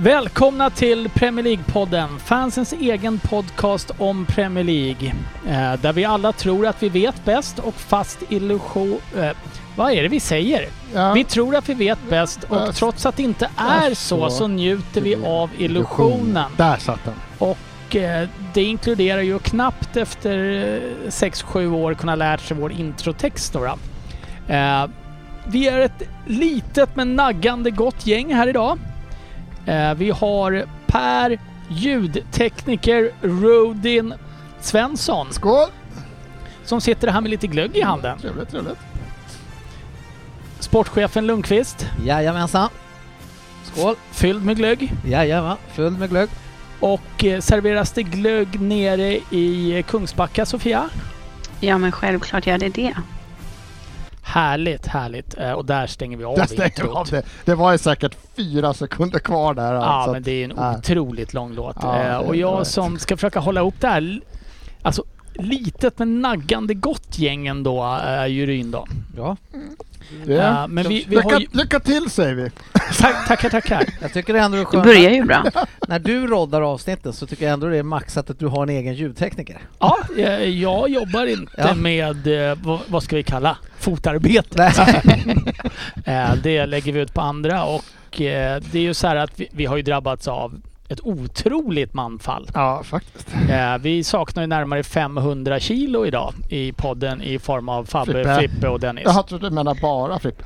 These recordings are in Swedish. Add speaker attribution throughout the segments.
Speaker 1: Välkomna till Premier League-podden, fansens egen podcast om Premier League. Eh, där vi alla tror att vi vet bäst och fast illusion... Eh, vad är det vi säger?
Speaker 2: Ja.
Speaker 1: Vi tror att vi vet bäst och
Speaker 2: Fast-
Speaker 1: trots att det inte är
Speaker 2: Fast
Speaker 1: så
Speaker 2: så.
Speaker 1: så njuter vi av illusionen.
Speaker 2: Där satt den.
Speaker 1: Och eh, det inkluderar ju knappt efter 6-7 år kunna lära sig vår introtext då. då. Eh, Vi är ett litet men naggande gott gäng här idag. Eh, Vi har Per, ljudtekniker Rodin Svensson
Speaker 2: Skål!
Speaker 1: som sitter här med lite glögg i handen.
Speaker 2: Trevligt, trevligt.
Speaker 1: Sportchefen Lundqvist,
Speaker 3: Jajamensan. Skål.
Speaker 1: fylld med glögg.
Speaker 3: Jajamän. Full med glögg.
Speaker 1: Och eh, serveras det glögg nere i eh, Kungsbacka, Sofia?
Speaker 4: Ja, men självklart gör det det.
Speaker 1: Härligt, härligt. Eh, Och där stänger vi av
Speaker 2: Där stängde vi
Speaker 1: introt.
Speaker 2: av det. Det var ju säkert fyra sekunder kvar där.
Speaker 1: Ja,
Speaker 2: alltså.
Speaker 1: men det är en
Speaker 2: ja.
Speaker 1: otroligt lång låt.
Speaker 2: Ja,
Speaker 1: Eh,
Speaker 2: det är
Speaker 1: och jag
Speaker 2: bra.
Speaker 1: som ska försöka hålla ihop det här, l- alltså litet men naggande gott gäng ändå, är ju Ryn då.
Speaker 3: Ja.
Speaker 2: Det-
Speaker 1: Eh, men vi, vi
Speaker 2: lycka,
Speaker 1: har ju,
Speaker 2: lycka till säger vi!
Speaker 1: tack, tackar, tackar.
Speaker 3: Jag tycker det ändå är
Speaker 4: Det
Speaker 3: skönt.
Speaker 4: börjar ju bra.
Speaker 3: När du roddar avsnitten så tycker jag ändå det är maxat att du har en egen ljudtekniker.
Speaker 1: Ja, eh, jag jobbar inte
Speaker 3: Ja.
Speaker 1: med, eh, vad, vad ska vi kalla, fotarbete.
Speaker 3: Nej.
Speaker 1: Eh, det lägger vi ut på andra och eh, det är ju så här att vi, vi har ju drabbats av ett otroligt manfall.
Speaker 2: Ja, faktiskt.
Speaker 1: Eh, vi saknar ju närmare 500 kilo idag i podden i form av Fabbe, Frippe,
Speaker 2: Frippe.
Speaker 1: och Dennis.
Speaker 2: Jag trodde du menade bara Frippe.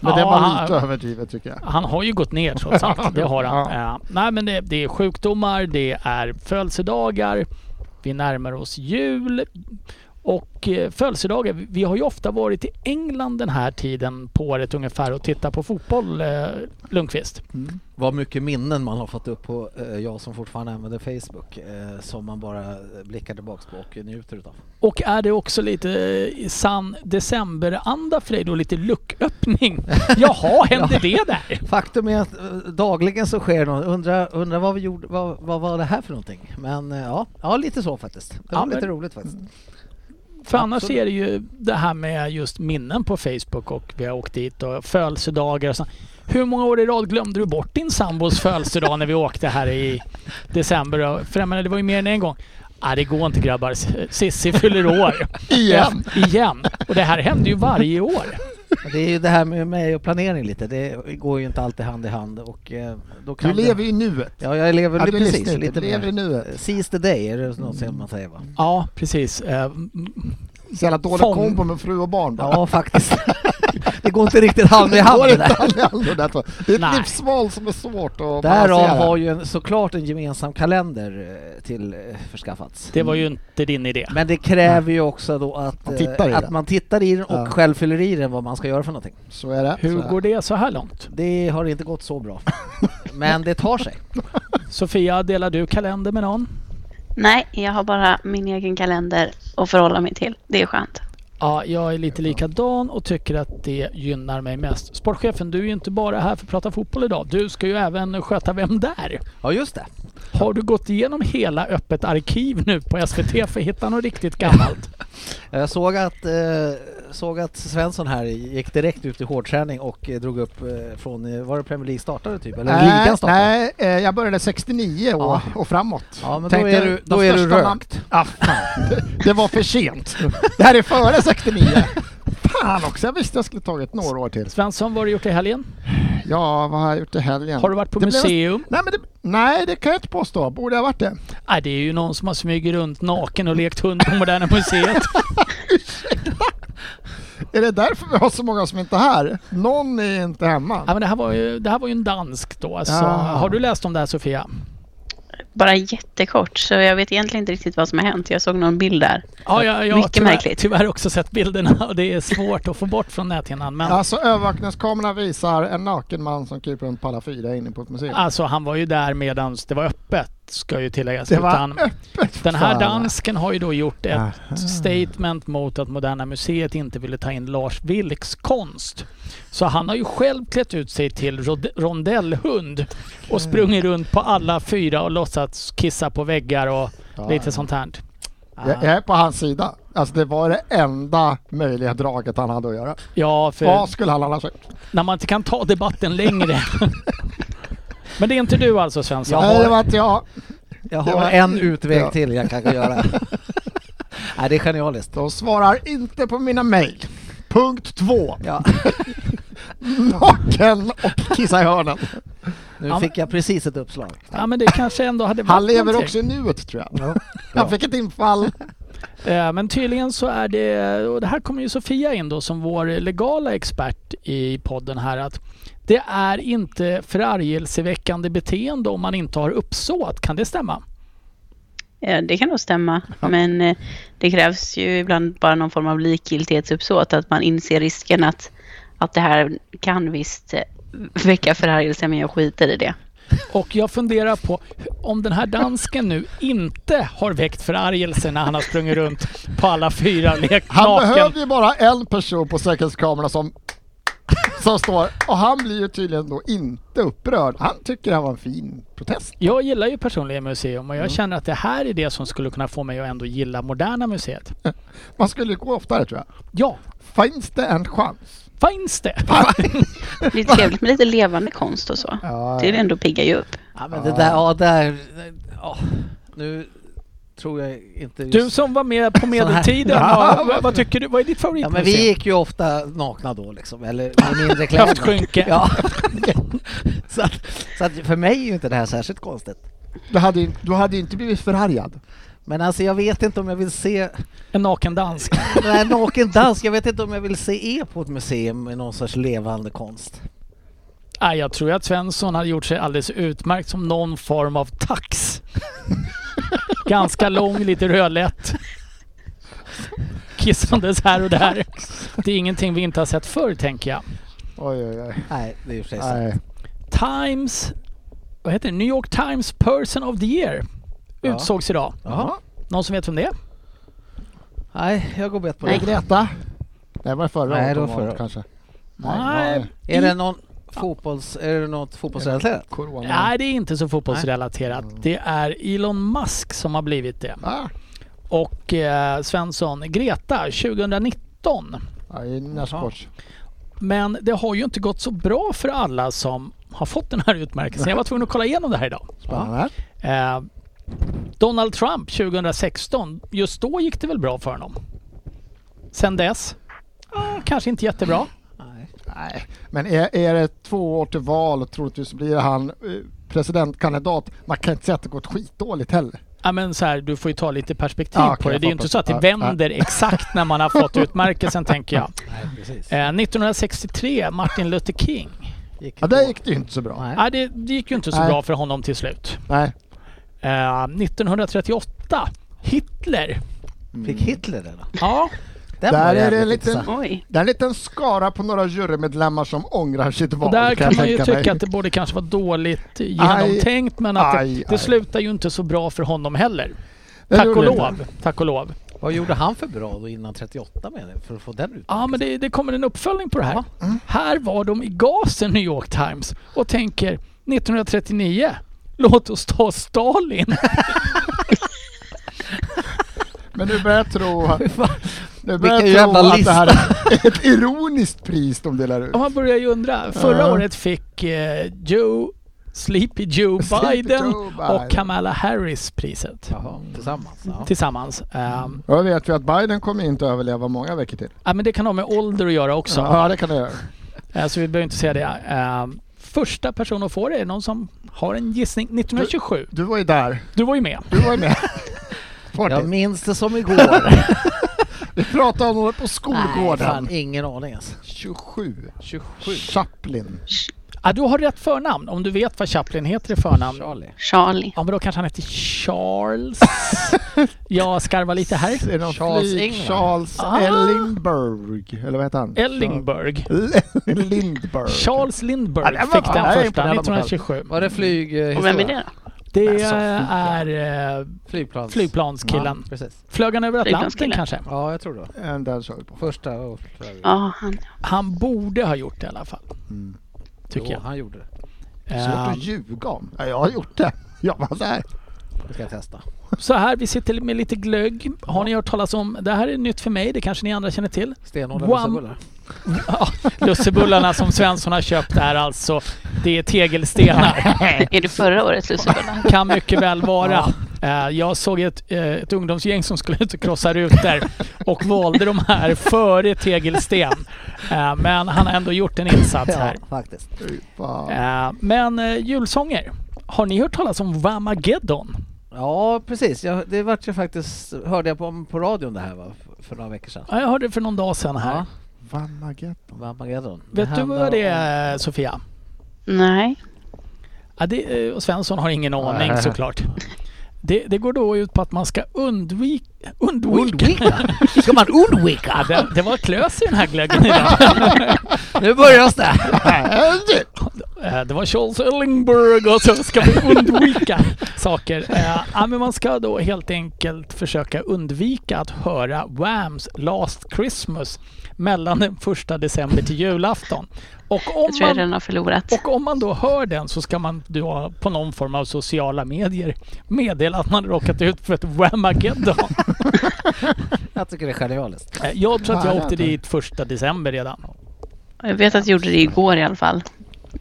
Speaker 2: Men det
Speaker 1: Ja,
Speaker 2: var
Speaker 1: han-
Speaker 2: lite överdrivet tycker jag.
Speaker 1: Han har ju gått ner trots allt. Det har han.
Speaker 2: Ja.
Speaker 1: Eh, nej men det, det är sjukdomar, det är födelsedagar, vi närmar oss jul. Och eh, födelsedagar, vi- vi har ju ofta varit i England den här tiden på året ungefär och tittat på fotboll, eh, Lundqvist.
Speaker 3: Vad mycket minnen man har fått upp på, eh, jag som fortfarande använder Facebook, eh, som man bara blickar tillbaks på och njuter utav.
Speaker 1: Och är det också lite eh, sann decemberanda för dig då? Lite lucköppning? Jaha, hände det där?
Speaker 3: Faktum är att eh, dagligen så sker något. Undrar undra vad vi gjorde, vad, vad var det här för någonting? Men eh, ja, ja lite så faktiskt. Det
Speaker 1: Ja,
Speaker 3: var lite
Speaker 1: men-
Speaker 3: roligt faktiskt.
Speaker 1: För annars
Speaker 3: Absolut.
Speaker 1: är det ju det här med just minnen på Facebook och vi har åkt dit och födelsedagar och sånt. Hur många år i rad glömde du bort din sambos födelsedag när vi åkte här i december? Och- För jag menar, det var ju mer än en gång. Nej, det går inte grabbar. Sissi fyller år.
Speaker 2: Igen!
Speaker 1: Igen. Och det här händer ju varje år.
Speaker 3: Men Det är ju det här med mig och planering lite. Det går ju inte alltid hand i hand och eh, då kan
Speaker 2: Du
Speaker 3: det-
Speaker 2: lever i nuet.
Speaker 3: Ja, jag lever
Speaker 2: Ja, du
Speaker 3: precis
Speaker 2: lyssnar inte.
Speaker 3: lite
Speaker 2: Du lever i
Speaker 3: mer.
Speaker 2: nuet.
Speaker 3: Seize the day är det något som man säger va?
Speaker 1: Ja, precis. Eh,
Speaker 2: Så jävla dålig
Speaker 1: Fång.
Speaker 2: kombo med fru och barn bara.
Speaker 3: Ja, faktiskt. det går inte riktigt hand i hand det
Speaker 2: det,
Speaker 3: där.
Speaker 2: det är ett
Speaker 1: Nej.
Speaker 2: livsval som är svårt att
Speaker 3: Därav
Speaker 2: balansera.
Speaker 3: har ju en, såklart en gemensam kalender eh, till eh, förskaffats.
Speaker 1: Det var ju inte din idé.
Speaker 3: Men det kräver ju också då att,
Speaker 2: Man
Speaker 3: eh,
Speaker 2: tittar i
Speaker 3: att
Speaker 2: den.
Speaker 3: man tittar i den och
Speaker 2: Ja.
Speaker 3: själv fyller i den vad man ska göra för någonting.
Speaker 2: Så är det.
Speaker 1: Hur
Speaker 2: så
Speaker 1: går det så här långt?
Speaker 3: Det har inte gått så bra. Men det tar sig.
Speaker 1: Sofia, delar du kalender med någon?
Speaker 4: Nej, jag har bara min egen kalender att förhålla mig till. Det är skönt.
Speaker 1: Ja, jag är lite likadan och tycker att det gynnar mig mest. Sportchefen, du är ju inte bara här för att prata fotboll idag. Du ska ju även sköta Vem där?
Speaker 3: Ja, just det.
Speaker 1: Har du gått igenom hela öppet arkiv nu på SVT för att hitta något riktigt gammalt?
Speaker 3: Jag såg att, eh, såg att Svensson här gick direkt ut i hårdträning och eh, drog upp eh, från, eh, var det Premier League startade typ? Eller
Speaker 2: Nej,
Speaker 3: ligan startade?
Speaker 2: nej, eh, jag började 69 och,
Speaker 3: Ja.
Speaker 2: och framåt.
Speaker 3: Ja, men då
Speaker 2: Tänkte
Speaker 3: är du-
Speaker 2: de
Speaker 3: då är du
Speaker 2: största
Speaker 3: rökt.
Speaker 2: namn- Ah, fan. Det- Det var för sent. Det här är före 69. Fan också, jag visste jag skulle tagit några år till.
Speaker 1: Svensson, vad har du gjort i helgen?
Speaker 2: Ja, vad har jag gjort i helgen?
Speaker 1: Har du varit på
Speaker 2: Det blev-
Speaker 1: museum?
Speaker 2: Nej, men det, nej, det kan jag inte påstå. Borde jag ha varit det?
Speaker 1: Nej, det är ju någon som har smugit runt naken och lekt hund på Moderna Museet.
Speaker 2: Är det därför vi har så många som inte är här? Någon är inte hemma.
Speaker 1: Ja, men det, här var ju, det här var ju en dansk då. Alltså,
Speaker 2: Ja.
Speaker 1: Har du läst om det här Sofia?
Speaker 4: bara jättekort, så jag vet egentligen inte riktigt vad som har hänt. Jag såg någon bild där.
Speaker 1: Ja, jag, jag har
Speaker 4: Mycket
Speaker 1: tyvärr,
Speaker 4: märkligt.
Speaker 1: tyvärr också sett bilderna och det är svårt att få bort från näthinnan. Men
Speaker 2: Alltså övervakningskameran visar en naken man som kryper runt på alla fyra inne på ett museum.
Speaker 1: alltså, han var ju där medan det var öppet, ska ju tilläggas.
Speaker 2: Det var
Speaker 1: Utan den här
Speaker 2: fan.
Speaker 1: dansken har ju då gjort ett
Speaker 2: Aha.
Speaker 1: statement mot att Moderna Museet inte ville ta in Lars Vilks konst. Så han har ju själv klätt ut sig till rod- rondellhund och sprungit runt på alla fyra och låtsats kissa på väggar och
Speaker 2: Ja, ja.
Speaker 1: lite sånt här. Ah.
Speaker 2: Jag jag är på hans sida. Alltså det var det enda möjliga draget han hade att göra.
Speaker 1: Ja, för
Speaker 2: Vad skulle han annars ha gjort?
Speaker 1: när man inte kan ta debatten längre. Men det är inte du alltså Svensson?
Speaker 3: Jag Ja.
Speaker 2: Nej,
Speaker 3: har-
Speaker 2: det var inte jag.
Speaker 3: Jag
Speaker 2: Det
Speaker 3: har
Speaker 2: var
Speaker 3: en
Speaker 2: inte
Speaker 3: utväg
Speaker 2: jag.
Speaker 3: till jag kan göra. Nej, det är genialiskt.
Speaker 2: De svarar inte på mina mejl. Punkt två.
Speaker 3: Ja,
Speaker 2: Naken och kissa i hörnen.
Speaker 1: Ja,
Speaker 3: nu
Speaker 1: men-
Speaker 3: fick jag precis ett uppslag.
Speaker 1: Ja men det kanske ändå hade varit
Speaker 2: Han lever
Speaker 1: någonting.
Speaker 2: också i nuet tror jag.
Speaker 3: Ja.
Speaker 2: Han fick ett infall.
Speaker 1: Eh, Men tydligen så är det, och det här kommer ju Sofia in då som vår legala expert i podden här att det är inte förargelseväckande beteende om man inte har uppsåt. Kan det stämma?
Speaker 4: Eh, Det kan nog stämma, men eh, det krävs ju ibland bara någon form av likgiltighetsuppsåt, att man inser risken att, att det här kan visst eh, väcka förargelse, men jag skiter i det.
Speaker 1: Och jag funderar på om den här dansken nu inte har väckt förargelse när han har sprungit runt på alla fyra lekt
Speaker 2: Han
Speaker 1: naken.
Speaker 2: behöver ju bara en person på säkerhetskameran som, som står. Och han blir ju tydligen då inte upprörd. Han tycker det här var en fin protest.
Speaker 1: Jag gillar ju personligen museum och jag
Speaker 2: Mm.
Speaker 1: känner att det här är det som skulle kunna få mig att ändå gilla Moderna Museet.
Speaker 2: Man skulle ju gå oftare tror jag.
Speaker 1: Ja,
Speaker 2: Finns det en chans?
Speaker 1: finns det?
Speaker 4: Det är trevligt med lite levande konst och så.
Speaker 2: Ja,
Speaker 4: Det är ändå piggar ju upp.
Speaker 3: Ja, men det där, ja, där, ja, nu tror jag inte just...
Speaker 1: Du som var med på medeltiden,
Speaker 3: Sån här.
Speaker 1: vad, vad, vad tycker du? Vad är ditt
Speaker 3: Ja, men vi
Speaker 1: favoritmuseum?
Speaker 3: gick ju ofta nakna då liksom, eller med mindre kläder.
Speaker 1: Höftskynke.
Speaker 3: Ja. så, att, så att för mig är ju inte det här särskilt konstigt.
Speaker 2: Du hade, ju- du hade ju inte blivit förargad.
Speaker 3: Men alltså jag vet inte om jag vill se
Speaker 1: En naken dansk.
Speaker 3: den här naken dans, jag vet inte om jag vill se er på ett museum med någon sorts levande konst.
Speaker 1: Nej, jag tror att Svensson hade gjort sig alldeles utmärkt som någon form av tax. Ganska lång, lite rödlätt. Kissandes här och där. Det är ingenting vi inte har sett förr, tänker jag.
Speaker 2: Oj, oj, oj.
Speaker 3: Nej, det är ju för sig sant.
Speaker 2: Nej.
Speaker 1: Times... Vad heter det? New York Times Person of the Year
Speaker 3: Ja.
Speaker 1: utsågs idag.
Speaker 3: Jaha.
Speaker 1: Någon som vet vem det är?
Speaker 3: Nej, jag går bet på
Speaker 2: Nej,
Speaker 3: det.
Speaker 2: Greta. Nej, var det förra
Speaker 3: Nej,
Speaker 2: året
Speaker 3: det var
Speaker 2: de
Speaker 3: förra
Speaker 2: året
Speaker 3: året.
Speaker 2: kanske?
Speaker 1: Nej.
Speaker 2: var-
Speaker 3: Är det någon fotbolls... Är det något fotbollsrelaterat?
Speaker 2: Corona.
Speaker 1: Nej, det är inte så fotbollsrelaterat. Det är Elon Musk som har blivit det.
Speaker 2: Ah,
Speaker 1: Och eh, Svensson, Greta 2019.
Speaker 2: ja, i närsport.
Speaker 1: Men det har ju inte gått så bra för alla som har fått den här utmärkelsen. Jag var tvungen att kolla igenom det här idag.
Speaker 2: Spännande.
Speaker 1: Eh, Donald Trump 2016, just då gick det väl bra för honom? Sen dess? Ah, kanske inte jättebra.
Speaker 3: Nej.
Speaker 2: Nej. Men är, är det två år till val och troligtvis blir han eh, presidentkandidat. Man kan inte säga att det gått skitdåligt heller.
Speaker 1: Ja, men så här, du får ju ta lite perspektiv
Speaker 2: Ja, okej,
Speaker 1: på det.
Speaker 2: jag
Speaker 1: Det är ju inte
Speaker 2: fattar.
Speaker 1: så att det
Speaker 2: Ja,
Speaker 1: vänder exakt när man har fått utmärkelsen tänker jag.
Speaker 3: Nej, precis.
Speaker 1: Eh, 1963, Martin Luther King.
Speaker 3: Gick
Speaker 2: Ja,
Speaker 3: det
Speaker 2: där
Speaker 3: på.
Speaker 2: gick det ju inte så bra.
Speaker 3: Nej.
Speaker 1: Ah, det, det gick ju inte så
Speaker 2: Nej.
Speaker 1: bra för honom till slut.
Speaker 2: Nej.
Speaker 1: Eh, 1938, Hitler.
Speaker 3: Fick Hitler det då?
Speaker 1: Ja,
Speaker 3: Den
Speaker 2: Där är
Speaker 3: var jävligt
Speaker 2: det en liten-
Speaker 3: intressant.
Speaker 4: Oj.
Speaker 2: Det är en liten skara på några jurymedlemmar som ångrar sitt val.
Speaker 1: och där kan
Speaker 2: jag
Speaker 1: man ju
Speaker 2: tänka mig.
Speaker 1: tycka att det borde kanske vara dåligt genomtänkt men att
Speaker 2: aj,
Speaker 1: det, det
Speaker 2: aj.
Speaker 1: slutar ju inte så bra för honom heller.
Speaker 2: Det
Speaker 1: Tack
Speaker 2: gjorde
Speaker 1: och
Speaker 2: det
Speaker 1: lov.
Speaker 2: inte.
Speaker 1: Tack och lov.
Speaker 3: Vad gjorde han för bra då innan 38 menar jag, för att få den ut?
Speaker 1: Ja, men det, det kommer en uppföljning på det här.
Speaker 2: Mm.
Speaker 1: Här var de i gasen New York Times och tänker 1939, låt oss ta Stalin.
Speaker 2: Men nu börjar jag tro, nu börjar
Speaker 3: Vilken
Speaker 2: jag tro
Speaker 3: jävla
Speaker 2: att det här är ett ironiskt pris de delar ut.
Speaker 1: Och man börjar ju undra. Förra
Speaker 2: Ja.
Speaker 1: året fick eh, Joe, Sleepy Joe
Speaker 2: Sleepy
Speaker 1: Biden
Speaker 2: Joe Biden.
Speaker 1: och Kamala Harris priset
Speaker 3: Jaha, tillsammans. Ja.
Speaker 1: tillsammans. Ehm,
Speaker 2: Och då vet vi att Biden kommer inte överleva många veckor till.
Speaker 1: Ja, men det kan ha med ålder att göra också.
Speaker 2: Ja, det kan det göra.
Speaker 1: Eh, Så vi behöver inte säga det. Eh, Första person att få det, är någon som har en gissning? 1927.
Speaker 2: Du var ju där.
Speaker 1: Du var ju med.
Speaker 2: Du var ju med.
Speaker 3: Jag
Speaker 2: Fortis.
Speaker 3: minns det som igår.
Speaker 2: Vi pratade om honom på
Speaker 3: Nej, alltså.
Speaker 2: skolgården.
Speaker 3: fan, ingen aning ens.
Speaker 2: 27.
Speaker 3: 27.
Speaker 2: Chaplin.
Speaker 1: Ah, du har rätt förnamn om du vet vad Chaplin heter i förnamn.
Speaker 3: Charlie.
Speaker 4: Charlie.
Speaker 1: Ja men då kanske han heter Charles. jag skarvar lite här.
Speaker 2: Är det någon
Speaker 3: Charles
Speaker 2: flik?
Speaker 3: Engman.
Speaker 2: Charles
Speaker 1: Ah.
Speaker 2: Ellingberg, eller vad heter han?
Speaker 1: Ellingberg.
Speaker 2: Charles- Lindberg.
Speaker 1: Charles
Speaker 2: Ja,
Speaker 1: Lindberg
Speaker 2: det var-
Speaker 1: fick
Speaker 2: ja, det är
Speaker 1: den första
Speaker 2: imponerande.
Speaker 1: 1927.
Speaker 3: Var det eh, flyghistoria?
Speaker 4: Och vem är det då?
Speaker 1: Det
Speaker 3: Nej, så
Speaker 1: är eh,
Speaker 3: Flygplans...
Speaker 1: flygplanskillen.
Speaker 3: Precis.
Speaker 1: Flög han över Atlanten
Speaker 4: Flygplanskillen.
Speaker 1: kanske?
Speaker 3: Ja, jag tror det.
Speaker 2: Den där kör vi på.
Speaker 3: Första och...
Speaker 4: Ja, han.
Speaker 1: Han borde ha gjort det i alla fall.
Speaker 2: Mm.
Speaker 1: Tycker
Speaker 3: jo,
Speaker 1: jag.
Speaker 3: han gjorde det.
Speaker 2: Svårt
Speaker 1: Eh,
Speaker 2: att ljuga om. Ja, jag har gjort det. Jag var så här.
Speaker 3: Det ska jag testa.
Speaker 1: Så här, vi sitter med lite glögg. Har ni hört talas om, det här är nytt för mig, det kanske ni andra känner till.
Speaker 3: Stenhårda
Speaker 1: One-
Speaker 3: lussebullar.
Speaker 1: Ja, Lussebullarna som Svensson har köpt är alltså, det är tegelstenar.
Speaker 4: Är det förra årets lussebullar?
Speaker 1: Kan mycket väl vara. Eh, Jag såg ett, eh, ett ungdomsgäng som skulle ut och krossa rutor och valde de här före tegelsten. Eh, Men han har ändå gjort en insats här.
Speaker 3: faktiskt.
Speaker 2: Fy fan.
Speaker 1: Eh, Men eh, julsånger. Har ni hört talas om Whamageddon?
Speaker 3: Ja, precis. Jag, det vart ju faktiskt... Hörde jag på, på radion det här va? F- För några veckor sedan.
Speaker 1: Ja, Jag hörde det för någon dag sedan här.
Speaker 3: Ja.
Speaker 2: Vamageddon.
Speaker 3: Vamageddon. Det
Speaker 1: Vet du
Speaker 3: handlar
Speaker 1: vad det
Speaker 3: om-
Speaker 1: är Sofia?
Speaker 4: Nej.
Speaker 1: Ja, det, eh, och Svensson har ingen aning
Speaker 2: Nej.
Speaker 1: såklart. Det, det går då ut på att man ska undvika... Undvika?
Speaker 3: Undvika? Ska man undvika?
Speaker 1: Ja, det, det var klös i den här glöggen idag.
Speaker 3: Nu börjar det!
Speaker 1: Eh, Det var Charles Ellingberg och så ska vi undvika saker. Eh, Ja, men man ska då helt enkelt försöka undvika att höra Whams Last Christmas mellan den första december till julafton. Och om
Speaker 4: Jag tror jag
Speaker 1: man
Speaker 4: redan har förlorat.
Speaker 1: Och om man då hör den så ska man då på någon form av sociala medier meddela att man råkat ut för ett Whamageddon.
Speaker 3: Jag tycker det är genialiskt.
Speaker 1: Eh, Jag tror att jag
Speaker 2: Härligt.
Speaker 1: åkte dit första december redan.
Speaker 4: Jag vet att jag gjorde det igår i alla fall.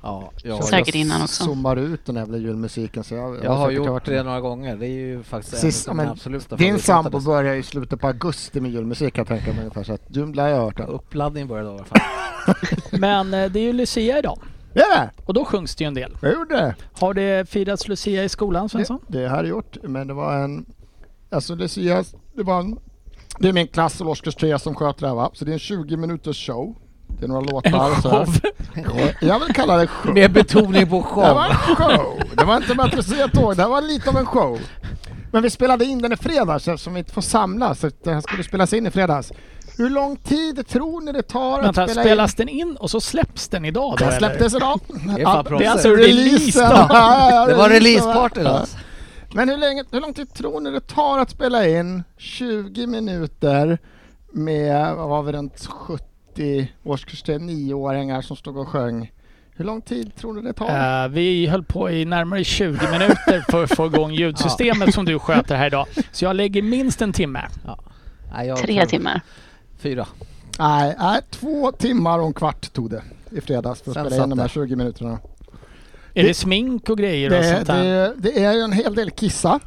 Speaker 3: Ja, jag,
Speaker 4: Så säkert innan också.
Speaker 2: Jag zoomar ut den här jävla julmusiken så jag,
Speaker 3: jag har
Speaker 2: säkert
Speaker 3: gjort det
Speaker 2: den.
Speaker 3: några gånger. Det är ju faktiskt
Speaker 2: Sist,
Speaker 3: en av
Speaker 2: men,
Speaker 3: mina absoluta
Speaker 2: din sambo
Speaker 3: favoritlåtar.
Speaker 2: börjar i slutet på augusti med julmusik kan jag tänka mig ungefär så att du lär jag ha hört den.
Speaker 3: Uppladdningen började då i alla fall.
Speaker 1: Men eh, det är ju Lucia idag
Speaker 2: Det är det!
Speaker 1: och då sjungs det ju en del.
Speaker 2: Jag gjorde det!
Speaker 1: Har det firats Lucia i skolan Svensson?
Speaker 2: Det, det har jag gjort, men det var en... Alltså Lucia, det var en... Det är min klass och årskurs 3 som sköter det här va? Så det är en 20 minuters show. Det är några
Speaker 1: En
Speaker 2: låtar och så
Speaker 1: show.
Speaker 2: här. Jag vill kalla det show.
Speaker 3: Med betoning på
Speaker 2: Det
Speaker 3: show.
Speaker 2: var en show! Det var inte bara ett luciatåg, det här var lite av en show. Men vi spelade in den i fredags eftersom vi inte får samlas. Så det här skulle spelas in i fredags. Hur lång tid tror ni det tar
Speaker 1: Vänta,
Speaker 2: att spela in?
Speaker 1: spelas den in och så släpps den idag då
Speaker 2: Den
Speaker 1: eller?
Speaker 2: släpptes idag.
Speaker 3: Det är
Speaker 2: Ja,
Speaker 3: fan
Speaker 1: Det är
Speaker 3: proffsigt.
Speaker 1: alltså release
Speaker 2: releasen.
Speaker 1: då.
Speaker 2: Ja, ja,
Speaker 3: Det var
Speaker 2: releasen,
Speaker 3: releaseparty
Speaker 2: va?
Speaker 3: då.
Speaker 2: Men hur, länge, hur lång tid tror ni det tar att spela in 20 minuter med, vad var vi, runt 70 årskurs 9-åringar som stod och sjöng? Hur lång tid tror ni det tar?
Speaker 1: Eh, vi höll på i närmare 20 minuter för att få igång ljudsystemet som du sköter här idag. Så jag lägger minst en timme.
Speaker 3: Nej, jag
Speaker 4: Tre
Speaker 3: tror-
Speaker 4: timmar.
Speaker 3: Fyra.
Speaker 2: Nej, nej, två timmar och en kvart tog det i fredags för att
Speaker 3: Sen
Speaker 2: spela in
Speaker 3: satt
Speaker 2: de här
Speaker 3: det.
Speaker 2: 20 minuterna.
Speaker 1: Är det smink och grejer och
Speaker 2: Det,
Speaker 1: sånt där?
Speaker 2: det, det är ju en hel del kissar.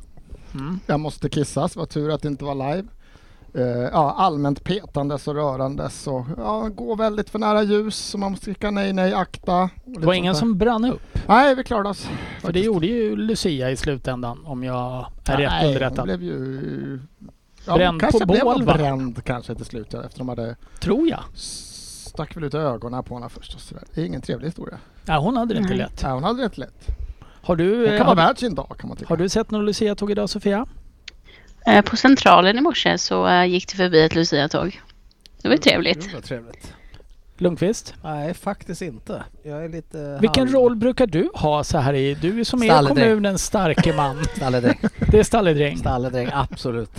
Speaker 1: Mm.
Speaker 2: Jag måste kissas, var tur att det inte var live. Eh, ja, allmänt petandes och rörandes och ja, gå väldigt för nära ljus så man måste skrika nej, nej, akta. och lite
Speaker 1: Det var ingen
Speaker 2: sånt
Speaker 1: som brann upp?
Speaker 2: där. Nej, vi klarade oss.
Speaker 1: För det gjorde ju Lucia i slutändan om jag är rätt
Speaker 2: Nej, hon
Speaker 1: underrättad.
Speaker 2: blev ju... Ja,
Speaker 1: Bränd
Speaker 2: hon kanske
Speaker 1: på
Speaker 2: blev
Speaker 1: bål,
Speaker 2: väl
Speaker 1: va?
Speaker 2: bränd kanske till slut ja, efter de hade
Speaker 1: Tror jag.
Speaker 2: stack väl ut ögonen på henne först och sådär. Det är ingen trevlig historia.
Speaker 1: Nej, hon hade det inte
Speaker 4: Nej.
Speaker 1: lätt.
Speaker 2: Nej, hon hade rätt lätt.
Speaker 1: Har du,
Speaker 2: Hon
Speaker 1: eh,
Speaker 2: kan vara
Speaker 1: har,
Speaker 2: värd sin dag kan man tycka.
Speaker 1: har du sett någon Lucia-tåg idag Sofia?
Speaker 4: Eh, På Centralen i morse så eh, gick det förbi ett Lucia-tåg. Det var ju trevligt.
Speaker 3: Det var trevligt.
Speaker 1: Lundqvist?
Speaker 3: Nej, faktiskt inte. Jag är lite...
Speaker 1: Vilken
Speaker 3: halv-
Speaker 1: roll brukar du ha så här i? Du som är
Speaker 3: Stalledräng.
Speaker 1: kommunens starke man.
Speaker 3: Stalledräng.
Speaker 1: Det är stalledräng.
Speaker 3: Stalledräng, absolut.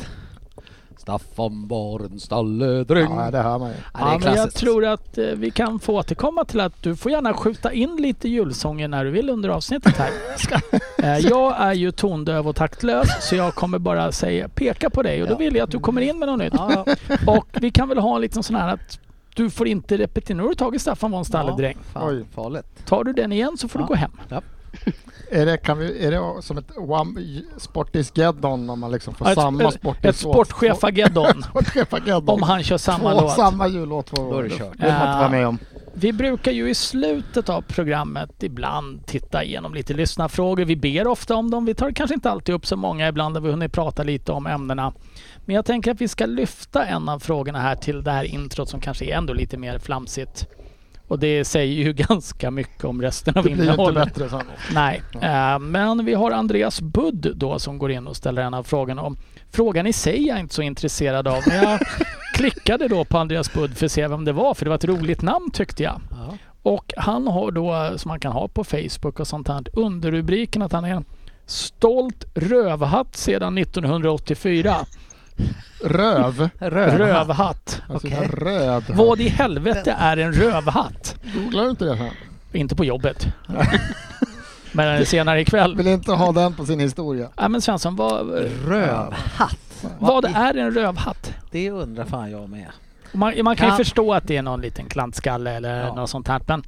Speaker 3: Staffan var en stalledräng.
Speaker 2: Ja, det hör man ju.
Speaker 3: Ja, det är
Speaker 1: Ja, men jag
Speaker 3: klassiskt.
Speaker 1: tror att eh, vi kan få återkomma till att du får gärna skjuta in lite julsånger när du vill under avsnittet här. Eh, jag är ju tondöv och taktlös så jag kommer bara säga, peka på dig och då
Speaker 3: Ja.
Speaker 1: vill jag att du kommer in med något nytt.
Speaker 3: Ja, ja.
Speaker 1: Och vi kan väl ha en liten sån här att du får inte repetera. Nu har du tagit Staffan von Stalledräng.
Speaker 3: Fan,
Speaker 2: Oj.
Speaker 3: farligt.
Speaker 1: Tar du den igen så får du
Speaker 3: Ja.
Speaker 1: gå hem.
Speaker 2: Är det, kan vi, är det som ett one- Sportisgeddon om man liksom får
Speaker 1: Ja, ett-
Speaker 2: samma sportis...
Speaker 1: Ett sportchefageddon.
Speaker 2: Sportchefageddon.
Speaker 1: Om han kör samma
Speaker 2: två,
Speaker 1: låt.
Speaker 2: samma jullåt två
Speaker 3: Då
Speaker 2: år.
Speaker 3: är det
Speaker 2: Det
Speaker 3: kört.
Speaker 2: vill man inte vara med om.
Speaker 1: Vi brukar ju i slutet av programmet ibland titta igenom lite lyssnarfrågor. Vi ber ofta om dem. Vi tar kanske inte alltid upp så många. Ibland har vi hunnit prata lite om ämnena. Men jag tänker att vi ska lyfta en av frågorna här till det här introt som kanske är ändå lite mer flamsigt. Och det säger ju ganska mycket om resten av
Speaker 2: Det blir ju inte
Speaker 1: innehållet.
Speaker 2: bättre sen.
Speaker 1: Nej, eh, men vi har Andreas Budd då som går in och ställer en av frågorna om. Frågan i sig är jag inte så intresserad av, men jag klickade då på Andreas Budd för att se vem det var, för det var ett roligt namn tyckte jag.
Speaker 3: Ja.
Speaker 1: Och han har då, eh, som man kan ha på Facebook och sånt här, underrubriken att han är en stolt rövhatt sedan 1984.
Speaker 2: Röv.
Speaker 3: Röd.
Speaker 1: Rövhatt.
Speaker 2: Alltså
Speaker 3: Okej.
Speaker 2: okay. röd.
Speaker 1: Vad i helvete är en rövhatt?
Speaker 2: Googlar du inte det sen?
Speaker 1: Inte på jobbet. Men senare ikväll.
Speaker 2: Vill inte ha den på sin historia.
Speaker 1: Ja, men Svensson, vad,
Speaker 3: Rövhatt.
Speaker 1: vad
Speaker 3: i-
Speaker 1: är en rövhatt?
Speaker 3: Det undrar fan jag med.
Speaker 1: Man, man kan ju
Speaker 3: Kan-
Speaker 1: förstå att det är någon liten klantskalle eller
Speaker 3: Ja.
Speaker 1: något sånt här. Men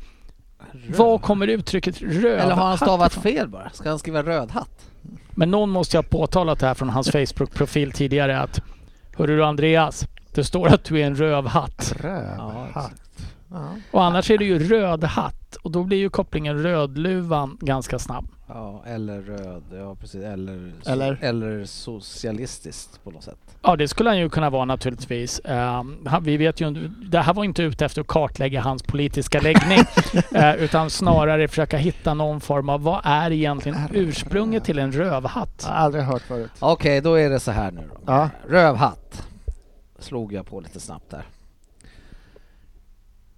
Speaker 3: Röv.
Speaker 1: vad kommer uttrycket rövhatt
Speaker 3: Eller har han stavat
Speaker 1: ifrån?
Speaker 3: fel bara? Ska han skriva rödhatt?
Speaker 1: Men någon måste ju ha påtalat det här från hans Facebook-profil tidigare att Hörru du Andreas, det står att du är en rövhatt.
Speaker 2: Rövhatt. Ja.
Speaker 1: Och annars är du ju rödhatt. Och då blir ju kopplingen rödluvan ganska snabb.
Speaker 3: Ja, eller röd. Ja, precis. Eller, so-
Speaker 2: Eller?
Speaker 3: eller socialistiskt på något sätt.
Speaker 1: Ja, det skulle han ju kunna vara naturligtvis. Ehm, han- vi vet ju, det här var inte ute efter att kartlägga hans politiska läggning. eh, utan snarare försöka hitta någon form av vad är egentligen ursprunget till en rövhatt?
Speaker 2: Jag har aldrig hört förut.
Speaker 3: Okej, då är det så här nu då.
Speaker 2: Ja.
Speaker 3: Rövhatt. Slog jag på lite snabbt där.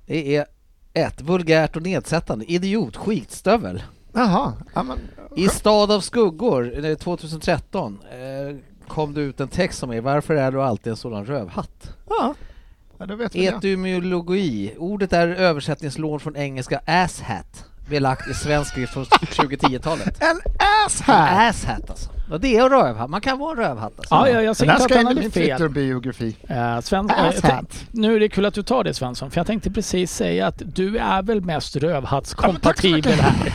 Speaker 3: Det är ett vulgärt och nedsättande. Idiot, skitstövel.
Speaker 2: Jaha. Ja, men,
Speaker 3: I Stad av skuggor eh, 2013 eh, kom det ut en text som är Varför är du alltid en sådan rövhatt?
Speaker 2: ja. ja, då vet vi det.
Speaker 3: Etymologi. Ordet är översättningslån från engelska asshat, belagt i svensk skrift från 2010-talet.
Speaker 2: En asshat!
Speaker 3: Asshat alltså. Och det är en rövhatt. Man kan vara en rövhatt alltså.
Speaker 1: Ja, ja jag
Speaker 2: Den
Speaker 1: säger
Speaker 2: här
Speaker 1: inte att
Speaker 2: ska
Speaker 1: han
Speaker 2: in
Speaker 1: hade
Speaker 2: i min
Speaker 1: fel.
Speaker 2: Twitter-biografi.
Speaker 1: Eh, Sven, eh, jag tänk-
Speaker 2: Asshat.
Speaker 1: nu är det kul att du tar det Svensson, för jag tänkte precis säga att du är väl mest rövhattskompatibel här.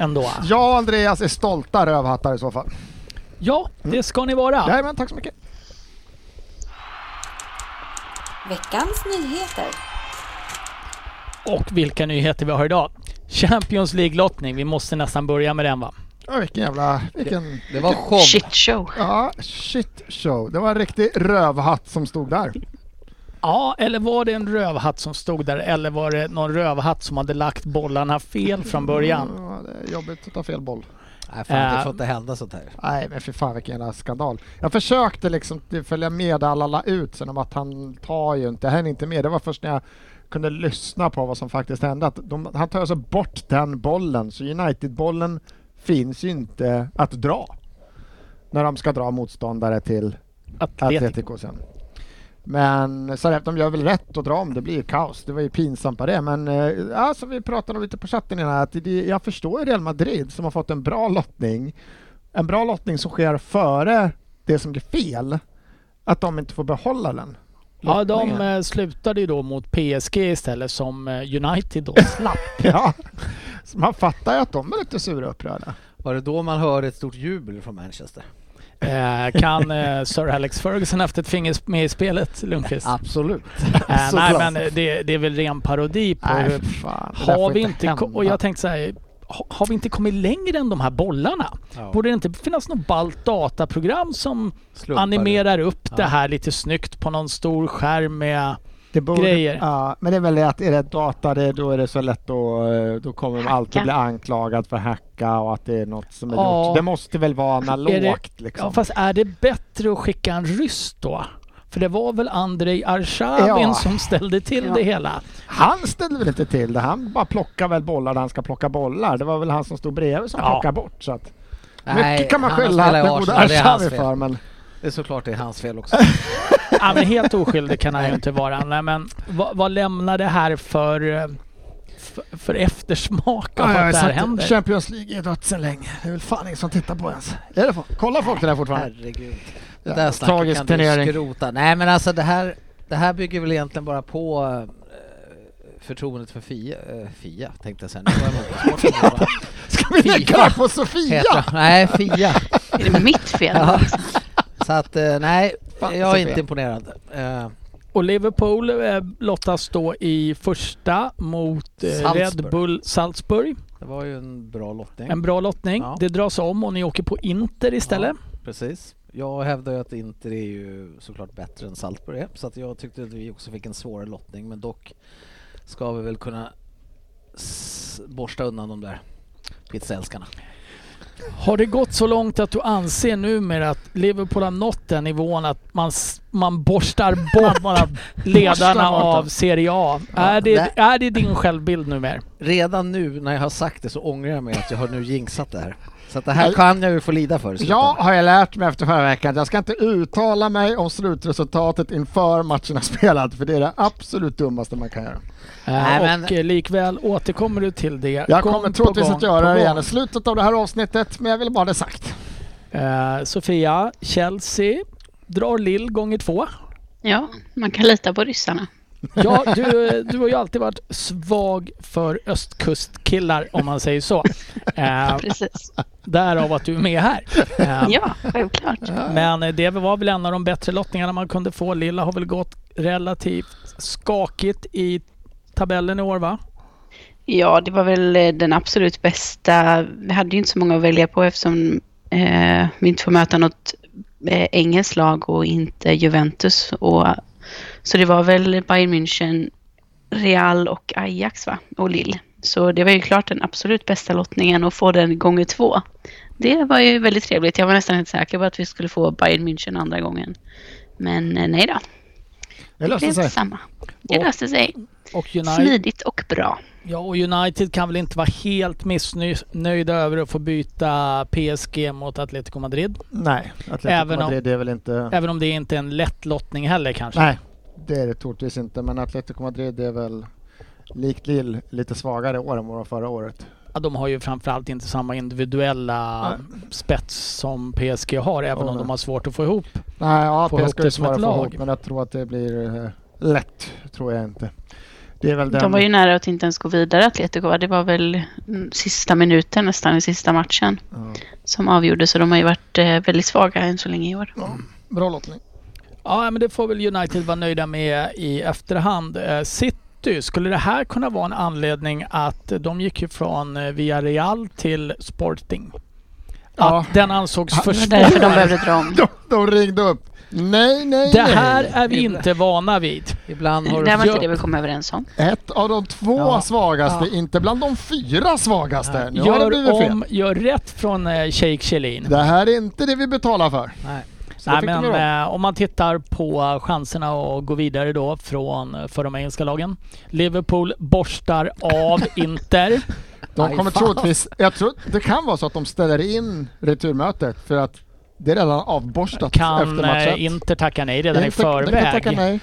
Speaker 1: Ändå.
Speaker 2: Jag och Andreas är stolta rövhattar i så fall.
Speaker 1: Ja, det ska ni vara.
Speaker 2: Jajamän, tack så mycket.
Speaker 5: Veckans nyheter.
Speaker 1: Och vilka nyheter vi har idag. Champions League-lottning, vi måste nästan börja med den va?
Speaker 2: Ja, vilken jävla... Vilken...
Speaker 3: Det var show.
Speaker 4: Shit show.
Speaker 2: Ja, shit show. Det var en riktig rövhatt som stod där.
Speaker 1: Ja, eller var det en rövhatt som stod där eller var det någon rövhatt som hade lagt bollarna fel från början?
Speaker 2: Ja, det är jobbigt att ta fel boll.
Speaker 3: Nej, fan,
Speaker 1: Eh.
Speaker 3: det får inte hända sånt här.
Speaker 2: Nej, men för fan vilken jävla skandal. Jag försökte liksom till- följa med alla la ut sen om att han tar ju inte, han är inte med. Det var först när jag kunde lyssna på vad som faktiskt hände. Att de, han tar alltså bort den bollen, så United-bollen finns ju inte att dra. När de ska dra motståndare till
Speaker 1: Atletico.
Speaker 2: Atletico sen. Men så de gör väl rätt att dra om, det blir ju kaos. Det var ju pinsamt på det. Men eh, ja, som vi pratade om lite på chatten innan, att det, jag förstår ju Real Madrid som har fått en bra lottning. En bra lottning som sker före det som blir fel. Att de inte får behålla den.
Speaker 1: Ja, de
Speaker 2: lottningen.
Speaker 1: eh, slutade ju då mot PSG istället som eh, United då slapp.
Speaker 2: Ja. Så man fattar ju att de är lite sura och upprörda.
Speaker 3: Var det då man hörde ett stort jubel från Manchester?
Speaker 1: Eh, kan eh, Sir Alex Ferguson haft ett finger med i spelet, Lundqvist?
Speaker 3: Absolut.
Speaker 1: Eh, nej,
Speaker 2: såklart.
Speaker 1: men eh, det, det är väl ren parodi på
Speaker 2: Nej,
Speaker 1: hur...
Speaker 2: för fan. det där
Speaker 1: Har
Speaker 2: får
Speaker 1: vi inte... ko- Och
Speaker 2: hända.
Speaker 1: jag tänkte så här, ha- har vi inte kommit längre än de här bollarna?
Speaker 3: Ja.
Speaker 1: Borde det inte finnas något ballt dataprogram som
Speaker 3: Slumpar.
Speaker 1: animerar upp det
Speaker 3: Ja.
Speaker 1: här lite snyggt på någon stor skärm med...
Speaker 2: Det borde,
Speaker 1: grejer.
Speaker 2: Ja, men det är väl det att är det data det, då är det så lätt att eh, då kommer de alltid
Speaker 4: Hacka.
Speaker 2: bli anklagad för hacka och att det är något som är
Speaker 1: Ja.
Speaker 2: gjort. Det måste väl vara
Speaker 1: Är
Speaker 2: analogt
Speaker 1: det,
Speaker 2: liksom.
Speaker 1: ja, fast är det bättre att skicka en ryss då? För det var väl Andrei Arshavin
Speaker 2: Ja.
Speaker 1: som ställde till det hela?
Speaker 2: Han ställde väl inte till det? Han bara plockar väl bollar där han ska plocka bollar. Det var väl han som stod bredvid som
Speaker 1: Ja.
Speaker 2: plockade bort. Så att,
Speaker 3: Nej,
Speaker 2: mycket kan man
Speaker 3: han har
Speaker 2: skylla
Speaker 3: spelat i
Speaker 2: den gode
Speaker 3: Arsenal, det är hans
Speaker 2: Arshavi
Speaker 3: fel.
Speaker 2: för. Men
Speaker 3: Det är såklart det är hans fel också.
Speaker 1: Ja, men helt oskyldig kan han ju inte vara. Nej, men vad, vad lämnar det här för, eh, för, för eftersmak av att det här händer?
Speaker 2: Champions League är dött sedan länge. Det är väl fan ingen som tittar på ens. Är det folk? Kollar folk det där fortfarande?
Speaker 3: Herregud.
Speaker 2: Ja,
Speaker 3: Det där snacket
Speaker 2: tragisk
Speaker 3: kan
Speaker 2: turnering.
Speaker 3: du skrota. Nej men alltså det här, det här bygger väl egentligen bara på eh, förtroendet för Fia. eh, Fia tänkte jag säga. Nu var jag emot sporten.
Speaker 2: Ska vi lägga det här på Sofia?
Speaker 3: Heter hon. Nej, Fia.
Speaker 4: Är det mitt fel?
Speaker 3: Ja. Så att eh, nej,
Speaker 2: Fan,
Speaker 3: jag är
Speaker 2: Sofia.
Speaker 3: inte imponerad. Eh,
Speaker 1: Och Liverpool eh, lottas då i första mot eh,
Speaker 3: Salzburg.
Speaker 1: Red Bull Salzburg.
Speaker 3: Det var ju en bra lottning.
Speaker 1: En bra lottning.
Speaker 3: Ja.
Speaker 1: Det dras om och ni åker på Inter istället.
Speaker 3: Ja, precis. Jag hävdar ju att Inter är ju såklart bättre än Salzburg är, så att jag tyckte att vi också fick en svårare lottning, men dock ska vi väl kunna s- borsta undan de där pizzaälskarna.
Speaker 1: Har det gått så långt att du anser numera att Liverpool har nått den nivån att man, s- man borstar bort ledarna
Speaker 2: borstar bort
Speaker 1: av
Speaker 2: dem.
Speaker 1: Serie A? Är
Speaker 3: nej.
Speaker 1: det, är det din självbild numera?
Speaker 3: Redan nu när jag har sagt det så ångrar jag mig att jag har nu jinxat det här. Så att det här kan jag ju få lida för i
Speaker 2: Jag
Speaker 3: slutändan.
Speaker 2: har jag lärt mig efter förra veckan att jag ska inte uttala mig om slutresultatet inför matcherna spelat för det är det absolut dummaste man kan göra.
Speaker 1: Nej,
Speaker 3: Nej,
Speaker 1: och
Speaker 3: men-
Speaker 1: eh, likväl återkommer du till det.
Speaker 2: Jag
Speaker 1: gång
Speaker 2: kommer
Speaker 1: på
Speaker 2: troligtvis
Speaker 1: gång
Speaker 2: att göra
Speaker 1: på
Speaker 2: det
Speaker 1: gång.
Speaker 2: igen i slutet av det här avsnittet men jag vill bara ha det sagt.
Speaker 1: Eh, Sofia, Chelsea drar Lill gånger två.
Speaker 4: Ja, man kan lita på ryssarna.
Speaker 1: Ja, du, eh, du har ju alltid varit svag för östkustkillar om man säger så. Eh,
Speaker 4: Precis.
Speaker 1: därav att du är med här. Eh,
Speaker 4: Ja, självklart.
Speaker 1: Men eh, det var väl en av de bättre lottningarna man kunde få. Lilla har väl gått relativt skakigt i tabellen i år va?
Speaker 4: Ja, det var väl eh, den absolut bästa. Vi hade ju inte så många att välja på eftersom eh, vi inte får möta något eh, engelskt lag och inte Juventus. Och, så det var väl Bayern München, Real och Ajax va? och Lille. Så det var ju klart den absolut bästa lottningen och få den gånger två. Det var ju väldigt trevligt. Jag var nästan helt säker på att vi skulle få Bayern München andra gången. Men eh, nej då,
Speaker 2: Det
Speaker 4: det
Speaker 2: löste
Speaker 4: blev
Speaker 2: sig.
Speaker 4: samma.
Speaker 1: Alltså,
Speaker 4: Det
Speaker 1: Och-
Speaker 4: löste sig.
Speaker 1: Och United,
Speaker 4: Smidigt och bra.
Speaker 1: ja, och United kan väl inte vara helt missnöjda över att få byta PSG mot Atletico Madrid.
Speaker 2: Nej,
Speaker 1: Även
Speaker 2: Atletico
Speaker 1: om-
Speaker 2: Madrid är väl inte...
Speaker 1: Även om det inte är en lätt lottning heller kanske.
Speaker 2: Nej, det är det troligtvis inte men Atletico Madrid är väl likt Lille lite svagare i år än vad de var förra året.
Speaker 1: Ja, de har ju framförallt inte samma individuella spets som PSG har, även
Speaker 2: Ja,
Speaker 1: om
Speaker 2: nej.
Speaker 1: de har svårt att få ihop.
Speaker 2: Nej, ja,
Speaker 1: Få ihop
Speaker 2: PSG är
Speaker 1: det som
Speaker 2: svårare att
Speaker 1: ett
Speaker 2: få
Speaker 1: lag.
Speaker 2: ihop men jag tror att det blir eh, lätt. Tror jag inte. Det är väl den...
Speaker 4: De var ju nära att inte ens gå vidare Atletico. va? Det var väl mm, sista minuten nästan i sista matchen
Speaker 2: Ja.
Speaker 4: som avgjorde. Så de har ju varit eh, väldigt svaga än så länge i år.
Speaker 2: Bra lottning.
Speaker 1: Ja, men det får väl United vara nöjda med i efterhand. Eh, City, skulle det här kunna vara en anledning att eh, de gick ju från eh, Villarreal till Sporting?
Speaker 2: Ja.
Speaker 1: Att den ansågs för
Speaker 4: Det var därför
Speaker 1: svår.
Speaker 4: de behövde dra om.
Speaker 2: De, de ringde upp. Nej, nej,
Speaker 1: Det
Speaker 2: nej.
Speaker 1: här är vi inte vana vid.
Speaker 3: Ibland har
Speaker 4: Det
Speaker 3: du
Speaker 4: var inte
Speaker 3: försökt.
Speaker 4: det vi kom överens om.
Speaker 2: Ett av de två
Speaker 3: Ja.
Speaker 2: svagaste, inte bland de fyra svagaste. Nu har det blivit
Speaker 1: Gör,
Speaker 2: fel.
Speaker 1: om, gör rätt från eh, Sheikh Chelin.
Speaker 2: Det här är inte det vi betalar för.
Speaker 3: Nej.
Speaker 2: Så
Speaker 1: Nej,
Speaker 2: det fick
Speaker 1: men
Speaker 2: de göra om.
Speaker 1: eh, om man tittar på chanserna att gå vidare då från, för de engelska lagen. Liverpool borstar av Inter.
Speaker 2: de
Speaker 3: Aj,
Speaker 2: kommer
Speaker 3: fan.
Speaker 2: troligtvis... Jag tror, det kan vara så att de ställer in returmötet för att det är redan avborstat
Speaker 1: Kan
Speaker 2: efter
Speaker 1: eh,
Speaker 2: matchen.
Speaker 1: Inter tacka nej redan i
Speaker 2: Inte- de kan tacka
Speaker 1: förväg?
Speaker 2: nej.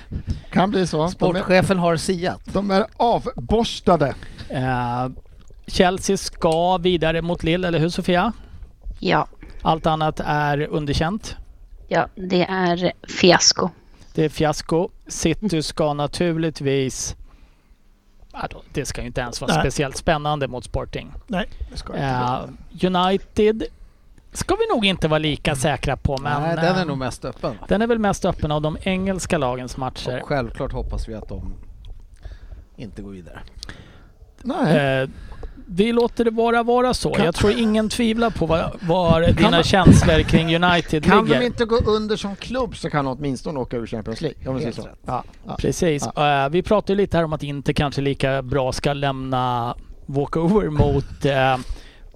Speaker 2: Kan bli så. De är,
Speaker 3: Sportchefen har siat.
Speaker 2: de är avborstade.
Speaker 1: Eh, Chelsea ska vidare mot Lille, eller hur Sofia?
Speaker 4: Ja,
Speaker 1: Allt annat är underkänt.
Speaker 4: ja det är fiasko.
Speaker 1: Det är fiasko. City ska naturligtvis... Ja, då- Det ska ju inte ens vara
Speaker 2: Nej.
Speaker 1: speciellt spännande mot Sporting.
Speaker 2: Nej, det ska jag inte.
Speaker 1: Eh, United ska vi nog inte vara lika säkra på, men...
Speaker 3: Nej, den är
Speaker 1: eh,
Speaker 3: nog mest öppen.
Speaker 1: Den är väl mest öppen av de engelska lagens matcher.
Speaker 3: Och självklart hoppas vi att de inte går vidare.
Speaker 2: Nej.
Speaker 1: Eh, vi låter det vara vara så.
Speaker 2: Kan-
Speaker 1: Jag tror ingen tvivlar på var, var dina känslor kring United
Speaker 2: Kan
Speaker 1: ligger.
Speaker 2: de inte gå under som klubb så kan de åtminstone åka ur Champions League. Om vi säger
Speaker 3: Helt
Speaker 2: så.
Speaker 3: rätt.
Speaker 2: Ja, ja.
Speaker 1: Precis. Eh, vi pratade ju lite här om att inte kanske lika bra ska lämna walkover mot... Eh,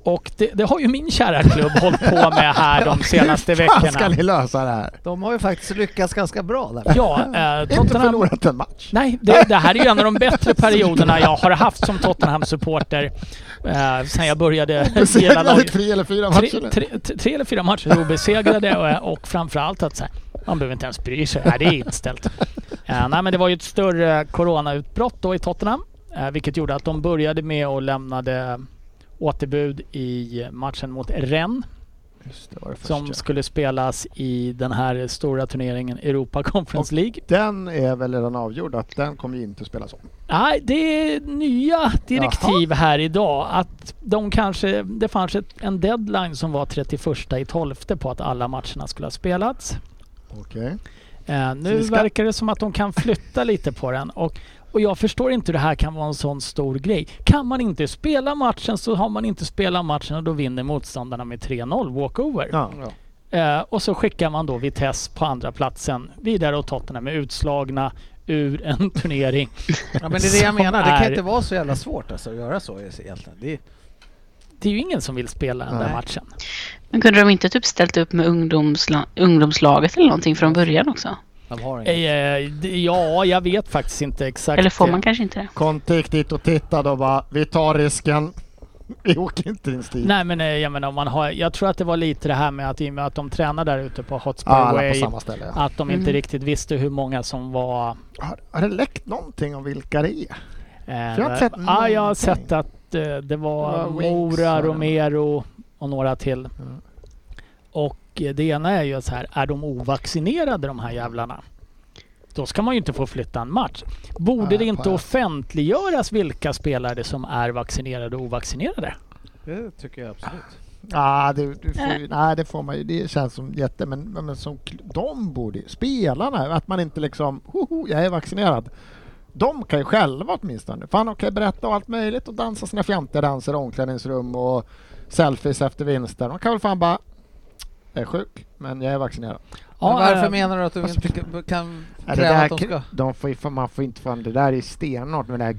Speaker 1: och det, det har ju min kära klubb hållit på med här de senaste
Speaker 2: Hur ska
Speaker 1: veckorna.
Speaker 2: ni lösa det här?
Speaker 3: De har ju faktiskt lyckats ganska bra där.
Speaker 1: Ja, eh,
Speaker 2: Inte
Speaker 1: Tottenham
Speaker 2: förlorat en match.
Speaker 1: Nej, det, det här är ju en av de bättre perioderna jag har haft som Tottenham-supporter eh, sen jag började gilla
Speaker 2: Besegrade i
Speaker 1: laget.
Speaker 2: tre eller fyra
Speaker 1: Tre,
Speaker 2: matcher nu.
Speaker 1: tre, tre- tre eller fyra matcher obesegrade och, och framförallt att så här, man behöver inte ens bry sig. Nej, det är inställt. Eh, nej, men det var ju ett större coronautbrott då i Tottenham, eh, vilket gjorde att de började med och lämnade återbud i matchen mot Rennes
Speaker 2: Just det, var det
Speaker 1: som
Speaker 2: första.
Speaker 1: skulle spelas i den här stora turneringen Europa Conference League.
Speaker 2: Den är väl redan avgjord att den kommer ju inte spelas om.
Speaker 1: Nej, det är nya direktiv här idag. Att de kanske, det fanns ett, en deadline som var 31 i 12 på att alla matcherna skulle ha spelats.
Speaker 2: Okej.
Speaker 1: Eh, nu
Speaker 2: vi ska-
Speaker 1: verkar det som att de kan flytta lite på den. Och, och jag förstår inte hur det här kan vara en sån stor grej. Kan man inte spela matchen så har man inte spelat matchen och då vinner motståndarna med 3-0 walkover.
Speaker 2: Ja.
Speaker 3: Ja.
Speaker 1: Eh, och så skickar man då Vitesse på andra platsen vidare och Tottenham är utslagna ur en turnering.
Speaker 3: Ja, men det är det jag
Speaker 1: Som
Speaker 3: menar. Det kan
Speaker 1: är-
Speaker 3: inte vara så jävla svårt alltså, att göra så egentligen. Det är,
Speaker 1: Det är ju ingen som vill spela den där
Speaker 3: Nej.
Speaker 1: matchen.
Speaker 4: Men kunde de inte typ ställt upp med ungdomsla- ungdomslaget eller någonting från början också?
Speaker 3: de har inget.
Speaker 1: Eh, det- Ja, jag vet faktiskt inte exakt.
Speaker 4: Eller får man kanske inte det?
Speaker 2: Conte gick dit och tittade och bara, vi tar risken. Vi åker inte ens dit.
Speaker 1: Nej men eh, jag menar om man har, jag tror att det var lite det här med att i och med att de tränar där ute på Hotspur
Speaker 2: Ja, Ah, alla på
Speaker 1: Way,
Speaker 2: samma ställe. Ja.
Speaker 1: att de inte riktigt visste hur många som var...
Speaker 2: Har, har det läckt någonting om vilka det är?
Speaker 1: Eh,
Speaker 2: jag har inte sett
Speaker 1: ja, jag har
Speaker 2: någonting.
Speaker 1: sett att eh, det var
Speaker 2: Det var Wings,
Speaker 1: Mora,
Speaker 2: var det.
Speaker 1: Romero och några till.
Speaker 2: Mm.
Speaker 1: Och eh, det ena är ju så här, är de ovaccinerade de här jävlarna? Då ska man ju inte få flytta en match. Borde
Speaker 2: Nej,
Speaker 1: det inte
Speaker 2: poäng.
Speaker 1: offentliggöras vilka spelare som är vaccinerade och ovaccinerade?
Speaker 3: Det tycker jag absolut.
Speaker 2: Ah, det, du får, ju- nej, det får man ju. Det känns som jätte... Men, men som, kl- de borde ju- Spelarna, att man inte liksom... Hoho, jag är vaccinerad. De kan ju själva åtminstone. Fan, de kan ju berätta allt möjligt och dansa sina fjantiga danser i omklädningsrum och selfies efter vinster. De kan väl fan bara... Jag är sjuk, men jag är vaccinerad.
Speaker 3: men varför
Speaker 1: eh,
Speaker 3: menar du att du
Speaker 2: fast-
Speaker 3: inte kan- kan
Speaker 2: Ja, det
Speaker 3: kräva
Speaker 2: där,
Speaker 3: att de ska...
Speaker 2: de får, ju fan- man får inte fan, det där är ju stenhårt med det här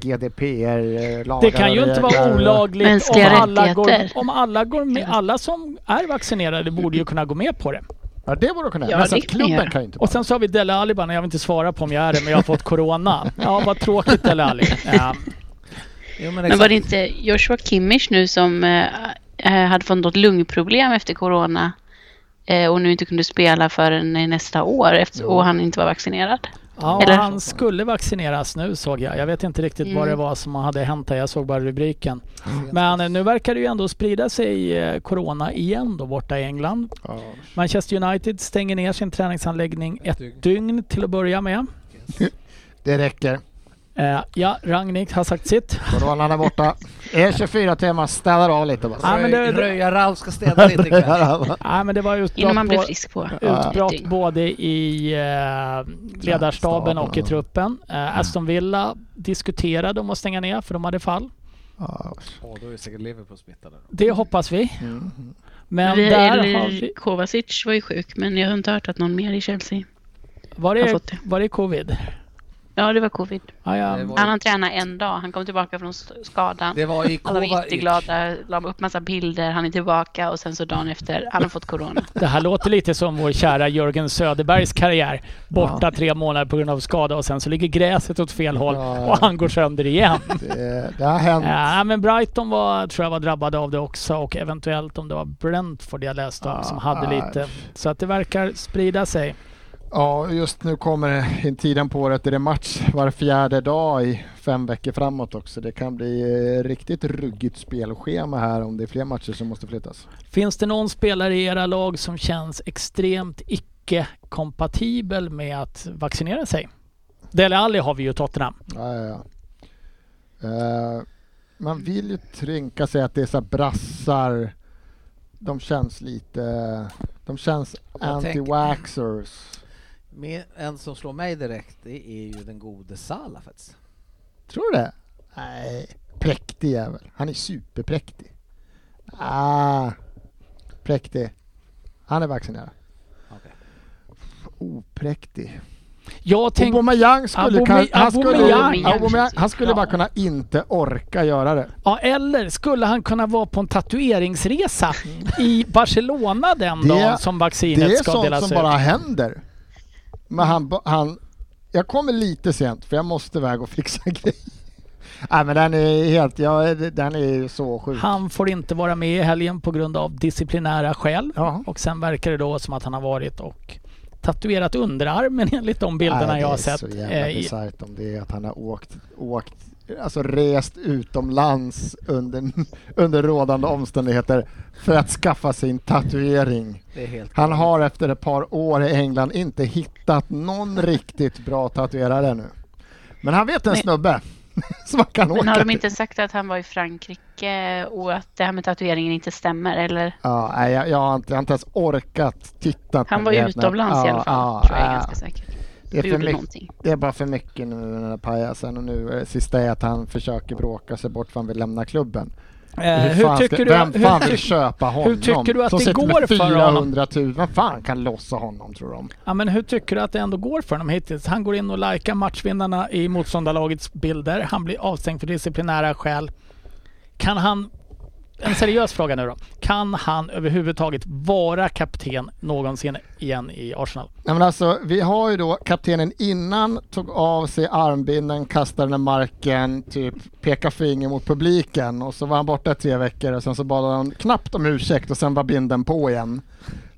Speaker 2: GDPR-lagar.
Speaker 1: Det kan ju inte vara olagligt om
Speaker 4: Mänskliga
Speaker 1: alla, går,
Speaker 4: rättigheter.
Speaker 1: om alla går med. Alla som är vaccinerade borde ju kunna gå med på det.
Speaker 2: Ja, det borde de kunna
Speaker 4: Ja,
Speaker 2: göra. Men
Speaker 4: det
Speaker 2: sen
Speaker 4: kan de
Speaker 2: klubben
Speaker 4: göra.
Speaker 2: kan ju inte
Speaker 1: Och sen så har vi Dele Alli bara, "Nej, jag vill inte svara på om jag är det, men jag har fått corona. Ja, vad tråkigt Dele Alli. Ja.
Speaker 3: Jo,
Speaker 4: Men var det inte Joshua Kimmich nu som eh, eh, hade fått något lungproblem efter corona eh, och nu inte kunde spela förrän i nästa år efter, och han inte var vaccinerad?
Speaker 1: Ja, och
Speaker 4: Eller?
Speaker 1: han skulle vaccineras nu såg jag. Jag vet inte riktigt vad
Speaker 4: Mm.
Speaker 1: det var som hade hänt där. Jag såg bara rubriken. Men eh, nu verkar det ju ändå sprida sig eh, corona igen då borta i England.
Speaker 2: Ja.
Speaker 1: Manchester United stänger ner sin träningsanläggning ett
Speaker 3: dygn.
Speaker 1: dygn till att börja med.
Speaker 2: Det räcker.
Speaker 1: Eh, Ja, Ragnik har sagt sitt.
Speaker 2: Coronan är borta. Är 24 timmar, städar av lite bara.
Speaker 1: Ja, men det-
Speaker 3: Röja-Ralf ska städa lite ikväll.
Speaker 1: Nej, men det var utbrott
Speaker 4: Innan man blir
Speaker 1: på-
Speaker 4: frisk på.
Speaker 1: Utbrott
Speaker 4: Dygn.
Speaker 1: både i eh, ledarstaben och i truppen. Eh,
Speaker 2: Mm.
Speaker 1: Aston Villa diskuterade om att stänga ner för de hade fall.
Speaker 2: Ja,
Speaker 3: Åh, då är säkert Liverpool smittade.
Speaker 1: Det hoppas vi. Mm. Men
Speaker 4: Vi,
Speaker 1: där
Speaker 4: eller
Speaker 1: har vi...
Speaker 4: Kovacic var ju sjuk, men jag har inte hört att någon mer i Chelsea.
Speaker 1: Var
Speaker 4: har
Speaker 1: det,
Speaker 4: fått det.
Speaker 1: var det covid?
Speaker 4: Ja, det var covid.
Speaker 1: Ja, ja.
Speaker 3: Det var-
Speaker 4: Han hann träna en dag. Han kom tillbaka från st- skadan.
Speaker 3: Det var i
Speaker 4: Alla var
Speaker 3: Kova
Speaker 4: jätteglada, la upp massa bilder, han är tillbaka och sen så dagen efter, han har fått corona.
Speaker 1: Det här låter lite som vår kära Jörgen Söderbergs karriär. Borta tre månader på grund av skada och sen så ligger gräset åt fel håll
Speaker 2: Ja, ja.
Speaker 1: och han går sönder igen.
Speaker 2: det, det har hänt.
Speaker 1: Ja, men Brighton var, tror jag var drabbade av det också och eventuellt om det var Brentford jag läste om som hade
Speaker 2: Ja,
Speaker 1: lite. Så att det verkar sprida sig.
Speaker 2: Ja, just nu kommer in tiden på året där det är match var fjärde dag i fem veckor framåt också. Det kan bli eh, riktigt ruggigt spelschema här om det är fler matcher som måste flyttas.
Speaker 1: Finns det någon spelare i era lag som känns extremt icke-kompatibel med att vaccinera sig? Dele Alli har vi ju i Tottenham.
Speaker 2: Ja, ja, ja. Eh, man vill ju trynka sig att det är så här brassar. De känns lite... De känns
Speaker 3: Jag tänker-
Speaker 2: anti-waxers.
Speaker 3: Med en som slår mig direkt, det är ju den gode Salah faktiskt.
Speaker 2: Tror du det? Nej, präktig jävel. Han är superpräktig. Ah, präktig. Han är vaccinerad.
Speaker 3: Okej.
Speaker 2: Opräktig.
Speaker 1: Jag tänk,
Speaker 2: Aubameyang skulle, kan,
Speaker 1: Aubame-
Speaker 2: han skulle,
Speaker 1: Aubameyang.
Speaker 2: Aubameyang, han skulle
Speaker 4: Ja.
Speaker 2: bara kunna inte orka göra det.
Speaker 1: ja, eller skulle han kunna vara på en tatueringsresa i Barcelona den
Speaker 2: Det-
Speaker 1: dagen som
Speaker 2: Det
Speaker 1: vaccinet
Speaker 2: är
Speaker 1: ska
Speaker 2: sånt
Speaker 1: delas
Speaker 2: som
Speaker 1: ut?
Speaker 2: bara händer. Men han, ba- han... Jag kommer lite sent för jag måste iväg och fixa grejer. Nej men den är helt... Ja, den är så sjuk.
Speaker 1: Han får inte vara med i helgen på grund av disciplinära skäl.
Speaker 2: Ja.
Speaker 1: Och sen verkar det då som att han har varit och tatuerat underarmen enligt de bilderna
Speaker 2: Nej,
Speaker 1: jag har
Speaker 2: Det är
Speaker 1: sett.
Speaker 2: så
Speaker 1: eh,
Speaker 2: jävla
Speaker 1: i-
Speaker 2: bisarrt om det är att han har åkt, åkt alltså rest utomlands under, under rådande omständigheter för att skaffa sin tatuering.
Speaker 3: Det är helt
Speaker 2: Han har efter ett par år i England inte hittat någon riktigt bra tatuerare nu. Men han vet en snubbe som han kan
Speaker 4: Men
Speaker 2: åka
Speaker 4: har de
Speaker 2: till.
Speaker 4: inte sagt att han var i Frankrike och att det här med tatueringen inte stämmer? Eller?
Speaker 2: Ja, nej, jag, jag, har inte, jag har inte ens orkat titta. på
Speaker 4: Han var ju
Speaker 2: det, men-
Speaker 4: utomlands i alla fall,
Speaker 2: ja,
Speaker 4: tror jag är
Speaker 2: ja.
Speaker 4: ganska säker.
Speaker 2: Det är
Speaker 4: Och
Speaker 2: för
Speaker 4: gjorde
Speaker 2: mycket-
Speaker 4: någonting.
Speaker 2: Det är bara för mycket nu med den här pajasen och nu eh, sista är att han försöker bråka sig bort för han vill lämna klubben.
Speaker 1: Eh,
Speaker 2: Hur
Speaker 1: hur
Speaker 2: fan
Speaker 1: tycker
Speaker 2: ska,
Speaker 1: du
Speaker 2: vem
Speaker 1: att- hur
Speaker 2: fan vill
Speaker 1: tyck-
Speaker 2: köpa honom?
Speaker 1: tycker du att
Speaker 2: Som
Speaker 1: det
Speaker 2: sitter
Speaker 1: går
Speaker 2: med
Speaker 1: för honom?
Speaker 2: 400 000. Vem fan kan lossa honom tror de?
Speaker 1: Ja, men hur tycker du att det ändå går för honom hittills? Han går in och likar matchvinnarna i motståndarlagets bilder. Han blir avstängd för disciplinära skäl. Kan han... En seriös fråga nu då. Kan han överhuvudtaget vara kapten någonsin igen i Arsenal?
Speaker 2: Nej, men alltså, vi har ju då kaptenen innan tog av sig armbinden, kastade den i marken, typ pekade finger mot publiken och så var han borta i tre veckor och sen så bad han knappt om ursäkt och sen var binden på igen.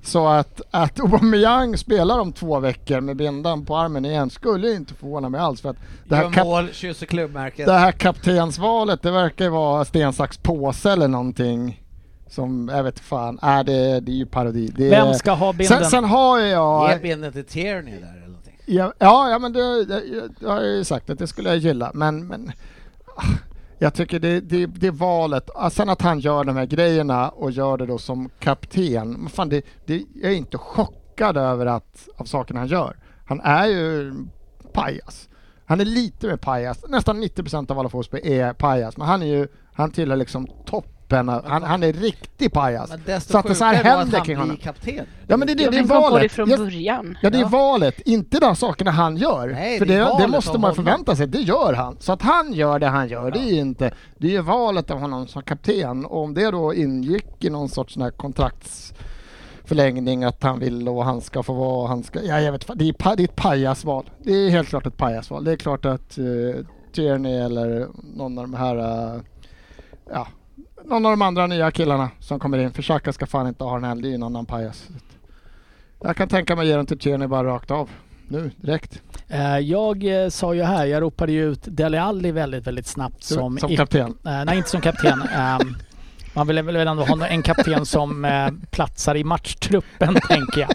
Speaker 2: Så att, att Aubameyang spelar om två veckor med bindan på armen igen skulle ju inte förvåna mig alls för att det här,
Speaker 3: Gör
Speaker 2: kap-
Speaker 3: mål, kysser klubbmärket.
Speaker 2: det här kaptensvalet det verkar ju vara sten, sax, påse eller någonting som, jag vet fan, äh, det, det är ju parodi. Det är...
Speaker 1: Vem ska ha binden?
Speaker 2: Eh, Sen, sen har ju jag...
Speaker 3: Ge binden till Tierney där eller någonting.
Speaker 2: Ja, ja, ja men det, jag, jag, jag har ju sagt att det skulle jag gilla, men, men ah, jag tycker det, det, det är valet. Ah, Sen att han gör de här grejerna och gör det då som kapten. Men fan, det, det, jag är inte chockad över att, av sakerna han gör. Han är ju pajas. Han är lite mer pajas. Nästan 90 av alla fotboll är pajas, men han är ju, han tillhör liksom toppen. av- Han, han är riktig pajas.
Speaker 3: Men desto
Speaker 2: Så att det så här
Speaker 3: sjukare var
Speaker 2: händer
Speaker 3: att
Speaker 2: kring
Speaker 3: han
Speaker 2: honom.
Speaker 3: blir kapten.
Speaker 2: Ja men det, det,
Speaker 4: Jag
Speaker 2: det är
Speaker 4: tänkte på det
Speaker 2: valet.
Speaker 4: från
Speaker 2: Jag-
Speaker 4: början.
Speaker 2: Ja, det är
Speaker 3: Ja.
Speaker 2: valet, inte de sakerna han gör.
Speaker 3: Nej,
Speaker 2: För
Speaker 3: det
Speaker 2: det,
Speaker 3: är
Speaker 2: det,
Speaker 3: valet
Speaker 2: måste
Speaker 3: av
Speaker 2: man
Speaker 3: honom.
Speaker 2: förvänta sig, det gör han. Så att han gör det han gör, det är ju inte... Det är ju valet av honom som kapten. Och om det då ingick i någon sorts sån här kontraktsförlängning att han vill och han ska få vara och han ska... Ja, jag vet fan, det är, pa, det är ett pajasval. Det är helt klart ett pajasval. Det är klart att uh, Tierney eller någon av de här... eh, ja, någon av de andra nya killarna som kommer in. För Xhaka ska fan inte ha den här, det är ju en annan pajas. Jag kan tänka mig att ge den till Tierney bara rakt av. Nu, direkt.
Speaker 1: Eh, Jag eh, sa ju här, jag ropade ju ut Dele Alli väldigt, väldigt snabbt som,
Speaker 2: som
Speaker 1: i-
Speaker 2: kapten.
Speaker 1: Eh, nej, inte som kapten. Ehm, man vill väl ändå ha en kapten som eh, platsar i matchtruppen, tänker jag.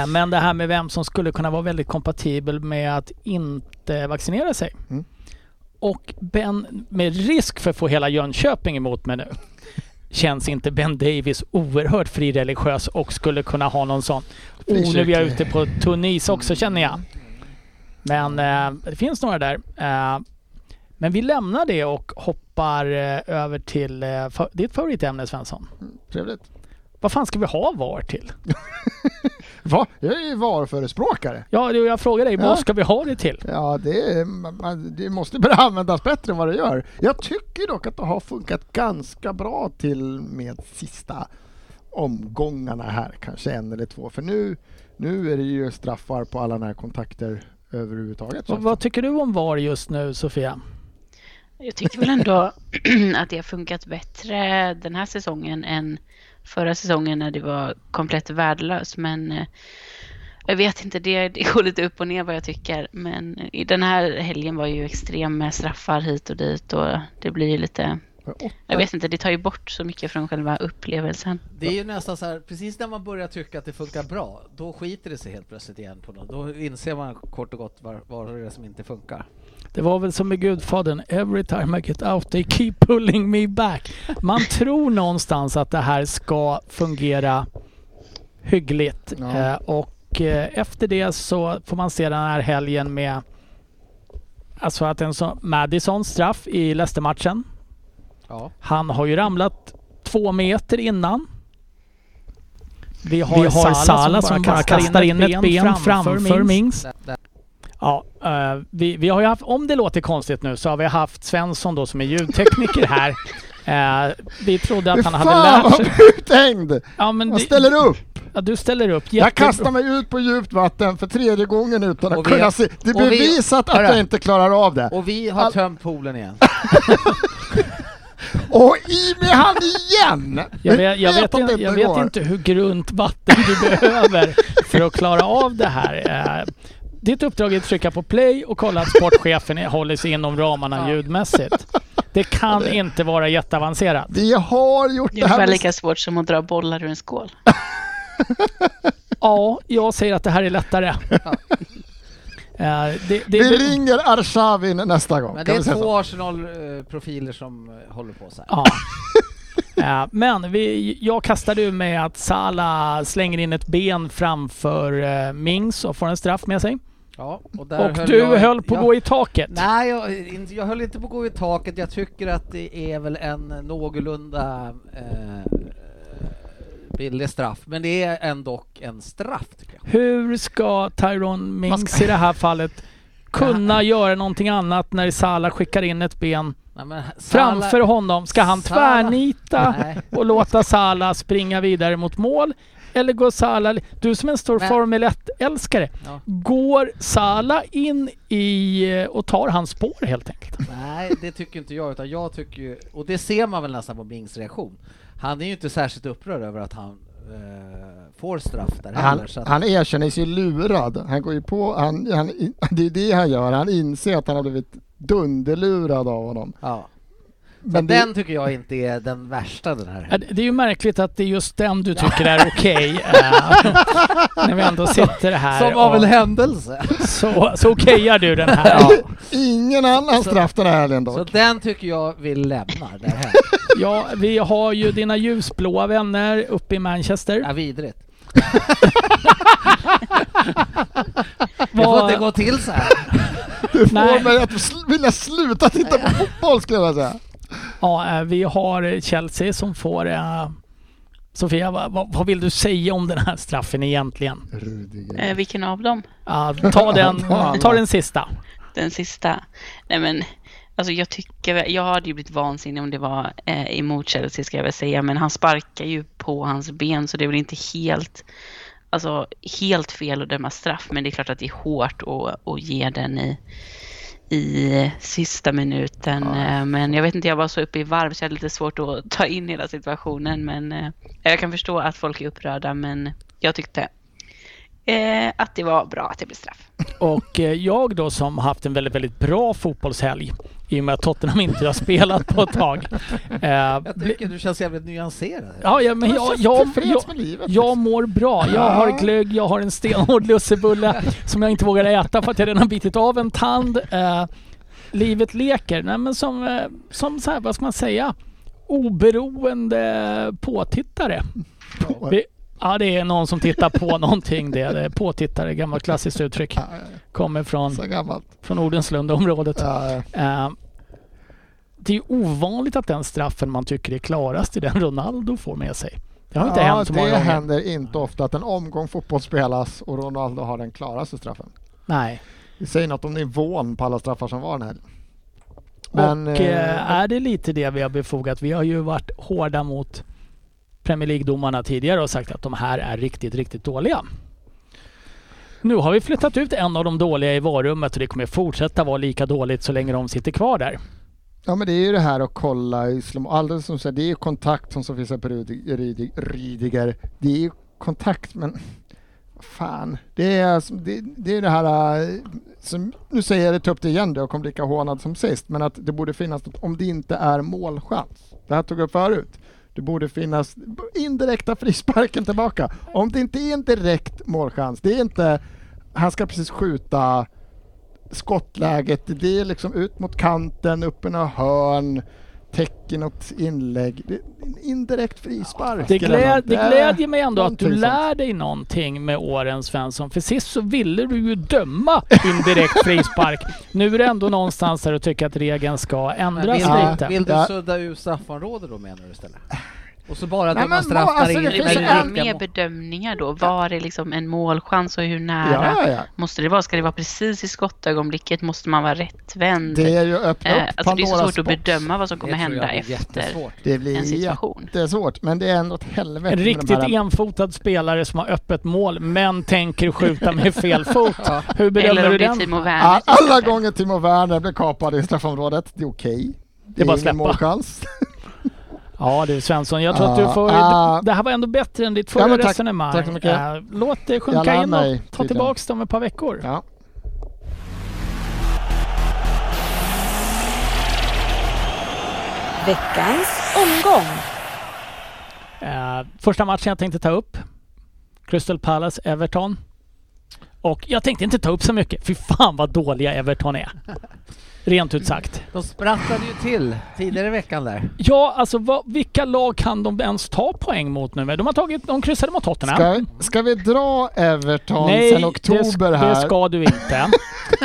Speaker 1: Eh, men det här med vem som skulle kunna vara väldigt kompatibel med att inte vaccinera sig.
Speaker 2: Mm.
Speaker 1: Och Ben, med risk för att få hela Jönköping emot mig nu, känns inte Ben Davis oerhört frireligiös och skulle kunna ha någon sån? Oh, nu är jag
Speaker 2: Frikyrklig.
Speaker 1: ute på tunnis också känner jag. Men eh, det finns några där. Eh, men vi lämnar det och hoppar eh, över till eh, fa- ditt favoritämne Svensson.
Speaker 2: Trevligt.
Speaker 1: Vad fan ska vi ha VAR till?
Speaker 2: Va? Jag är ju VAR-förespråkare.
Speaker 1: Ja, det- jag frågar dig,
Speaker 2: Ja.
Speaker 1: vad ska vi ha det till?
Speaker 2: Ja, det, är, man- man- det måste börja användas bättre än vad det gör. Jag tycker dock att det har funkat ganska bra till med sista omgångarna här, kanske en eller två. För nu, nu är det ju straffar på alla närkontakter överhuvudtaget.
Speaker 1: Vad, vad tycker du om VAR just nu Sofia?
Speaker 4: Jag tycker väl ändå att det har funkat bättre den här säsongen än förra säsongen när det var komplett värdelöst. Men eh, jag vet inte, det, det går lite upp och ner vad jag tycker. Men i den här helgen var ju extrem med straffar hit och dit och det blir ju lite... Jag vet inte, det tar ju bort så mycket från själva upplevelsen.
Speaker 3: Det är ju nästan så här, precis när man börjar tycka att det funkar bra, då skiter det sig helt plötsligt igen på något. Då inser man kort och gott vad vad det är som inte funkar.
Speaker 1: Det var väl som i Gudfadern, every time I get out they keep pulling me back. Man tror någonstans att det här ska fungera hyggligt.
Speaker 2: Ja.
Speaker 1: Eh, och eh, efter det så får man se den här helgen med alltså att en sån Madisons straff i Leicester-matchen.
Speaker 3: Ja.
Speaker 1: Han har ju ramlat två meter innan. Vi har,
Speaker 6: Vi har
Speaker 1: Salah,
Speaker 6: Salah
Speaker 1: som, bara kastar, in ett ben, framför,
Speaker 6: framför
Speaker 1: Mings.
Speaker 6: Mings.
Speaker 3: Där, där.
Speaker 1: Ja, eh, vi, vi har ju haft, om det låter konstigt nu, så har vi haft Svensson då som är ljudtekniker här. Eh, vi trodde att han hade
Speaker 2: Fan
Speaker 1: lärt
Speaker 2: vad
Speaker 1: sig.
Speaker 2: uthängd!
Speaker 1: Ja, men
Speaker 2: Jag
Speaker 1: det-
Speaker 2: ställer upp!
Speaker 1: Ja, du ställer upp.
Speaker 2: Jag
Speaker 1: Jättebra.
Speaker 2: kastar mig ut på djupt vatten för tredje gången utan att
Speaker 3: Och vi-
Speaker 2: kunna se. Det är
Speaker 3: och vi-
Speaker 2: bevisat att
Speaker 3: Hörru.
Speaker 2: jag inte klarar av det.
Speaker 3: Och vi har
Speaker 2: All-
Speaker 3: tömt poolen igen.
Speaker 2: Och i med han igen!
Speaker 1: Jag
Speaker 2: Vi
Speaker 1: vet, jag vet,
Speaker 2: att det
Speaker 1: inte, jag vet
Speaker 2: går.
Speaker 1: inte hur grunt vatten du behöver för att klara av det här. Eh, Ditt uppdrag är att trycka på play och kolla att sportchefen håller sig inom ramarna ljudmässigt. Det kan inte vara jätteavancerat.
Speaker 2: Vi har gjort
Speaker 4: Det
Speaker 2: det
Speaker 4: är
Speaker 2: här
Speaker 4: ungefär
Speaker 2: med-
Speaker 4: lika svårt som att dra bollar ur en skål.
Speaker 1: Ja, jag säger att det här är lättare. Eh, det, det,
Speaker 2: Vi ringer Arshavin nästa gång.
Speaker 3: Men det
Speaker 2: kan
Speaker 3: är
Speaker 2: vi säga så?
Speaker 3: två Arsenal-profiler som eh, håller på så här.
Speaker 1: Ja. Eh, Men vi, jag kastade ju med att Salah slänger in ett ben framför eh, Mings och får en straff med sig.
Speaker 3: Ja, och där
Speaker 1: Och du
Speaker 3: jag-
Speaker 1: höll på att
Speaker 3: jag-
Speaker 1: gå i taket.
Speaker 3: Nej, jag, inte- jag höll inte på att gå i taket. Jag tycker att det är väl en någorlunda eh, billig straff. Men det är ändå en straff tycker jag.
Speaker 1: Hur ska Tyron Mings i det här fallet kunna göra någonting annat när Salah skickar in ett ben
Speaker 3: Nej, men Salah-
Speaker 1: framför honom? Ska han
Speaker 3: Salah-
Speaker 1: tvärnita
Speaker 3: Nej.
Speaker 1: och låta Salah springa vidare mot mål? Eller går Salah... Du som är en stor
Speaker 3: Men-
Speaker 1: Formel 1-älskare,
Speaker 3: Ja.
Speaker 1: går Salah in i eh, och tar hans spår helt enkelt?
Speaker 3: Nej, det tycker inte jag, utan jag tycker ju, och det ser man väl nästan på Bings reaktion. Han är ju inte särskilt upprörd över att han eh, får straff där
Speaker 2: Han,
Speaker 3: heller. Så att,
Speaker 2: han erkänner sig lurad. Han går ju på, han, han, det är det han gör. Han inser att han har blivit dunderlurad av honom.
Speaker 3: ja. så
Speaker 2: Men det,
Speaker 3: den tycker jag inte är den värsta den
Speaker 1: Ja,
Speaker 3: här.
Speaker 1: Det det är ju märkligt att det är just den du tycker är okej. eh, när vi ändå sitter här.
Speaker 3: Som av
Speaker 1: och-
Speaker 3: en händelse.
Speaker 1: så, så okejar du den här.
Speaker 3: Ja.
Speaker 2: ingen annan
Speaker 3: Så-
Speaker 2: straff den här helgen
Speaker 3: Så
Speaker 2: dock.
Speaker 3: den tycker jag vi lämnar därhän.
Speaker 1: Ja, vi har ju dina ljusblåa vänner uppe i Manchester.
Speaker 3: Ja, vidrigt. Det får
Speaker 1: Vad-
Speaker 3: inte gå till så här.
Speaker 2: Du får
Speaker 1: Nej.
Speaker 2: mig att sl- vilja sluta titta på fotboll skulle jag vilja säga.
Speaker 1: ja, eh, vi har Chelsea som får... eh, Sofia, vad, vad, vad vill du säga om den här straffen egentligen?
Speaker 2: Mm.
Speaker 4: Eh, vilken av dem?
Speaker 1: Ja, ta, den, ta den sista.
Speaker 4: Den sista. Nej men, alltså jag tycker, väl- jag hade ju blivit vansinnig om det var eh, emot Chelsea ska jag väl säga, men han sparkar ju på hans ben så det är väl inte helt, alltså helt fel att döma straff, men det är klart att det är hårt att, att ge den i, i sista minuten. Eh, Men jag vet inte, jag var så uppe i varv så jag hade lite svårt att ta in hela situationen, men eh, jag kan förstå att folk är upprörda, men jag tyckte eh, att det var bra att det blev straff.
Speaker 1: Och eh, jag då som haft en väldigt, väldigt bra fotbollshelg i och med att Tottenham inte har spelat på ett tag. Eh,
Speaker 3: Jag tycker du känns jävligt nyanserad.
Speaker 1: ja, ja, men jag, jag, jag,
Speaker 2: Tillfreds med livet.
Speaker 1: Jag mår bra. Jag har glögg, jag har en stenhård lussebulle som jag inte vågar äta för att jag redan har bitit av en tand. Eh, livet leker. Nej, men som, eh, som så här, vad ska man säga? Oberoende påtittare.
Speaker 2: På-
Speaker 1: Vi, ja, det är någon som tittar på någonting. Det är det. Påtittare, gammalt klassiskt uttryck.
Speaker 2: Ja, ja,
Speaker 1: Kommer från,
Speaker 2: Så gammalt.
Speaker 1: från Ordenslundaområdet.
Speaker 2: Ja, ja.
Speaker 1: Eh, det är ovanligt att den straffen man tycker är klarast är den Ronaldo får med sig. Det har inte
Speaker 2: ja,
Speaker 1: hänt så många
Speaker 2: det
Speaker 1: gånger.
Speaker 2: händer inte ofta att en omgång fotboll spelas och Ronaldo har den klaraste straffen.
Speaker 1: Nej.
Speaker 2: Det säger något om nivån på alla straffar som var den här.
Speaker 1: och eh, är det lite det vi har befogat? Vi har ju varit hårda mot Premier League-domarna tidigare och sagt att de här är riktigt, riktigt dåliga. Nu har vi flyttat ut en av de dåliga i varummet och det kommer fortsätta vara lika dåligt så länge de sitter kvar där.
Speaker 2: Ja men det är ju det här att kolla i slow alldeles som du säger, det är ju kontakt som Sofia säger på Rüdig- Rüdig- Rüdiger. Det är ju kontakt men fan. Det är som- det, det, är det här äh, som, nu säger jag det ta upp det igen då, jag kommer bli lika hånad som sist, men att det borde finnas något om det inte är målchans. Det här tog jag upp förut. Det borde finnas indirekta frisparken tillbaka. Om det inte är en direkt målchans, det är inte, han ska precis skjuta skottläget, det är liksom ut mot kanten, upp i några hörn, täcker något inlägg. Det är en indirekt frispark.
Speaker 1: Det,
Speaker 2: eller något.
Speaker 1: gläd, det
Speaker 2: är
Speaker 1: glädjer mig ändå att du
Speaker 2: någonting sånt.
Speaker 1: lär dig någonting med åren Svensson. För sist så ville du ju döma indirekt frispark. Nu är det ändå någonstans där du tycker att regeln ska
Speaker 3: Men vill,
Speaker 1: ändras
Speaker 2: Ja.
Speaker 1: lite.
Speaker 3: du, vill du
Speaker 2: Ja.
Speaker 3: sudda ut straffområdet då menar du istället? Och så bara
Speaker 2: Nej,
Speaker 3: döma
Speaker 2: men
Speaker 3: straff
Speaker 2: vad-
Speaker 3: där
Speaker 2: alltså,
Speaker 3: in
Speaker 2: det
Speaker 3: i
Speaker 4: Det
Speaker 2: finns
Speaker 4: blir
Speaker 2: ju
Speaker 3: den
Speaker 4: ju
Speaker 2: alltid
Speaker 4: mer
Speaker 3: riktiga mål.
Speaker 4: bedömningar då. Var är liksom en målchans och hur nära
Speaker 2: Ja, ja.
Speaker 4: måste det vara? Ska det vara precis i skottögonblicket? Måste man vara rättvänd?
Speaker 2: Det är ju att öppna
Speaker 4: Eh,
Speaker 2: upp
Speaker 4: alltså det är så
Speaker 2: Pandoras
Speaker 4: svårt att
Speaker 2: box.
Speaker 4: bedöma vad som kommer
Speaker 3: Det tror
Speaker 4: hända
Speaker 3: jag är
Speaker 4: efter
Speaker 3: jättesvårt.
Speaker 2: Det blir
Speaker 4: en situation.
Speaker 2: jättesvårt, men det är ändå ett helvete.
Speaker 1: En
Speaker 2: med de
Speaker 1: riktigt
Speaker 2: här-
Speaker 1: enfotad spelare som har öppet mål men tänker skjuta med fel fot.
Speaker 3: Ja.
Speaker 1: Hur bedömer
Speaker 4: Eller
Speaker 1: du
Speaker 4: om det är
Speaker 1: den?
Speaker 4: Timo Werner.
Speaker 2: All-
Speaker 4: till
Speaker 2: Alla
Speaker 4: exempel.
Speaker 2: gånger Timo Werner blir kapad i straffområdet, det är okej. Det
Speaker 1: är bara att
Speaker 2: ingen
Speaker 1: släppa.
Speaker 2: målchans.
Speaker 1: Ja du Svensson, jag tror att du
Speaker 2: Ah,
Speaker 1: får...
Speaker 2: ah.
Speaker 1: det här var ändå bättre än ditt
Speaker 2: Ja,
Speaker 1: förra
Speaker 2: men tack-
Speaker 1: resonemang.
Speaker 2: tack så mycket.
Speaker 1: Eh, Låt det
Speaker 2: Jag
Speaker 1: sjunka
Speaker 2: lär
Speaker 1: in
Speaker 2: mig
Speaker 1: och ta
Speaker 2: tydligen.
Speaker 1: tillbaks det om ett par veckor.
Speaker 2: Ja.
Speaker 5: Veckans omgång.
Speaker 1: Eh, första matchen jag tänkte ta upp. Crystal Palace-Everton. Och jag tänkte inte ta upp så mycket. Fy fan vad dåliga Everton är. Rent ut sagt.
Speaker 3: De sprattlade ju till tidigare i veckan där.
Speaker 1: Ja, alltså vad, vilka lag kan de ens ta poäng mot nu? De har tagit... De kryssade mot Tottenham.
Speaker 2: Ska, ska vi dra Everton
Speaker 1: Nej,
Speaker 2: sen
Speaker 1: det,
Speaker 2: oktober
Speaker 1: sk-
Speaker 2: här?
Speaker 1: det ska du inte.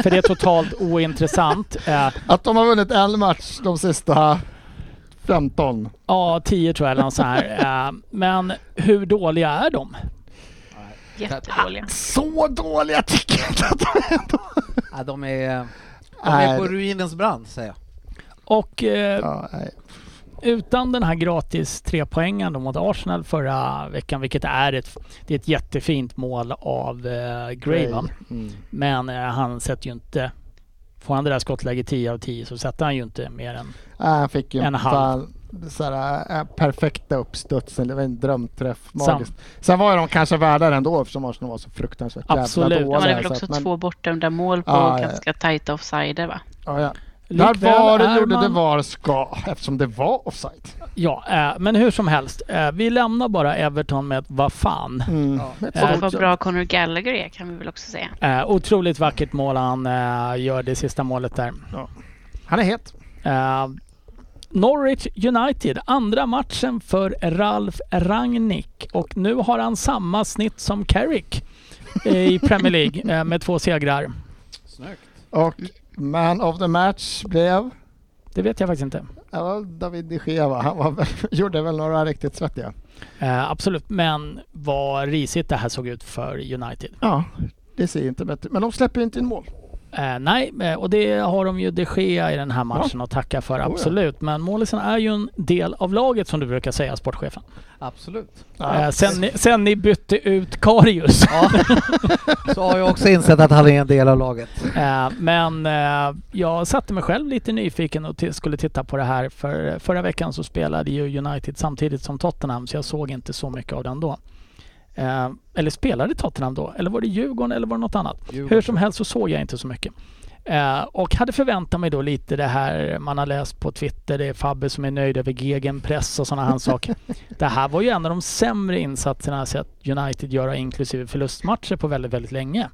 Speaker 1: för det är totalt ointressant. Eh,
Speaker 2: Att de har vunnit en match de sista 15.
Speaker 1: Ja, 10 tror jag eller något så här. Eh, Men hur dåliga är de?
Speaker 4: Jättedåliga.
Speaker 2: Så dåliga tycker jag inte att de är ändå.
Speaker 3: Ja, de är, de
Speaker 2: Nej.
Speaker 3: är på ruinens brant säger jag.
Speaker 1: Och eh,
Speaker 2: Ja, nej.
Speaker 1: utan den här gratis trepoängen då mot Arsenal förra veckan, vilket är ett, det är ett jättefint mål av eh, Gray, va?
Speaker 2: Mm.
Speaker 1: Men eh, han sätter ju inte... Får han det där skottläget 10 av 10 så sätter han ju inte mer än...
Speaker 2: Nej, han Äh, fick ju
Speaker 1: En
Speaker 2: en
Speaker 1: halv.
Speaker 2: halv. perfekta uppstudsen. Det var en drömträff. Magiskt. Sen var ju de kanske värda den ändå eftersom Arsenal var så fruktansvärt
Speaker 1: Absolut.
Speaker 2: jävla
Speaker 4: De hade
Speaker 2: dåliga.
Speaker 4: väl
Speaker 2: så
Speaker 4: också
Speaker 2: att- men-
Speaker 4: två bortdömda mål på
Speaker 2: Ja, ja.
Speaker 4: ganska tajta offsider va?
Speaker 2: Ja, ja. Där
Speaker 1: Likväl
Speaker 2: var
Speaker 1: är
Speaker 2: det gjorde
Speaker 1: man-
Speaker 2: det var ska eftersom det var offside.
Speaker 1: Ja, eh, men hur som helst. eh, Vi lämnar bara Everton med ett vad fan.
Speaker 2: Mm.
Speaker 4: Och vad bra Conor Gallagher är kan vi väl också säga.
Speaker 1: Eh, Otroligt vackert mål han eh, gör det sista målet där.
Speaker 2: Han är het.
Speaker 1: Eh, Norwich United, andra matchen för Ralf Rangnick och nu har han samma snitt som Carrick i Premier League eh, med två segrar.
Speaker 3: Snyggt.
Speaker 2: Och man of the match blev
Speaker 1: Det vet jag faktiskt inte.
Speaker 2: ja, var David de Gea va? Han var väl, gjorde väl några riktigt svettiga.
Speaker 1: Eh, absolut, men vad risigt det här såg ut för United.
Speaker 2: Ja, det ser ju inte bättre Men de släpper ju inte in mål.
Speaker 1: Eh, nej, eh, och det har de ju de Gea i den här matchen att tacka för,
Speaker 2: ja.
Speaker 1: absolut. Men målisen är ju en del av laget som du brukar säga, sportchefen.
Speaker 3: Absolut.
Speaker 1: Eh, sen, ni, sen ni bytte ut Karius.
Speaker 3: Ja. Så har jag också insett att han är en del av laget.
Speaker 1: Eh, men eh, jag satte mig själv lite nyfiken och ti- skulle titta på det här. För förra veckan så spelade ju United samtidigt som Tottenham så jag såg inte så mycket av den då. Eh, eller spelade Tottenham då? Eller var det Djurgården eller var det något annat?
Speaker 3: Djurgården.
Speaker 1: Hur som helst så såg jag inte så mycket. Eh, och hade förväntat mig då lite det här man har läst på Twitter, det är Fabbe som är nöjd över gegenpress och sådana här saker. Det här var ju en av de sämre insatserna jag har sett United göra inklusive förlustmatcher på väldigt, väldigt länge.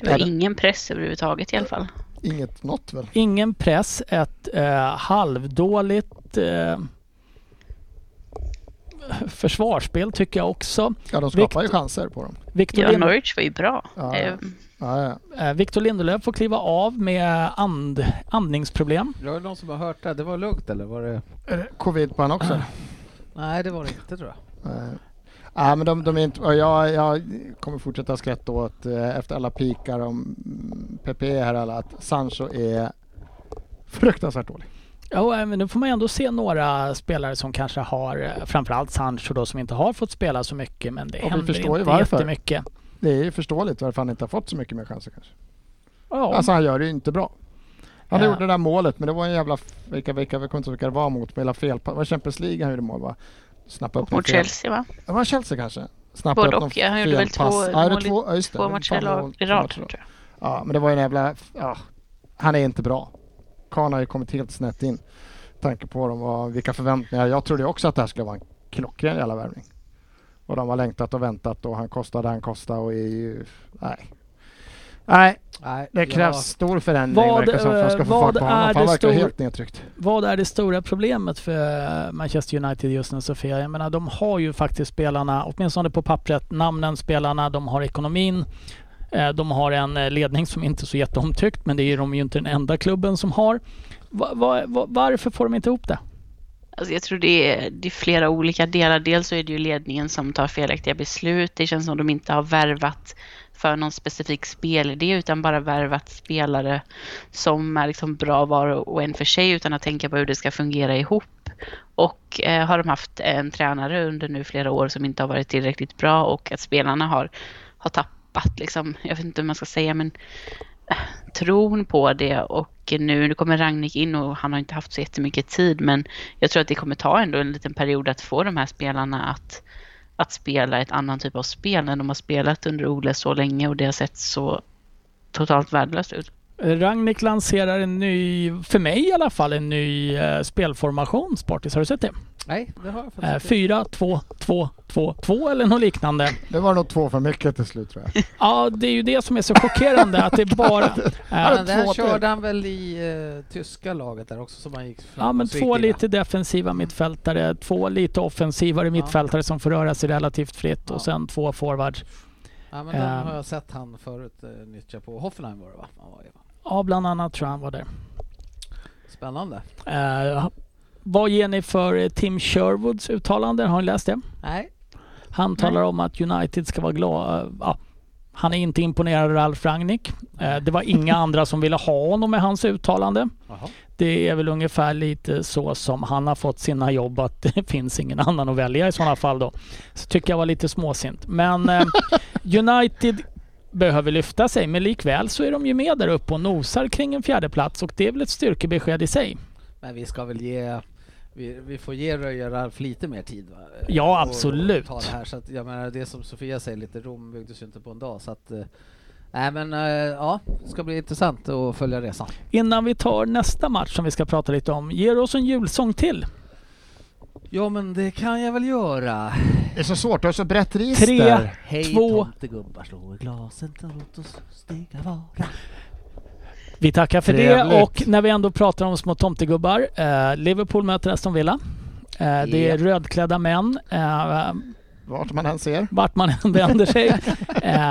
Speaker 4: Det var
Speaker 2: Ja, det-
Speaker 4: ingen press överhuvudtaget i alla fall.
Speaker 2: Inget något väl?
Speaker 1: Ingen press, ett eh, halvdåligt eh, försvarsspel tycker jag också.
Speaker 2: Ja, de skapar ju chanser på dem.
Speaker 1: Victor,
Speaker 4: Ja,
Speaker 1: Lind-
Speaker 4: Norwich var ju bra.
Speaker 2: Ja,
Speaker 4: Eh,
Speaker 2: ja. Ja, ja.
Speaker 1: eh, Victor Lindelöf får kliva av med and, andningsproblem.
Speaker 3: Det var någon som har hört det. Det var lugnt eller? Var det...
Speaker 2: Är det Covid på han också?
Speaker 3: Nej, det var det inte tror jag.
Speaker 2: Nej. Nej, men de, de är inte, och jag, jag kommer fortsätta skratta åt eh, efter alla pikar om mm, Pepe här alla att Sancho är fruktansvärt dålig.
Speaker 1: Ja, eh, men nu får man ju ändå se några spelare som kanske har, eh, framförallt Sancho då, som inte har fått spela så mycket. Men det
Speaker 2: Och vi
Speaker 1: händer
Speaker 2: förstår ju
Speaker 1: inte
Speaker 2: varför.
Speaker 1: jättemycket.
Speaker 2: Det är ju förståeligt varför han inte har fått så mycket mer chanser kanske.
Speaker 1: Ja,
Speaker 2: Alltså han gör det ju inte bra. Han
Speaker 4: Eh.
Speaker 1: Ja.
Speaker 2: gjorde det där målet men det var en jävla, vilka, vilka, jag kommer inte ihåg vilka det var mot, men hela fel, det var Champions League han gjorde mål va? Snappa upp någon
Speaker 4: Mot
Speaker 2: fel-
Speaker 4: Chelsea va?
Speaker 2: Det var Chelsea kanske? Snappa
Speaker 4: Både
Speaker 2: upp
Speaker 4: och.
Speaker 2: någon
Speaker 4: Ja, han gjorde väl
Speaker 2: felpass.
Speaker 4: två
Speaker 2: Ja, är det
Speaker 4: mål i-
Speaker 2: två, ja, just det.
Speaker 4: Två
Speaker 2: Det var
Speaker 4: matcher i
Speaker 2: fan
Speaker 4: lag-
Speaker 2: mål-
Speaker 4: i
Speaker 2: två
Speaker 4: rad
Speaker 2: matcher i
Speaker 4: tror
Speaker 2: rad.
Speaker 4: jag.
Speaker 2: Ja, men det var ju en jävla... Ja, han är inte bra. Karln har ju kommit helt snett in. Med tanke på dem och vilka förväntningar. Jag trodde ju också att det här skulle vara en klockren jävla värvning. Och de har längtat och väntat och han kostade, han kostade och är ju... Nej. Nej,
Speaker 3: Nej,
Speaker 2: det krävs stor förändring
Speaker 1: Vad,
Speaker 2: verkar det som för att ska få
Speaker 1: eh,
Speaker 2: fart på
Speaker 1: vad är
Speaker 2: honom. för Han
Speaker 1: det
Speaker 2: verkar
Speaker 1: stor-
Speaker 2: helt nedtryckt.
Speaker 1: vad är det stora problemet för eh, Manchester United just nu Sofia? Jag menar de har ju faktiskt spelarna, åtminstone på pappret, namnen, spelarna, de har ekonomin. eh, De har en eh, ledning som inte är så jätteomtyckt men det är de ju inte den enda klubben som har. Va, va, va, varför får de inte ihop det?
Speaker 4: Alltså jag tror det är, det är flera olika delar. Dels så är det ju ledningen som tar felaktiga beslut. Det känns som de inte har värvat för någon specifik spelidé utan bara värvat spelare som är liksom bra var och en för sig utan att tänka på hur det ska fungera ihop. Och eh, har de haft en tränare under nu flera år som inte har varit tillräckligt bra och att spelarna har, har tappat liksom, jag vet inte hur man ska säga men eh, tron på det och nu, nu kommer Ragnik in och han har inte haft så jättemycket tid men jag tror att det kommer ta ändå en liten period att få de här spelarna att, att spela ett annan typ av spel än de har spelat under Ole så länge och det har sett så totalt värdelöst ut.
Speaker 1: Eh, Rangnick lanserar en ny, för mig i alla fall, en ny eh, spelformation, Sportis. Har du sett det?
Speaker 3: Nej, det har jag faktiskt
Speaker 1: Eh,
Speaker 3: inte.
Speaker 1: fyra, två, två, två, två eller något liknande.
Speaker 2: Det var nog två för mycket till slut tror jag.
Speaker 1: Ja, det är ju det som är så chockerande att det är bara...
Speaker 2: Ja,
Speaker 1: Eh,
Speaker 3: Men den
Speaker 2: två till.
Speaker 3: körde han väl i eh, tyska laget där också som han gick fram
Speaker 1: ja, men
Speaker 3: och så
Speaker 1: två
Speaker 3: gick in, va?
Speaker 1: lite defensiva mittfältare, två lite offensivare mittfältare som får röra sig relativt fritt
Speaker 3: Ja.
Speaker 1: och sen två forwards.
Speaker 3: Ja, men den
Speaker 1: Ehm.
Speaker 3: har jag sett han förut eh, nyttja på Hoffenheim var det va? Han var ju-
Speaker 1: Ja, bland annat tror jag han var där.
Speaker 3: Spännande.
Speaker 1: Eh, vad ger ni för eh, Tim Sherwoods uttalande? Har ni läst det?
Speaker 3: Nej,
Speaker 1: Han talar om att United ska vara glada. eh, Ja, han är inte imponerad av Ralf Rangnick. Eh, Det var inga andra som ville ha honom med hans uttalande.
Speaker 3: Jaha.
Speaker 1: Det är väl ungefär lite så som han har fått sina jobb att det finns ingen annan att välja i sådana fall då. Så tycker jag var lite småsint. Men eh, United behöver lyfta sig men likväl så är de ju med där uppe och nosar kring en fjärde plats och det är väl ett styrkebesked i sig.
Speaker 3: men vi ska väl ge vi, vi får ge Röja Ralf lite mer tid va? Eh,
Speaker 1: Ja,
Speaker 3: och-
Speaker 1: absolut.
Speaker 3: Och ta det, här, så att, jag menar, det som Sofia säger, lite Rom byggdes ju inte på en dag så att eh, Nej men eh, ja, det ska bli intressant att följa resan.
Speaker 1: Innan vi tar nästa match som vi ska prata lite om, ger oss en julsång till.
Speaker 3: Ja men det kan jag väl göra.
Speaker 2: Det är så svårt, du har så brett register.
Speaker 1: Tre,
Speaker 3: Hej
Speaker 1: två,
Speaker 3: tomtegubbar, slå i glasen, låt oss stiga vara.
Speaker 1: Vi tackar för det
Speaker 2: Trevligt.
Speaker 1: och när vi ändå pratar om små tomtegubbar. Eh, Liverpool möter Aston Villa. Eh, det är
Speaker 3: Ja.
Speaker 1: rödklädda män eh,
Speaker 2: Vart man än ser.
Speaker 1: vart man än vänder sig. eh,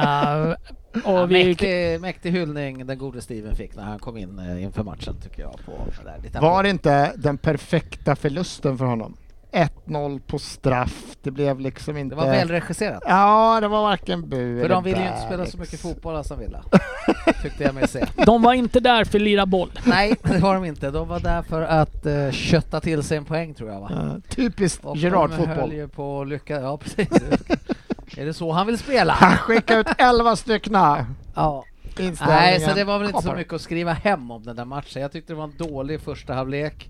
Speaker 3: Ja,
Speaker 1: och vi,
Speaker 3: mäktig, mäktig hyllning den gode Steven fick när han kom in eh, inför matchen tycker jag. På det där. Lite
Speaker 2: Var det inte den perfekta förlusten för honom? 1-0 på straff. Det blev liksom inte...
Speaker 3: det var väl regisserat.
Speaker 2: Ja, det var varken bu
Speaker 3: För
Speaker 2: eller
Speaker 3: de ville ju
Speaker 2: bä,
Speaker 3: inte spela så
Speaker 2: liksom.
Speaker 3: mycket fotboll Aston Villa. Tyckte jag mig se.
Speaker 1: de var inte där för att lira boll.
Speaker 3: Nej, det var de inte. De var där för att uh, kötta till sig en poäng tror jag va?
Speaker 2: Ja, typiskt
Speaker 3: Och de höll
Speaker 2: Gerard-fotboll.
Speaker 3: ju på att lycka... Ja precis. Är det så han vill spela?
Speaker 2: Han skickade ut 11 stycken.
Speaker 3: Ja.
Speaker 2: Inställningen.
Speaker 3: Nej, så det var väl inte så
Speaker 2: kapar.
Speaker 3: mycket att skriva hem om den där matchen. Jag tyckte det var en dålig första halvlek.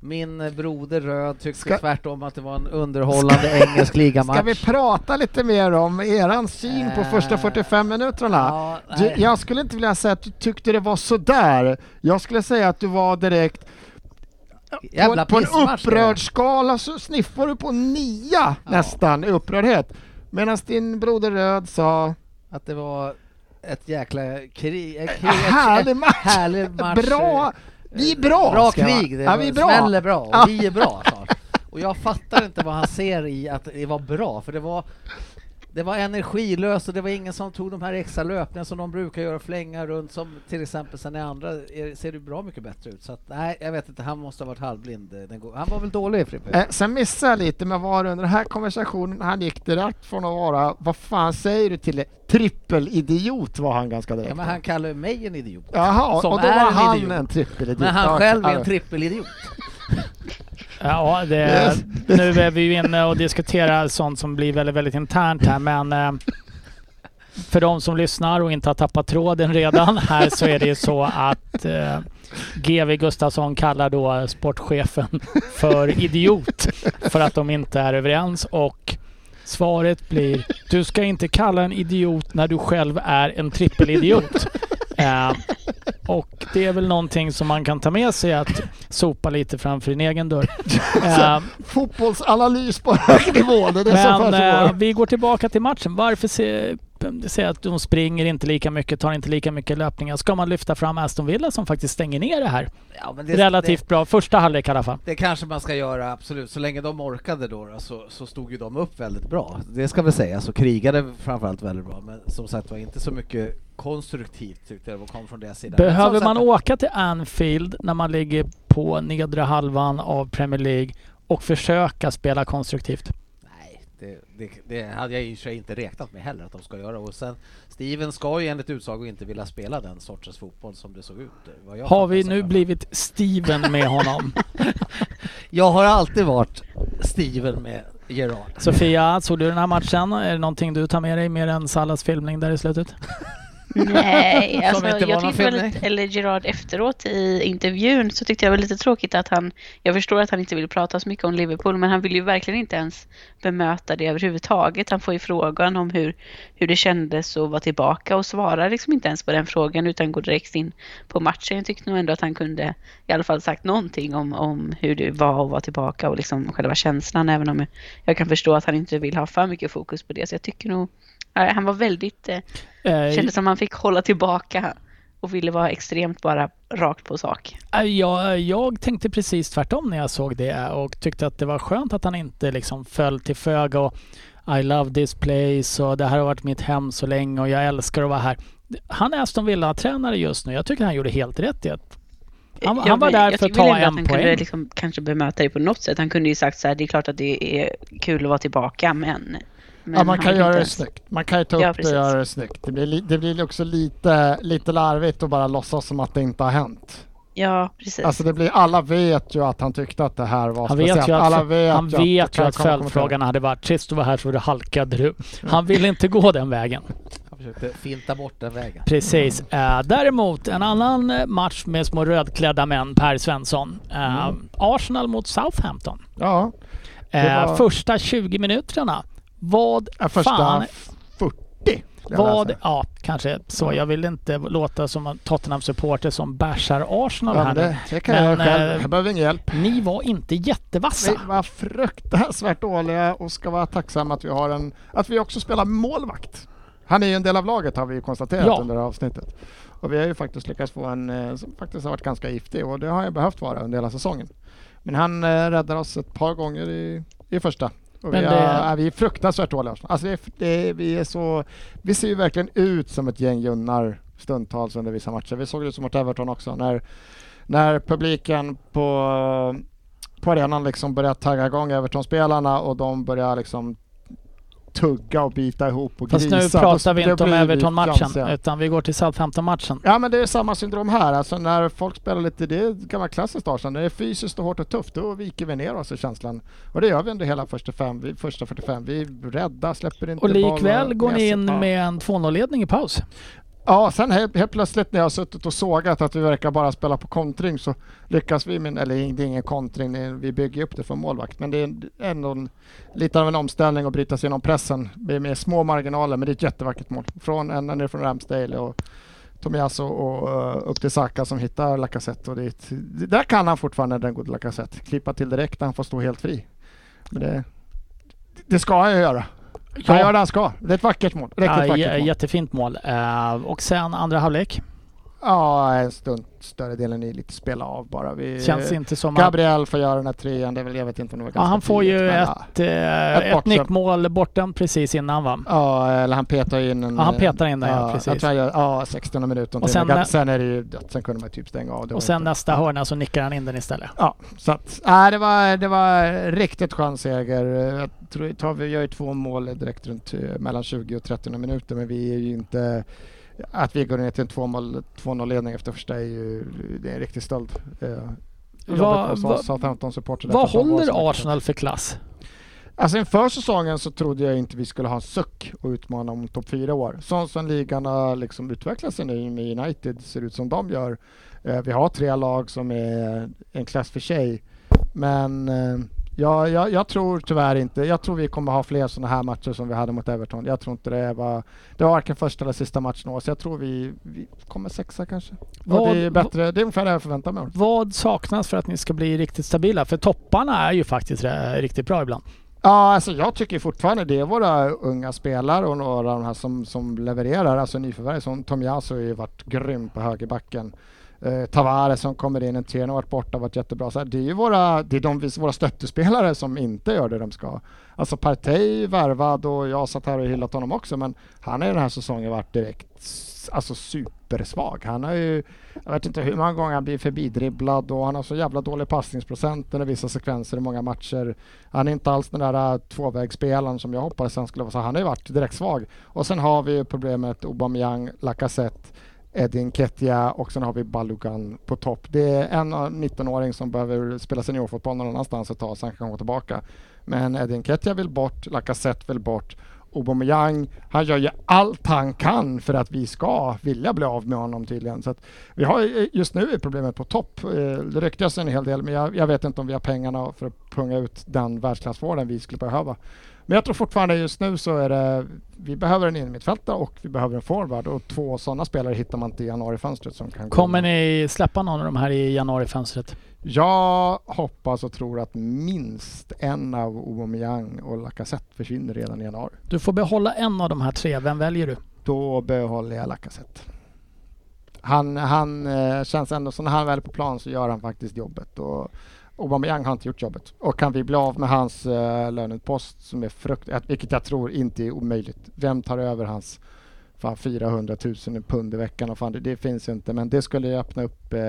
Speaker 3: Min eh, broder Röd tyckte
Speaker 2: Ska-
Speaker 3: tvärtom att det var en underhållande engelsk ligamatch.
Speaker 2: Ska vi prata lite mer om eran syn på första
Speaker 3: Eh,
Speaker 2: 45 minuterna?
Speaker 3: Ja,
Speaker 2: Du,
Speaker 3: nej.
Speaker 2: jag skulle inte vilja säga att du tyckte det var sådär. Jag skulle säga att du var direkt...
Speaker 3: Jävla
Speaker 2: på, på en
Speaker 3: pissmatch,
Speaker 2: upprörd skala så sniffar du på nia nästan i upprördhet. Medan din broder Röd sa
Speaker 3: Att det var ett jäkla krig. Ett, krig, ett,
Speaker 2: härlig
Speaker 3: ett,
Speaker 2: match!
Speaker 3: härlig match.
Speaker 2: Bra!
Speaker 3: eh,
Speaker 2: Vi är bra!
Speaker 3: Bra
Speaker 2: ska jag vara.
Speaker 3: krig. Det
Speaker 2: ja, vi är bra.
Speaker 3: smäller bra. Och
Speaker 2: Ja.
Speaker 3: Vi är bra. sa han. Och jag fattar inte vad han ser i att det var bra, för det var det var energilöst och det var ingen som tog de här extra löpningarna som de brukar göra, flänga runt som till exempel sen i andra är, ser det bra mycket bättre ut. Så att, nej, jag vet inte, han måste ha varit halvblind. eh, Den go- han var väl dålig Frippe?
Speaker 2: Eh, sen missade jag lite, men var under den här konversationen, han gick direkt från att vara, vad fan säger du till det? Trippelidiot var han ganska direkt.
Speaker 3: Ja, men han kallar ju mig en idiot.
Speaker 2: Jaha,
Speaker 3: som
Speaker 2: och då
Speaker 3: är
Speaker 2: var
Speaker 3: en
Speaker 2: han
Speaker 3: idiot.
Speaker 2: en trippelidiot.
Speaker 3: Men
Speaker 2: Ja,
Speaker 3: han själv är
Speaker 2: ja.
Speaker 3: en trippelidiot.
Speaker 1: Ja, det,
Speaker 2: Yes.
Speaker 1: nu är vi ju inne och diskuterar sånt som blir väldigt, väldigt internt här men eh, för de som lyssnar och inte har tappat tråden redan här så är det ju så att eh, GV Gustafsson kallar då sportchefen för idiot för att de inte är överens och svaret blir du ska inte kalla en idiot när du själv är en trippelidiot. Eh, och det är väl någonting som man kan ta med sig att sopa lite framför din egen dörr. Eh,
Speaker 2: Fotbollsanalys på hög nivå, det är det som
Speaker 1: men eh,
Speaker 2: försiggår.
Speaker 1: vi går tillbaka till matchen. Varför se- säga att de springer inte lika mycket, tar inte lika mycket löpningar? Ska man lyfta fram Aston Villa som faktiskt stänger ner det här?
Speaker 3: Ja, men det-
Speaker 1: Relativt bra. Första halvlek i alla fall.
Speaker 3: Det kanske man ska göra, absolut. Så länge de orkade då, då så, så stod ju de upp väldigt bra. Det ska väl sägas, och krigade framförallt väldigt bra. Men som sagt var, inte så mycket konstruktivt tyckte jag kom från deras sida. Men som
Speaker 1: Behöver
Speaker 3: sagt-
Speaker 1: man åka till Anfield när man ligger på nedre halvan av Premier League och försöka spela konstruktivt?
Speaker 3: Nej, det, det, det hade jag i och för sig inte räknat med heller att de ska göra. Och sen, Steven ska ju enligt utsago inte vilja spela den sortens fotboll som det såg ut. vad jag
Speaker 1: Har vi
Speaker 3: fattar
Speaker 1: nu
Speaker 3: som.
Speaker 1: blivit Steven med honom?
Speaker 3: Jag har alltid varit Steven med Gerard.
Speaker 1: Sofia, såg du den här matchen? Är det någonting du tar med dig mer än Sallas filmning där i slutet?
Speaker 4: Nej, alltså,
Speaker 3: inte var
Speaker 4: jag
Speaker 3: någon
Speaker 4: tyckte det var
Speaker 3: film,
Speaker 4: lite, eller Gerard efteråt i intervjun så tyckte jag det var lite tråkigt att han, jag förstår att han inte vill prata så mycket om Liverpool men han vill ju verkligen inte ens bemöta det överhuvudtaget. Han får ju frågan om hur, hur det kändes att vara tillbaka och svarar liksom inte ens på den frågan utan går direkt in på matchen. Jag tyckte nog ändå att han kunde i alla fall sagt någonting om, om hur det var att vara tillbaka och liksom själva känslan även om jag kan förstå att han inte vill ha för mycket fokus på det så jag tycker nog Nej, han var väldigt eh,
Speaker 1: Eh,
Speaker 4: Kändes som man fick hålla tillbaka och ville vara extremt bara rakt på sak.
Speaker 1: eh, jag, jag tänkte precis tvärtom när jag såg det och tyckte att det var skönt att han inte liksom föll till föga och I love this place och det här har varit mitt hem så länge och jag älskar att vara här. Han är Aston Villa-tränare just nu. Jag tycker han gjorde helt rätt i att Han-
Speaker 4: Jag
Speaker 1: han var
Speaker 4: vill-
Speaker 1: där
Speaker 4: jag
Speaker 1: för att
Speaker 4: tycker väl
Speaker 1: ta
Speaker 4: ändå
Speaker 1: en
Speaker 4: Han kunde
Speaker 1: poäng.
Speaker 4: liksom kanske bemöta det på något sätt. Han kunde ju sagt så här, det är klart att det är kul att vara tillbaka, men... men
Speaker 2: ja, man
Speaker 4: han
Speaker 2: kan
Speaker 4: vill
Speaker 2: göra
Speaker 4: inte
Speaker 2: det
Speaker 4: ens-
Speaker 2: snyggt. Man kan ju ta upp
Speaker 4: Ja,
Speaker 2: det och
Speaker 4: precis.
Speaker 2: göra det snyggt. Det blir, li- det blir också lite, lite larvigt att bara låtsas som att det inte har hänt.
Speaker 4: Ja, precis.
Speaker 2: Alltså det blir, alla vet ju att han tyckte att det här var
Speaker 1: Han
Speaker 2: speciellt.
Speaker 1: vet ju att,
Speaker 2: alla vet
Speaker 1: han
Speaker 2: ju att, det
Speaker 1: vet ju
Speaker 2: kan
Speaker 1: att
Speaker 2: komma- komma
Speaker 1: följdfrågan hade varit sist du var här så du halkade du. Han vill inte gå den vägen.
Speaker 3: Han försökte finta bort den vägen.
Speaker 1: Precis.
Speaker 2: Mm.
Speaker 1: Eh, däremot en annan eh, match med små rödklädda män, Per Svensson. Eh,
Speaker 2: Mm.
Speaker 1: Arsenal mot Southampton.
Speaker 2: till. Ja, Det
Speaker 1: Eh,
Speaker 2: var-
Speaker 1: Första 20 minuterna. Vad
Speaker 2: ja, första
Speaker 1: fan...
Speaker 2: 40. skulle jag
Speaker 1: Vad,
Speaker 2: vilja säga.
Speaker 1: ja, kanske så. Jag vill inte låta som en Tottenham-supporter som bashar Arsenal
Speaker 2: Ja,
Speaker 1: här
Speaker 2: men
Speaker 1: nu.
Speaker 2: det, det kan jag göra
Speaker 1: Men,
Speaker 2: själv.
Speaker 1: eh,
Speaker 2: Jag behöver ingen hjälp.
Speaker 1: Ni var inte jättevassa.
Speaker 2: Vi var fruktansvärt dåliga och ska vara tacksamma att vi har en, att vi också spelar målvakt. Han är ju en del av laget har vi ju konstaterat
Speaker 1: Ja.
Speaker 2: under det här avsnittet. Och vi har ju faktiskt lyckats få en eh, som faktiskt har varit ganska giftig och det har jag behövt vara under hela säsongen. Men han eh, räddar oss ett par gånger i, i första. Och vi,
Speaker 1: Men
Speaker 2: det...
Speaker 1: det-
Speaker 2: är, vi är fruktansvärt dåliga. Alltså det, är- det, är- vi, är så, vi ser ju verkligen ut som ett gäng junnar stundtals under vissa matcher. Vi såg ut som mot Everton också när, när publiken på på arenan liksom börjar tagga igång Everton-spelarna och de börjar liksom tugga och bita ihop och
Speaker 1: Fast
Speaker 2: grisa.
Speaker 1: nu
Speaker 2: Då-
Speaker 1: pratar vi
Speaker 2: då
Speaker 1: inte om
Speaker 2: blir vi
Speaker 1: Everton-matchen,
Speaker 2: tramsiga.
Speaker 1: utan vi går till Southampton-matchen.
Speaker 2: Ja men det är samma syndrom här, alltså när folk spelar lite, det är ett gammalt klassiskt Arsenal, när det är fysiskt och hårt och tufft då viker vi ner oss i känslan. Och det gör vi under hela första, fem, vi, första 45, vi är rädda, släpper inte
Speaker 1: Och likväl
Speaker 2: bollen
Speaker 1: går ni
Speaker 2: med
Speaker 1: in
Speaker 2: sig. Ja.
Speaker 1: med en 2-0-ledning i paus.
Speaker 2: Ja, sen helt, helt plötsligt när jag har suttit och sågat att vi verkar bara spela på kontring så lyckas vi med, eller det är ingen kontring, det är- vi bygger upp det för målvakt, men det är ändå en, lite av en omställning att bryta sig genom pressen med, med små marginaler, men det är ett jättevackert mål. Från, ända ner från Ramsdale och Tomiasso och eh, upp till Saka som hittar Lacazette. Och det, är ett- det där kan han fortfarande, den gode Lacazette, klippa till direkt när han får stå helt fri. Men det, det ska han ju göra. Han
Speaker 1: Ja.
Speaker 2: gör det han ska. Det är ett vackert mål. Riktigt
Speaker 1: Ja,
Speaker 2: vackert
Speaker 1: jä-
Speaker 2: mål. Eh,
Speaker 1: jättefint mål. Eh, och sen andra halvlek.
Speaker 2: Ja, en stund, större delen är lite spela av bara. Vi,
Speaker 1: Känns inte som att...
Speaker 2: Gabriel får göra den här trean, det är väl, jag vet inte om det var
Speaker 1: Ja,
Speaker 2: ganska
Speaker 1: han får
Speaker 2: tidigt,
Speaker 1: ju
Speaker 2: men,
Speaker 1: ett, eh,
Speaker 2: Ett
Speaker 1: ett,
Speaker 2: bortdömt.
Speaker 1: nickmål bortom precis innan va?
Speaker 2: Ja, eller han petar in en...
Speaker 1: Ja, han petar in den, ja, precis.
Speaker 2: Jag tror han gör, ja, 16 minuter.
Speaker 1: Och
Speaker 2: Och
Speaker 1: sen
Speaker 2: sen,
Speaker 1: när-
Speaker 2: sen är det ju dött, sen kunde man typ stänga av. Det var
Speaker 1: Och sen
Speaker 2: inte-
Speaker 1: nästa hörna så nickar han in den istället.
Speaker 2: Ja, så att, nej, det var, det var riktigt skön seger. Jag tror, tar vi gör ju två mål direkt runt eh, mellan 20 och 30 minuter, men vi är ju inte... Att vi går ner till en 2-0 2-0-ledning efter första är ju det är en riktig stöld. Eh,
Speaker 1: Vad-
Speaker 2: Vad
Speaker 1: vad- Vad håller Arsenal för klass?
Speaker 2: Alltså inför säsongen så trodde jag inte vi skulle ha en suck och utmana om topp fyra år. Så som ligan har liksom utvecklat sig nu med United ser ut som de gör. Eh, vi har tre lag som är en klass för sig. Men eh, jag, jag, jag tror tyvärr inte, jag tror vi kommer ha fler sådana här matcher som vi hade mot Everton. Jag tror inte det var, det var varken första eller sista matchen i år, så jag tror vi, vi kommer sexa kanske. och
Speaker 1: Vad-
Speaker 2: det är ju bättre, det är ungefär det jag förväntar mig.
Speaker 1: Vad saknas för att ni ska bli riktigt stabila? För topparna är ju faktiskt eh, riktigt bra ibland.
Speaker 2: Ja, alltså jag tycker fortfarande det är våra unga spelare och några av de här som, som levererar, alltså nyförvärv som Tomiasso har ju varit grym på högerbacken. Eh, Tavares som kommer in, en tränare har varit borta, varit jättebra. Så här, det är ju våra, det är de, vis- våra stöttespelare som inte gör det de ska. Alltså Partey värvad och jag satt här och hyllat honom också men han har ju den här säsongen varit direkt s- alltså supersvag. Han har ju, jag vet inte hur många gånger han blir förbidribblad och han har så jävla dålig passningsprocent under vissa sekvenser i många matcher. Han är inte alls den där äh, tvåvägsspelaren som jag hoppades han skulle vara. Så han har ju varit direkt svag. Och sen har vi ju problemet Aubameyang, Lacazette, Edin Ketia och sen har vi Balogan på topp. Det är en av 19-åring som behöver spela seniorfotboll någon annanstans ett tag så han kan komma tillbaka. Men Edin Ketia vill bort, Lacazette vill bort Aubameyang, han gör ju allt han kan för att vi ska vilja bli av med honom tydligen. Så att vi har ju- eh, just nu är problemet på topp. Eh, Det ryktas en hel del, men jag, jag vet inte om vi har pengarna för att punga ut den världsklassvården vi skulle behöva. Men jag tror fortfarande just nu så är det, vi behöver en innermittfältare och vi behöver en forward och två sådana spelare hittar man inte i januarifönstret som kan gå
Speaker 1: Kommer
Speaker 2: in.
Speaker 1: ni släppa någon av de här i januarifönstret?
Speaker 2: Jag hoppas och tror att minst en av Aubameyang och Lacazette försvinner redan i januari.
Speaker 1: Du får behålla en av de här tre. Vem väljer du?
Speaker 2: Då behåller jag Lacazette. Han, han eh, känns ändå som när han väl är på plan så gör han faktiskt jobbet. Och Aubameyang har inte gjort jobbet. Och kan vi bli av med hans eh, lönepost som är frukt, att- vilket jag tror inte är omöjligt. Vem tar över hans fan 400 000 pund i veckan? Och fan, det, det finns ju inte. Men det skulle ju öppna upp eh,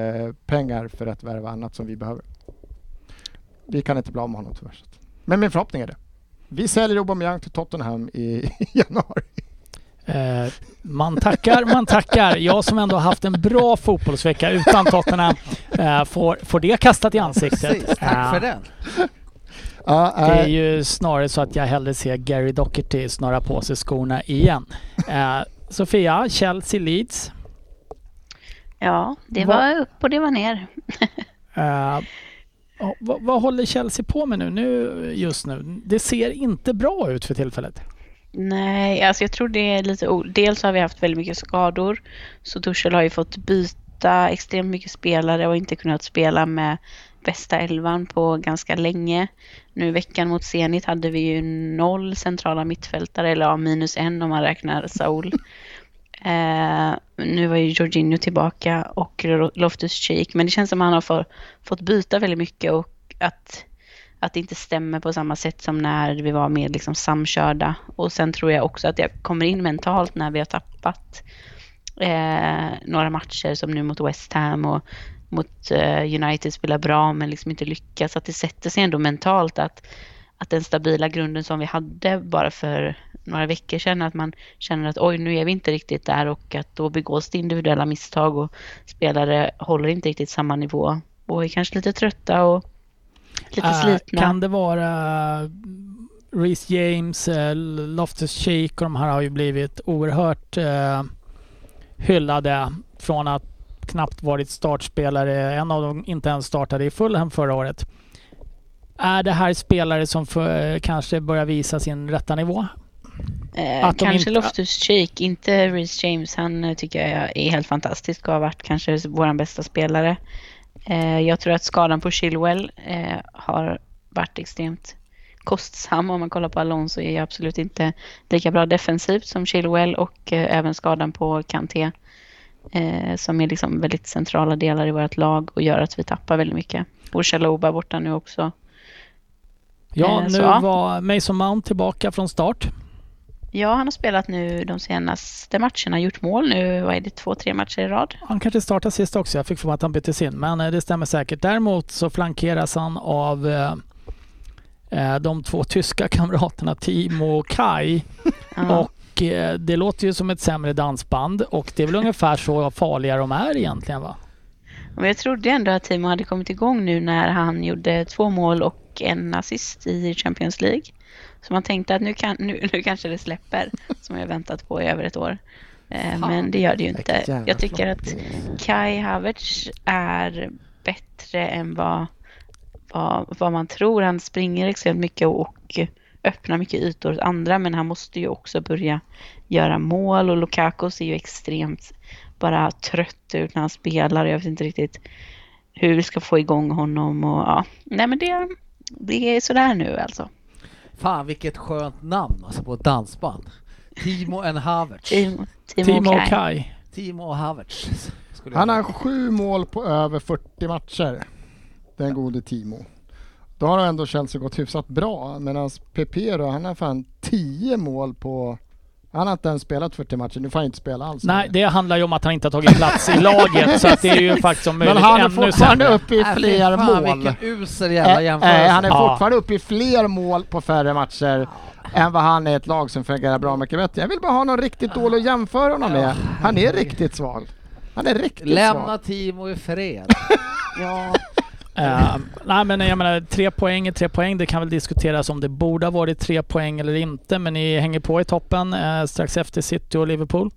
Speaker 2: pengar för att värva annat som vi behöver. Vi kan inte bli av med honom tyvärr. så att- Men min förhoppning är det. Vi säljer Aubameyang till Tottenham i, i januari.
Speaker 1: Eh, man tackar, man tackar. Jag som ändå haft en bra fotbollsvecka utan Tottenham eh, får, får det kastat i ansiktet.
Speaker 3: Precis, tack för Eh.
Speaker 1: Eh,
Speaker 3: den.
Speaker 2: Ja, eh,
Speaker 1: Det är
Speaker 2: nej.
Speaker 1: ju snarare så att jag hellre ser Gary Docherty snurra på sig skorna igen. Eh, Sofia, Chelsea Leeds.
Speaker 4: Ja, det
Speaker 1: Vad-
Speaker 4: var upp och det var ner.
Speaker 1: Eh, ja, vad, vad håller Chelsea på med nu, nu just nu? Det ser inte bra ut för tillfället.
Speaker 4: Nej, alltså jag tror det är lite... o- Dels har vi haft väldigt mycket skador. Så Tuchel har ju fått byta extremt mycket spelare och inte kunnat spela med bästa elvan på ganska länge. Nu i veckan mot Zenit hade vi ju noll centrala mittfältare, eller ja, minus en om man räknar Saul. Eh, nu var ju Jorginho tillbaka och Loftus-Cheek, men det känns som att han har få, fått byta väldigt mycket och att, att det inte stämmer på samma sätt som när vi var mer liksom samkörda. Och sen tror jag också att jag kommer in mentalt när vi har tappat eh, några matcher som nu mot West Ham och mot eh, United spelar bra men liksom inte lyckas. Att det sätter sig ändå mentalt att, att den stabila grunden som vi hade bara för några veckor sedan, att man känner att oj, nu är vi inte riktigt där och att då begås det individuella misstag och spelare håller inte riktigt samma nivå och är kanske lite trötta och lite
Speaker 1: Eh,
Speaker 4: slitna.
Speaker 1: Kan det vara mm, Reece James, eh, Loftus-Cheek och de här har ju blivit oerhört eh, hyllade från att knappt varit startspelare. En av dem inte ens startade i Fulham förra året. Är det här spelare som för, kanske börjar visa sin rätta nivå?
Speaker 4: Eh,
Speaker 1: Att de
Speaker 4: kanske
Speaker 1: inte-
Speaker 4: Loftus-Cheek, inte Reece James. Han eh, tycker jag är helt fantastisk och har varit kanske vår bästa spelare. Eh, jag tror att skadan på Chilwell eh, har varit extremt kostsam. Om man kollar på Alonso är jag absolut inte lika bra defensivt som Chilwell och eh, även skadan på Kanté eh, som är liksom väldigt centrala delar i vårt lag och gör att vi tappar väldigt mycket. Och Chalobah borta nu också.
Speaker 1: Ja,
Speaker 4: Eh,
Speaker 1: nu
Speaker 4: så, ja.
Speaker 1: var Mason Mount tillbaka från start.
Speaker 4: Ja, han har spelat nu de senaste matcherna, gjort mål nu, vad är det, två, tre matcher i rad?
Speaker 1: Han kanske startar sist också. Jag fick för mig att han byttes in, men eh, det stämmer säkert. Däremot så flankeras han av eh, eh, de två tyska kamraterna Timo och Kai.
Speaker 4: Ja.
Speaker 1: Och eh, det låter ju som ett sämre dansband och det är väl ungefär så farliga de är egentligen va?
Speaker 4: Men jag trodde ändå att Timo hade kommit igång nu när han gjorde två mål och en assist i Champions League. Så man tänkte att nu, kan, nu, nu kanske det släpper, som jag väntat på i över ett år. Eh, Men det gör det ju
Speaker 2: Vilket
Speaker 4: inte.
Speaker 2: jävla
Speaker 4: Jag tycker
Speaker 2: flopp
Speaker 4: att
Speaker 2: det är.
Speaker 4: Kai Havertz är bättre än vad, vad, vad man tror. Han springer extremt mycket och öppnar mycket ytor åt andra men han måste ju också börja göra mål och Lukaku ser ju extremt bara trött ut när han spelar. Jag vet inte riktigt hur vi ska få igång honom och ja. Nej men det, det är sådär nu alltså.
Speaker 3: Fan vilket skönt namn alltså på ett dansband. Timo and Havertz.
Speaker 4: Timo, Timo,
Speaker 1: Timo och
Speaker 4: Kai.
Speaker 1: Kai.
Speaker 3: Timo och Havertz. skulle jag
Speaker 2: Han har
Speaker 3: säga.
Speaker 2: sju mål på över 40 matcher. Den gode Timo. Då har ändå Chelsea gått hyfsat bra. Medan Pepe då, han har fan 10 mål på... Han har inte ens spelat 40 matcher. Nu får han inte spela alls.
Speaker 1: Nej, det handlar ju om att han inte har tagit plats i laget så att det är ju faktiskt om
Speaker 2: Men
Speaker 1: möjligt
Speaker 2: han är
Speaker 1: ännu
Speaker 2: fortfarande
Speaker 1: sämre.
Speaker 2: uppe i
Speaker 3: Äh, fy
Speaker 2: fler
Speaker 3: fan,
Speaker 2: mål.
Speaker 3: Vilken usel
Speaker 2: Äh,
Speaker 3: jävla
Speaker 2: äh, han är
Speaker 3: jämförelse.
Speaker 1: Ja.
Speaker 2: fortfarande uppe i fler mål på färre matcher än vad han är i ett lag som fungerar bra mycket bättre. Jag vill bara ha någon riktigt dålig att jämföra honom med. Han är riktigt svag. Han är riktigt svag.
Speaker 3: Lämna Timo i fred.
Speaker 4: Ja,
Speaker 1: Eh, nej men jag menar, tre poäng är tre poäng. Det kan väl diskuteras om det borde ha varit tre poäng eller inte. Men ni hänger på i toppen eh, strax efter City och Liverpool.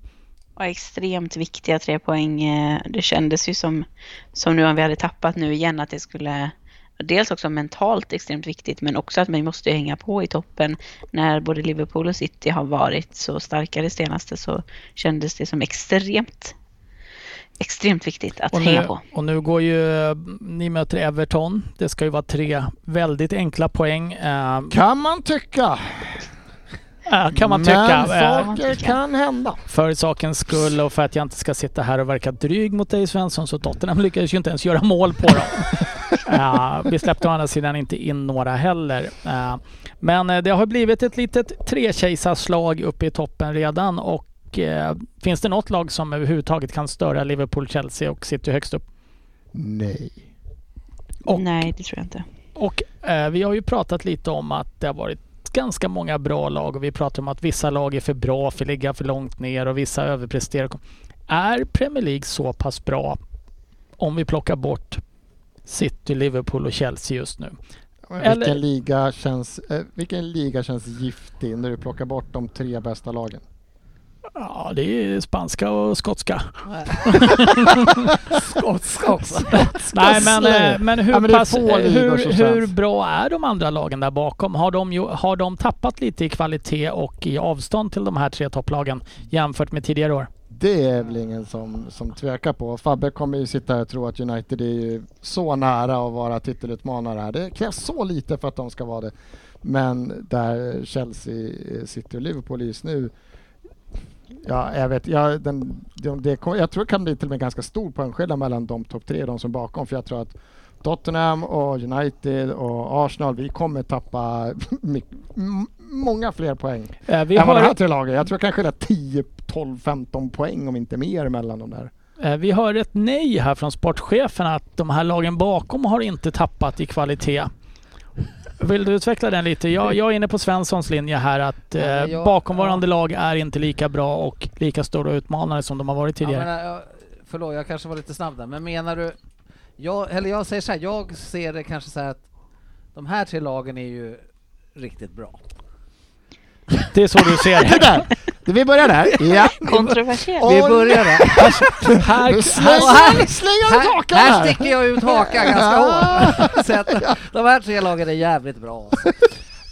Speaker 4: Och extremt viktiga tre poäng. eh, Det kändes ju som, som nu om vi hade tappat nu igen att det skulle Dels också mentalt extremt viktigt men också att man måste ju hänga på i toppen. När både Liverpool och City har varit så starka det senaste så kändes det som extremt extremt viktigt att
Speaker 1: Och
Speaker 4: hänga
Speaker 1: nu,
Speaker 4: på.
Speaker 1: och nu går ju... eh, Ni möter Everton. Det ska ju vara tre väldigt enkla poäng. eh,
Speaker 2: Kan man tycka.
Speaker 1: eh, kan man tycka.
Speaker 2: Men
Speaker 1: eh,
Speaker 2: saker kan hända.
Speaker 1: för sakens skull och för att jag inte ska sitta här och verka dryg mot dig Svensson så Tottenham lyckades ju inte ens göra mål på dem. Eh, vi släppte å andra sidan inte in några heller. Eh, men eh, det har blivit ett litet trekejsarslag uppe i toppen redan och eh, finns det något lag som överhuvudtaget kan störa Liverpool, Chelsea och City högst upp?
Speaker 2: Nej.
Speaker 1: Och,
Speaker 4: Nej, det tror jag inte.
Speaker 1: och eh, vi har ju pratat lite om att det har varit ganska många bra lag och vi pratar om att vissa lag är för bra för att ligga för långt ner och vissa överpresterar. Är Premier League så pass bra om vi plockar bort City, Liverpool och Chelsea just nu?
Speaker 2: Men
Speaker 1: Eller-
Speaker 2: Vilken, liga känns, eh, vilken liga känns giftig när du plockar bort de tre bästa lagen?
Speaker 1: Ja, det är spanska och skotska.
Speaker 3: Skotska också.
Speaker 1: Nej, men,
Speaker 2: Slay.
Speaker 1: eh, men, hur,
Speaker 2: Ja, men det är
Speaker 1: pass,
Speaker 2: få ligor
Speaker 1: hur,
Speaker 2: som
Speaker 1: hur
Speaker 2: känns.
Speaker 1: bra är de andra lagen där bakom? Har de, ju- har de tappat lite i kvalitet och i avstånd till de här tre topplagen jämfört med tidigare år?
Speaker 2: Det är väl ingen som, som tvekar på. Fabbe kommer ju sitta här och tro att United är ju så nära att vara titelutmanare här. Det krävs så lite för att de ska vara det. Men där Chelsea, eh, City och Liverpool just nu Ja, jag vet. Jag, den, de, det, kom- jag tror det kan bli till och med ganska stor poängskillnad mellan de topp tre och de som är bakom. För jag tror att Tottenham och United och Arsenal, vi kommer tappa my- m- många fler poäng
Speaker 1: Eh, Vi
Speaker 2: än vad de här
Speaker 1: har,
Speaker 2: tre lagen. Jag tror det kanske är 10, 12, 15 poäng om inte mer mellan de där.
Speaker 1: eh, vi hör ett nej här från sportchefen att de här lagen bakom har inte tappat i kvalitet. Vill du utveckla den lite? Jag, jag är inne på Svenssons linje här att eh,
Speaker 3: Ja, men jag-
Speaker 1: bakomvarande lag är inte lika bra och lika stora utmanare som de har varit tidigare.
Speaker 3: Ja, men, eh, förlåt, jag kanske var lite snabb där, men menar du... Jag, eller jag säger så här, jag ser det kanske så här att de här tre lagen är ju riktigt bra.
Speaker 1: Det är så du ser det.
Speaker 2: Där! Vi börjar där. Ja.
Speaker 4: Kontroversiellt.
Speaker 2: Och-
Speaker 3: Vi börjar där.
Speaker 1: Här,
Speaker 2: Nu
Speaker 1: här,
Speaker 2: slänger- slänger du ut
Speaker 3: Här,
Speaker 2: hakan
Speaker 3: här
Speaker 2: här!
Speaker 3: sticker jag ut hakan ganska hårt. Så att de här tre lagen är jävligt bra. alltså.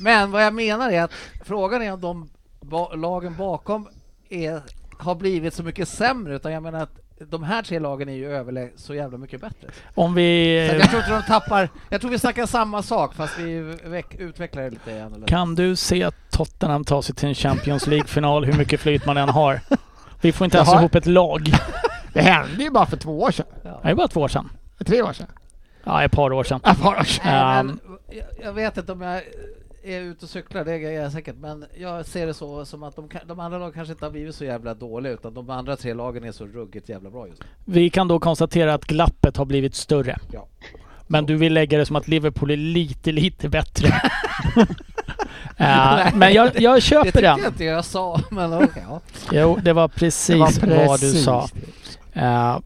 Speaker 3: Men vad jag menar är att frågan är om de ba- lagen bakom är, har blivit så mycket sämre, utan jag menar att de här tre lagen är ju överlä- så jävla mycket bättre.
Speaker 1: om vi...
Speaker 3: Så
Speaker 2: Eh.
Speaker 3: att jag tror inte de tappar, jag tror vi snackar samma sak fast vi veck- utvecklar det lite annorlunda.
Speaker 1: Kan du se att Tottenham ta sig till en Champions League-final hur mycket flyt man än har? Vi får inte ens
Speaker 2: Jaha.
Speaker 1: ihop ett lag.
Speaker 2: Det hände ju bara för två år sedan.
Speaker 1: Det är bara två år sedan.
Speaker 2: Tre år sedan.
Speaker 1: Ja, ett par år sedan.
Speaker 2: Ett par år sedan.
Speaker 3: Nej,
Speaker 1: Ehm.
Speaker 3: men, jag, jag vet inte om jag är ute och cyklar, det är jag säkert, men jag ser det så som att de, kan- de andra lagen kanske inte har blivit så jävla dåliga utan de andra tre lagen är så ruggigt jävla bra just nu.
Speaker 1: Vi kan då konstatera att glappet har blivit större.
Speaker 3: Ja.
Speaker 1: Men du vill lägga det som att Liverpool är lite, lite bättre. Ja, men jag, jag
Speaker 3: Det
Speaker 1: köper
Speaker 3: tyckte
Speaker 1: den.
Speaker 3: jag inte jag sa, men okej. ja.
Speaker 1: Jo, det var precis,
Speaker 2: Det var
Speaker 1: vad du
Speaker 2: precis
Speaker 1: sa. Eh,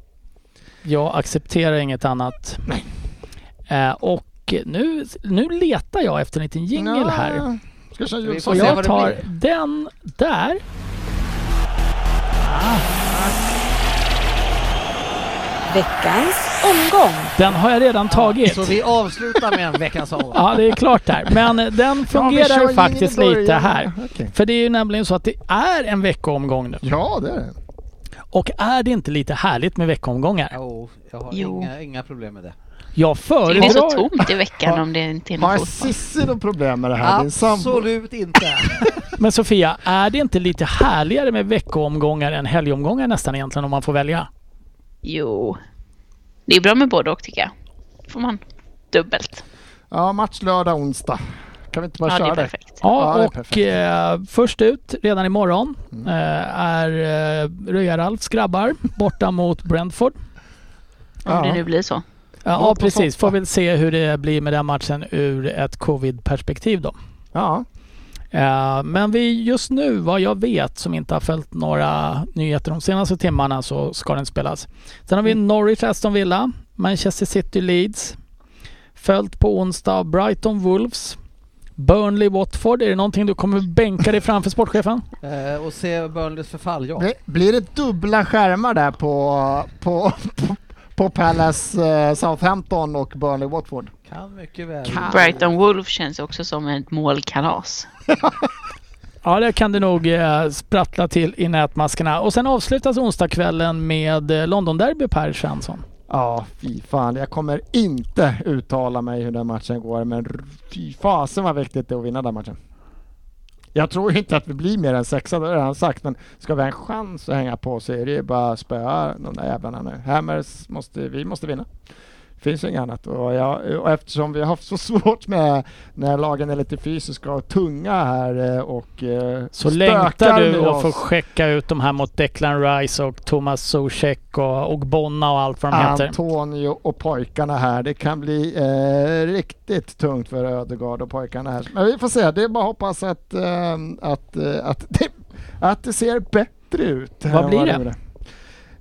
Speaker 1: jag accepterar inget annat. Eh, och nu, nu letar jag efter en liten jingle
Speaker 2: Ja.
Speaker 1: här.
Speaker 2: Ska jag köra
Speaker 1: Och
Speaker 3: Vi får
Speaker 2: julsång?
Speaker 3: se
Speaker 1: jag
Speaker 3: vad det
Speaker 1: tar
Speaker 3: blir.
Speaker 1: den där.
Speaker 5: Veckans omgång.
Speaker 1: Den har jag redan tagit.
Speaker 3: Så vi avslutar med en veckans omgång.
Speaker 1: Ja, det är klart där. Men eh, den
Speaker 2: Ja, vi kör
Speaker 1: fungerar
Speaker 2: in i
Speaker 1: faktiskt
Speaker 2: början.
Speaker 1: lite här.
Speaker 2: Okej.
Speaker 1: För det är ju nämligen så att det är en veckoomgång nu.
Speaker 2: Ja, det är det.
Speaker 1: Och är det inte lite härligt med veckoomgångar?
Speaker 3: Jo, jag har
Speaker 4: Jo.
Speaker 3: Inga, inga problem med det.
Speaker 1: Jag
Speaker 4: Det är så
Speaker 1: föredrar...
Speaker 4: tomt i veckan om det inte är någon
Speaker 2: Har
Speaker 4: fotboll.
Speaker 2: Cissi något problem med det här? Din sambo?
Speaker 3: Absolut inte.
Speaker 1: Men Sofia, är det inte lite härligare med veckoomgångar än helgomgångar nästan egentligen om man får välja?
Speaker 4: Jo. Det är bra med både och tycker jag. får man dubbelt.
Speaker 2: Ja, match lördag, onsdag. Kan vi inte bara
Speaker 4: Ja, det
Speaker 2: köra
Speaker 4: är
Speaker 2: det?
Speaker 4: perfekt.
Speaker 2: Ja, det
Speaker 1: Ja,
Speaker 2: är
Speaker 1: och
Speaker 2: perfekt. Mm.
Speaker 1: eh, först ut redan imorgon eh, är eh, Röja-Ralfs grabbar borta mot Brentford.
Speaker 4: Om
Speaker 2: Ja.
Speaker 4: det nu blir så.
Speaker 1: Ja,
Speaker 2: Låt
Speaker 1: ja
Speaker 2: oss
Speaker 1: precis.
Speaker 2: hoppas.
Speaker 1: Får väl se hur det blir med den matchen ur ett covid-perspektiv då.
Speaker 2: Ja.
Speaker 1: Eh, Men vi just nu, vad jag vet, som inte har följt några nyheter de senaste timmarna,
Speaker 2: Mm.
Speaker 1: så ska den spelas. Sen har vi Norwich, Aston Villa, Manchester City, Leeds, Följt på onsdag av Brighton Wolves. Burnley Watford. Är det någonting du kommer bänka dig framför sportchefen?
Speaker 3: Eh, och se Burnleys förfall, ja.
Speaker 2: Bli- Blir det dubbla skärmar där på, på, på, på Palace eh, Southampton och Burnley Watford?
Speaker 3: Kan mycket väl.
Speaker 4: Brighton Wolf känns också som ett målkalas.
Speaker 1: Ja, det kan det nog eh, sprattla till i nätmaskerna. Och sen avslutas onsdagskvällen med eh, Londonderby Per Svensson.
Speaker 2: Ja, fy fan. Jag kommer inte uttala mig hur den matchen går, men r- fy fasen vad viktigt det är att vinna den matchen. Jag tror inte att vi blir mer än sexa, det har jag redan sagt, men ska vi ha en chans att hänga på så är det ju bara att spöa de där jävlarna nu. Hammers måste, vi måste vinna. Finns ju inget annat och, jag, och eftersom vi har haft så svårt med när lagen är lite fysiska och tunga här eh, och eh,
Speaker 1: Så
Speaker 2: stökar
Speaker 1: längtar du
Speaker 2: med
Speaker 1: och får
Speaker 2: oss.
Speaker 1: checka ut de här mot Declan Rice och Thomas Zuzek och, och Bonna och allt vad de heter.
Speaker 2: Antonio och pojkarna här. Det kan bli eh, riktigt tungt för Ödegaard och pojkarna här. Men vi får se. Det är bara att hoppas att, eh, att, eh, att, det, att det ser bättre ut. här
Speaker 1: Vad
Speaker 2: än
Speaker 1: blir det?
Speaker 2: gjorde.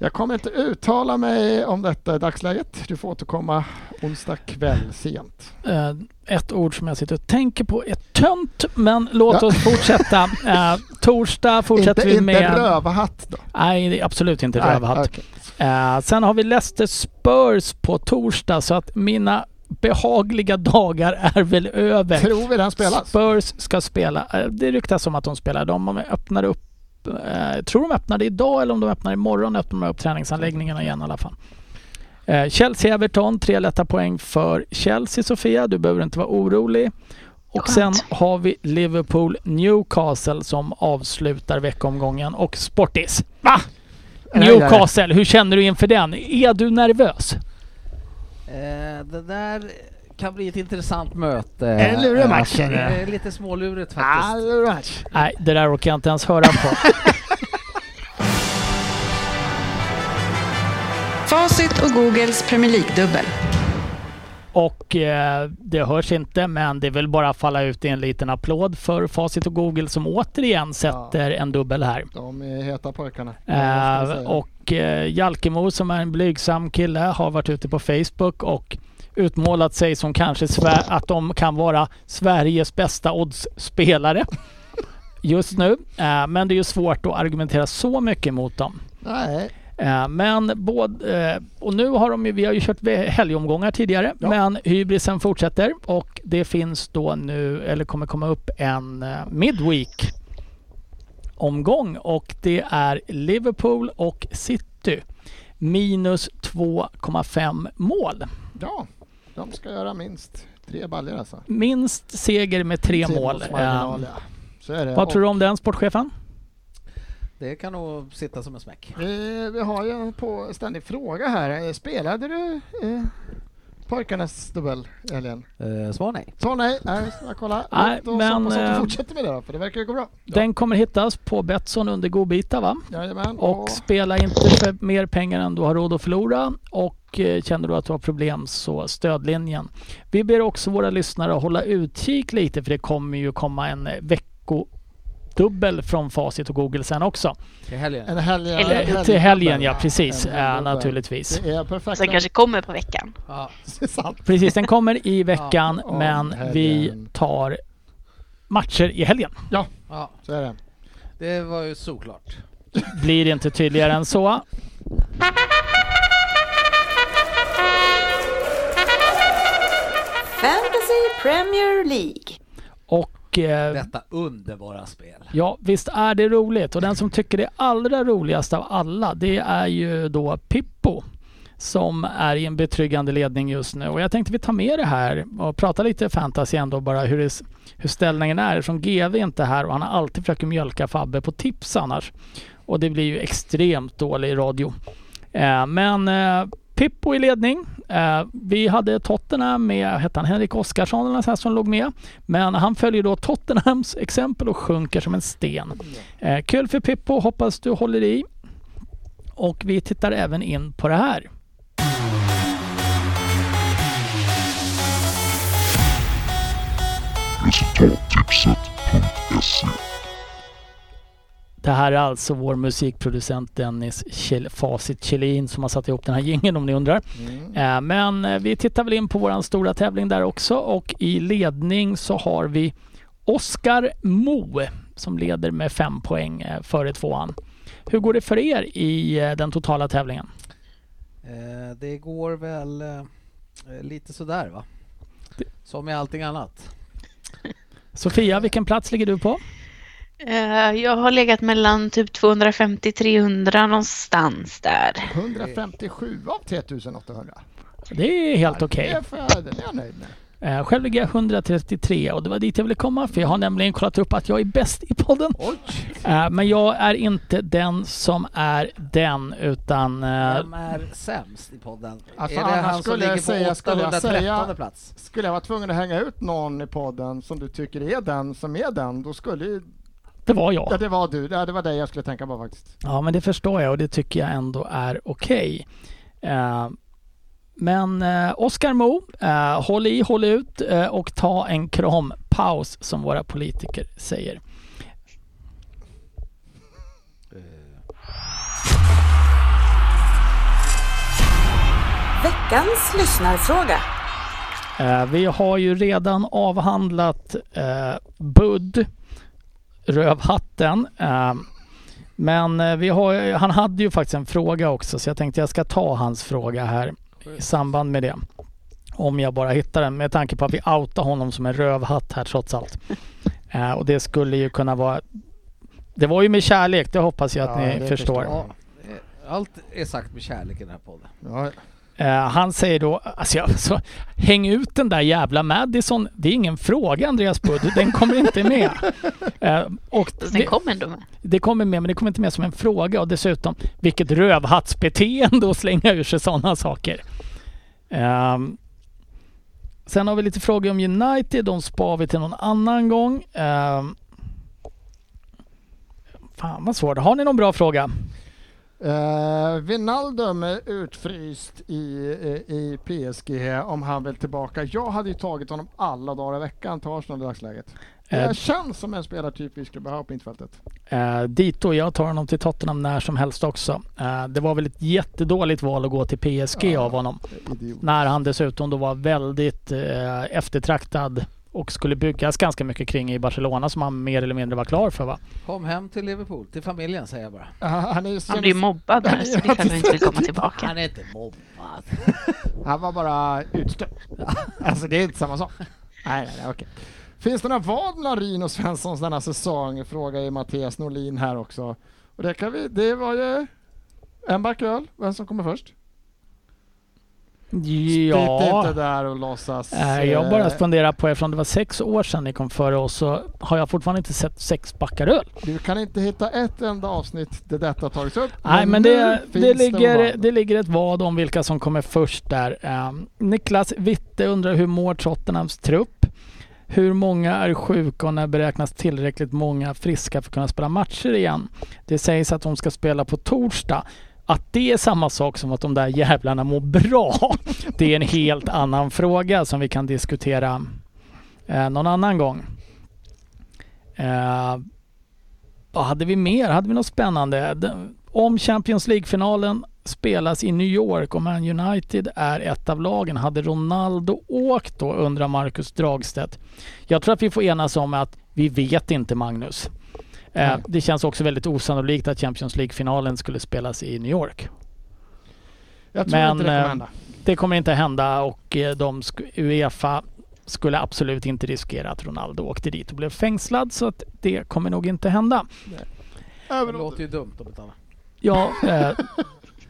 Speaker 2: Jag kommer inte uttala mig om detta i dagsläget. Du får återkomma onsdag kväll sent.
Speaker 1: Eh, ett ord som jag sitter och tänker på är tönt, men låt
Speaker 2: Ja.
Speaker 1: oss fortsätta. Eh, torsdag fortsätter
Speaker 2: Inte,
Speaker 1: vi
Speaker 2: inte
Speaker 1: med...
Speaker 2: rövhatt då?
Speaker 1: Nej, det är absolut inte
Speaker 2: Nej,
Speaker 1: rövhatt.
Speaker 2: okej.
Speaker 1: Eh, sen har vi Leicester Spurs på torsdag, så att mina behagliga dagar är väl över.
Speaker 2: Tror vi den spelas?
Speaker 1: Spurs ska spela. Eh, Det ryktas om att de spelar. De öppnar upp eh, jag tror de öppnade idag eller om de öppnar imorgon öppnar de upp träningsanläggningarna igen i alla fall. Eh, Chelsea-Everton, tre lätta poäng för Chelsea Sofia. Du behöver inte vara orolig. Och
Speaker 4: Skönt.
Speaker 1: sen har vi Liverpool-Newcastle som avslutar veckomgången och Sportis. Va?
Speaker 2: Nej, nej, nej.
Speaker 1: Newcastle, hur känner du inför den? Är du nervös?
Speaker 3: Eh, det där kan bli ett intressant möte.
Speaker 2: Är det lurig match,
Speaker 3: Eh,
Speaker 2: eller?
Speaker 3: det är lite smålurigt faktiskt.
Speaker 2: All right.
Speaker 1: Nej, det där orkar jag inte ens höra på.
Speaker 7: Facit och Googles Premier League-dubbel.
Speaker 1: Och eh, det hörs inte, men det är väl bara att falla ut i en liten applåd för Facit och Google som återigen sätter en dubbel här.
Speaker 2: De är heta pojkarna. Vad ska
Speaker 1: Eh,
Speaker 2: jag säga?
Speaker 1: och eh, Jalkemo som är en blygsam kille har varit ute på Facebook och utmålat sig som kanske Sver- att de kan vara Sveriges bästa oddsspelare just nu. Eh, men det är ju svårt att argumentera så mycket mot dem.
Speaker 2: Nej,
Speaker 1: Eh, Men både, eh, och nu har de ju, vi har ju kört ve- helgomgångar tidigare,
Speaker 2: Ja.
Speaker 1: men hybrisen fortsätter och det finns då nu, eller kommer komma upp en eh, midweek omgång och det är Liverpool och City minus 2,5 mål.
Speaker 2: ja. De ska göra minst tre baljor alltså.
Speaker 1: Minst seger med tre mål. Eh,
Speaker 2: Timmars Så är det.
Speaker 1: Vad tror du
Speaker 2: Och
Speaker 1: om den sportchefen?
Speaker 3: Det kan nog sitta som en smäck.
Speaker 2: Vi, vi har ju en på ständig fråga här. Eh, Spelade du eh, pojkarnas dubbel i helgen?
Speaker 3: Eh, svar nej.
Speaker 2: Så nej, nej ska jag kolla.
Speaker 1: Nej,
Speaker 2: Låt oss
Speaker 1: men,
Speaker 2: hoppas att
Speaker 1: eh,
Speaker 2: du fortsätter med det då, för det verkar ju gå bra.
Speaker 1: Den kommer hittas på Betsson under godbitar va?
Speaker 2: Jajamän.
Speaker 1: Och spela inte för mer pengar än du har råd att förlora. Och eh, känner du att du har problem så stödlinjen. Vi ber också våra lyssnare att hålla utkik lite för det kommer ju komma en eh, veckodubbel från Facit och Google sen också. Eh,
Speaker 3: Till helgen.
Speaker 2: en helg,
Speaker 4: Eller
Speaker 2: en helg-
Speaker 1: Till helgen ja, precis.
Speaker 2: En
Speaker 1: eh,
Speaker 2: helgdubbel.
Speaker 1: naturligtvis.
Speaker 2: Det är perfekt.
Speaker 4: Sen kanske kommer på veckan.
Speaker 3: Ja.
Speaker 2: Det är sant.
Speaker 1: Precis, den kommer i veckan
Speaker 2: Ja,
Speaker 1: men
Speaker 2: helgen.
Speaker 1: vi tar matcher i helgen.
Speaker 3: ja,
Speaker 2: Så är det.
Speaker 3: det var ju såklart.
Speaker 1: Blir inte tydligare än så.
Speaker 5: Fantasy Premier League.
Speaker 1: Och eh,
Speaker 3: Detta underbara spel.
Speaker 1: Ja, visst är det roligt. Och den som tycker det är allra roligast av alla, det är ju då Pippo som är i en betryggande ledning just nu. Och jag tänkte vi tar med det här och prata lite fantasy ändå bara hur, det, hur ställningen är eftersom GV är inte här och han har alltid försökt mjölka Fabbe på tips annars. Och det blir ju extremt dålig radio. Eh, men eh, Pippo i ledning. Eh, vi hade Tottenham med, hette han Henrik Oskarsson eller något sånt här som låg med. Men han följer då Tottenhams exempel och sjunker som en sten. Eh, kul för Pippo, hoppas du håller i. Och vi tittar även in på det här. Det här är alltså vår musikproducent Dennis Kjell, Facit Kjellin som har satt ihop den här gängen om ni undrar.
Speaker 2: Mm.
Speaker 1: Eh, Men eh, vi tittar väl in på våran stora tävling där också och i ledning så har vi Oskar Mo som leder med fem poäng eh, före tvåan. Hur går det för er i eh, den totala tävlingen?
Speaker 3: Eh, det går väl eh, lite sådär va? Som med allting annat.
Speaker 1: Sofia, vilken plats ligger du på?
Speaker 4: Eh, Jag har legat mellan typ 250-300 någonstans där.
Speaker 2: 157 av 3800.
Speaker 1: Det är helt okej.
Speaker 2: Det, får jag, det är jag nöjd med.
Speaker 1: Eh, Själv ligger jag 133 och det var dit jag ville komma för jag har nämligen kollat upp att jag är bäst i podden.
Speaker 2: Oj!
Speaker 1: Eh, Men jag är inte den som är den utan... eh,
Speaker 3: Vem är sämst i podden?
Speaker 2: Alltså,
Speaker 3: är det
Speaker 2: annars
Speaker 3: han som
Speaker 2: skulle jag
Speaker 3: ligger
Speaker 2: säga-
Speaker 3: på
Speaker 2: skulle jag
Speaker 3: 813
Speaker 2: säga-
Speaker 3: plats?
Speaker 2: Skulle jag vara tvungen att hänga ut någon i podden som du tycker är den som är den, då skulle ju...
Speaker 1: Det var jag.
Speaker 2: Ja, det var du. Ja, det var dig jag skulle tänka på faktiskt.
Speaker 1: Ja, men det förstår jag och det tycker jag ändå är okej. Eh, men eh, Oskar Mo, eh, håll i, håll ut eh, och ta en krampaus som våra politiker säger.
Speaker 5: Veckans lyssnarfråga.
Speaker 1: Eh, vi har ju redan avhandlat eh, Budd, Rövhatten. Eh, men eh, vi har, han hade ju faktiskt en fråga också så jag tänkte jag ska ta hans fråga här i samband med det. Om jag bara hittar den med tanke på att vi outar honom som en rövhatt här trots allt. Eh, och det skulle ju kunna vara... Det var ju med kärlek, det hoppas jag att
Speaker 2: Ja,
Speaker 1: ni
Speaker 2: det
Speaker 1: förstår.
Speaker 2: förstår jag.
Speaker 3: Ja, eh, allt är sagt med kärlek i den här podden.
Speaker 2: Ja,
Speaker 1: Eh, han säger då, alltså, jag, alltså, häng ut den där jävla Madison. Det är ingen fråga Andreas Budd, den kommer inte med. Eh, och
Speaker 4: Fast den
Speaker 1: det,
Speaker 4: kom ändå med.
Speaker 1: det kommer med, men det kommer inte med som en fråga. Och dessutom, vilket rövhattsbeteende att slänga ur sig sådana saker. Ehm, sen har vi lite frågor om United, de spar vi till någon annan gång. Ehm, fan vad svårt. Har ni någon bra fråga?
Speaker 2: Eh, Wijnaldum är utfryst i, eh, i PSG om han vill tillbaka. Jag hade ju tagit honom alla dagar i veckan till Arsenal i dagsläget. Det
Speaker 1: Eh.
Speaker 2: känns som en spelartyp vi skulle behöva på mittfältet.
Speaker 1: Eh, Dito, jag tar honom till Tottenham när som helst också. Eh, det var väl ett jättedåligt val att gå till PSG
Speaker 2: Ja.
Speaker 1: av honom.
Speaker 2: Idiot.
Speaker 1: När han dessutom då var väldigt eh, eftertraktad och skulle byggas ganska mycket kring i Barcelona som han mer eller mindre var klar för va?
Speaker 3: Kom hem till Liverpool, till familjen säger jag bara.
Speaker 2: Ah, Han, är
Speaker 4: Han blir mobbad där så det är klart han inte vill komma tillbaka.
Speaker 3: Han är inte mobbad.
Speaker 2: han var bara utstött. alltså det är inte samma sak. Nej, nej, nej okej. Finns det några vad mellan Ryn och Svensson denna säsong? Frågar ju Mattias Norlin här också. Och det, kan vi, det var ju en back öl, vem som kommer först. Sitt
Speaker 1: Ja.
Speaker 2: inte där och låtsas.
Speaker 1: Eh, Jag bara
Speaker 2: eh,
Speaker 1: funderar på eftersom det var sex år sedan ni kom före oss så har jag fortfarande inte sett sex backar öl.
Speaker 2: Du kan inte hitta ett enda avsnitt där detta har tagits upp.
Speaker 1: Nej men
Speaker 2: nu
Speaker 1: det,
Speaker 2: finns
Speaker 1: det, ligger,
Speaker 2: en
Speaker 1: det ligger ett vad om vilka som kommer först där. Eh, Niklas Witte undrar hur mår Tottenhams trupp? Hur många är sjuka och när beräknas tillräckligt många friska för att kunna spela matcher igen? Det sägs att de ska spela på torsdag. Att det är samma sak som att de där jävlarna mår bra, det är en helt annan fråga som vi kan diskutera eh, någon annan gång. Eh, vad hade vi mer? Hade vi något spännande? Den- Om Champions League-finalen spelas i New York och Man United är ett av lagen, hade Ronaldo åkt då? undrar Marcus Dragstedt. Jag tror att vi får enas om att vi vet inte Magnus. Eh,
Speaker 2: Nej.
Speaker 1: det känns också väldigt osannolikt att Champions League-finalen skulle spelas i New York.
Speaker 2: Jag tror
Speaker 1: men,
Speaker 2: inte det kommer
Speaker 1: eh,
Speaker 2: hända.
Speaker 1: Det kommer inte hända och eh, de sk- Uefa skulle absolut inte riskera att Ronaldo åkte dit och blev fängslad så att det kommer nog inte hända.
Speaker 3: Det
Speaker 2: Överlåt.
Speaker 3: låter ju dumt att betala.
Speaker 1: Ja, eh,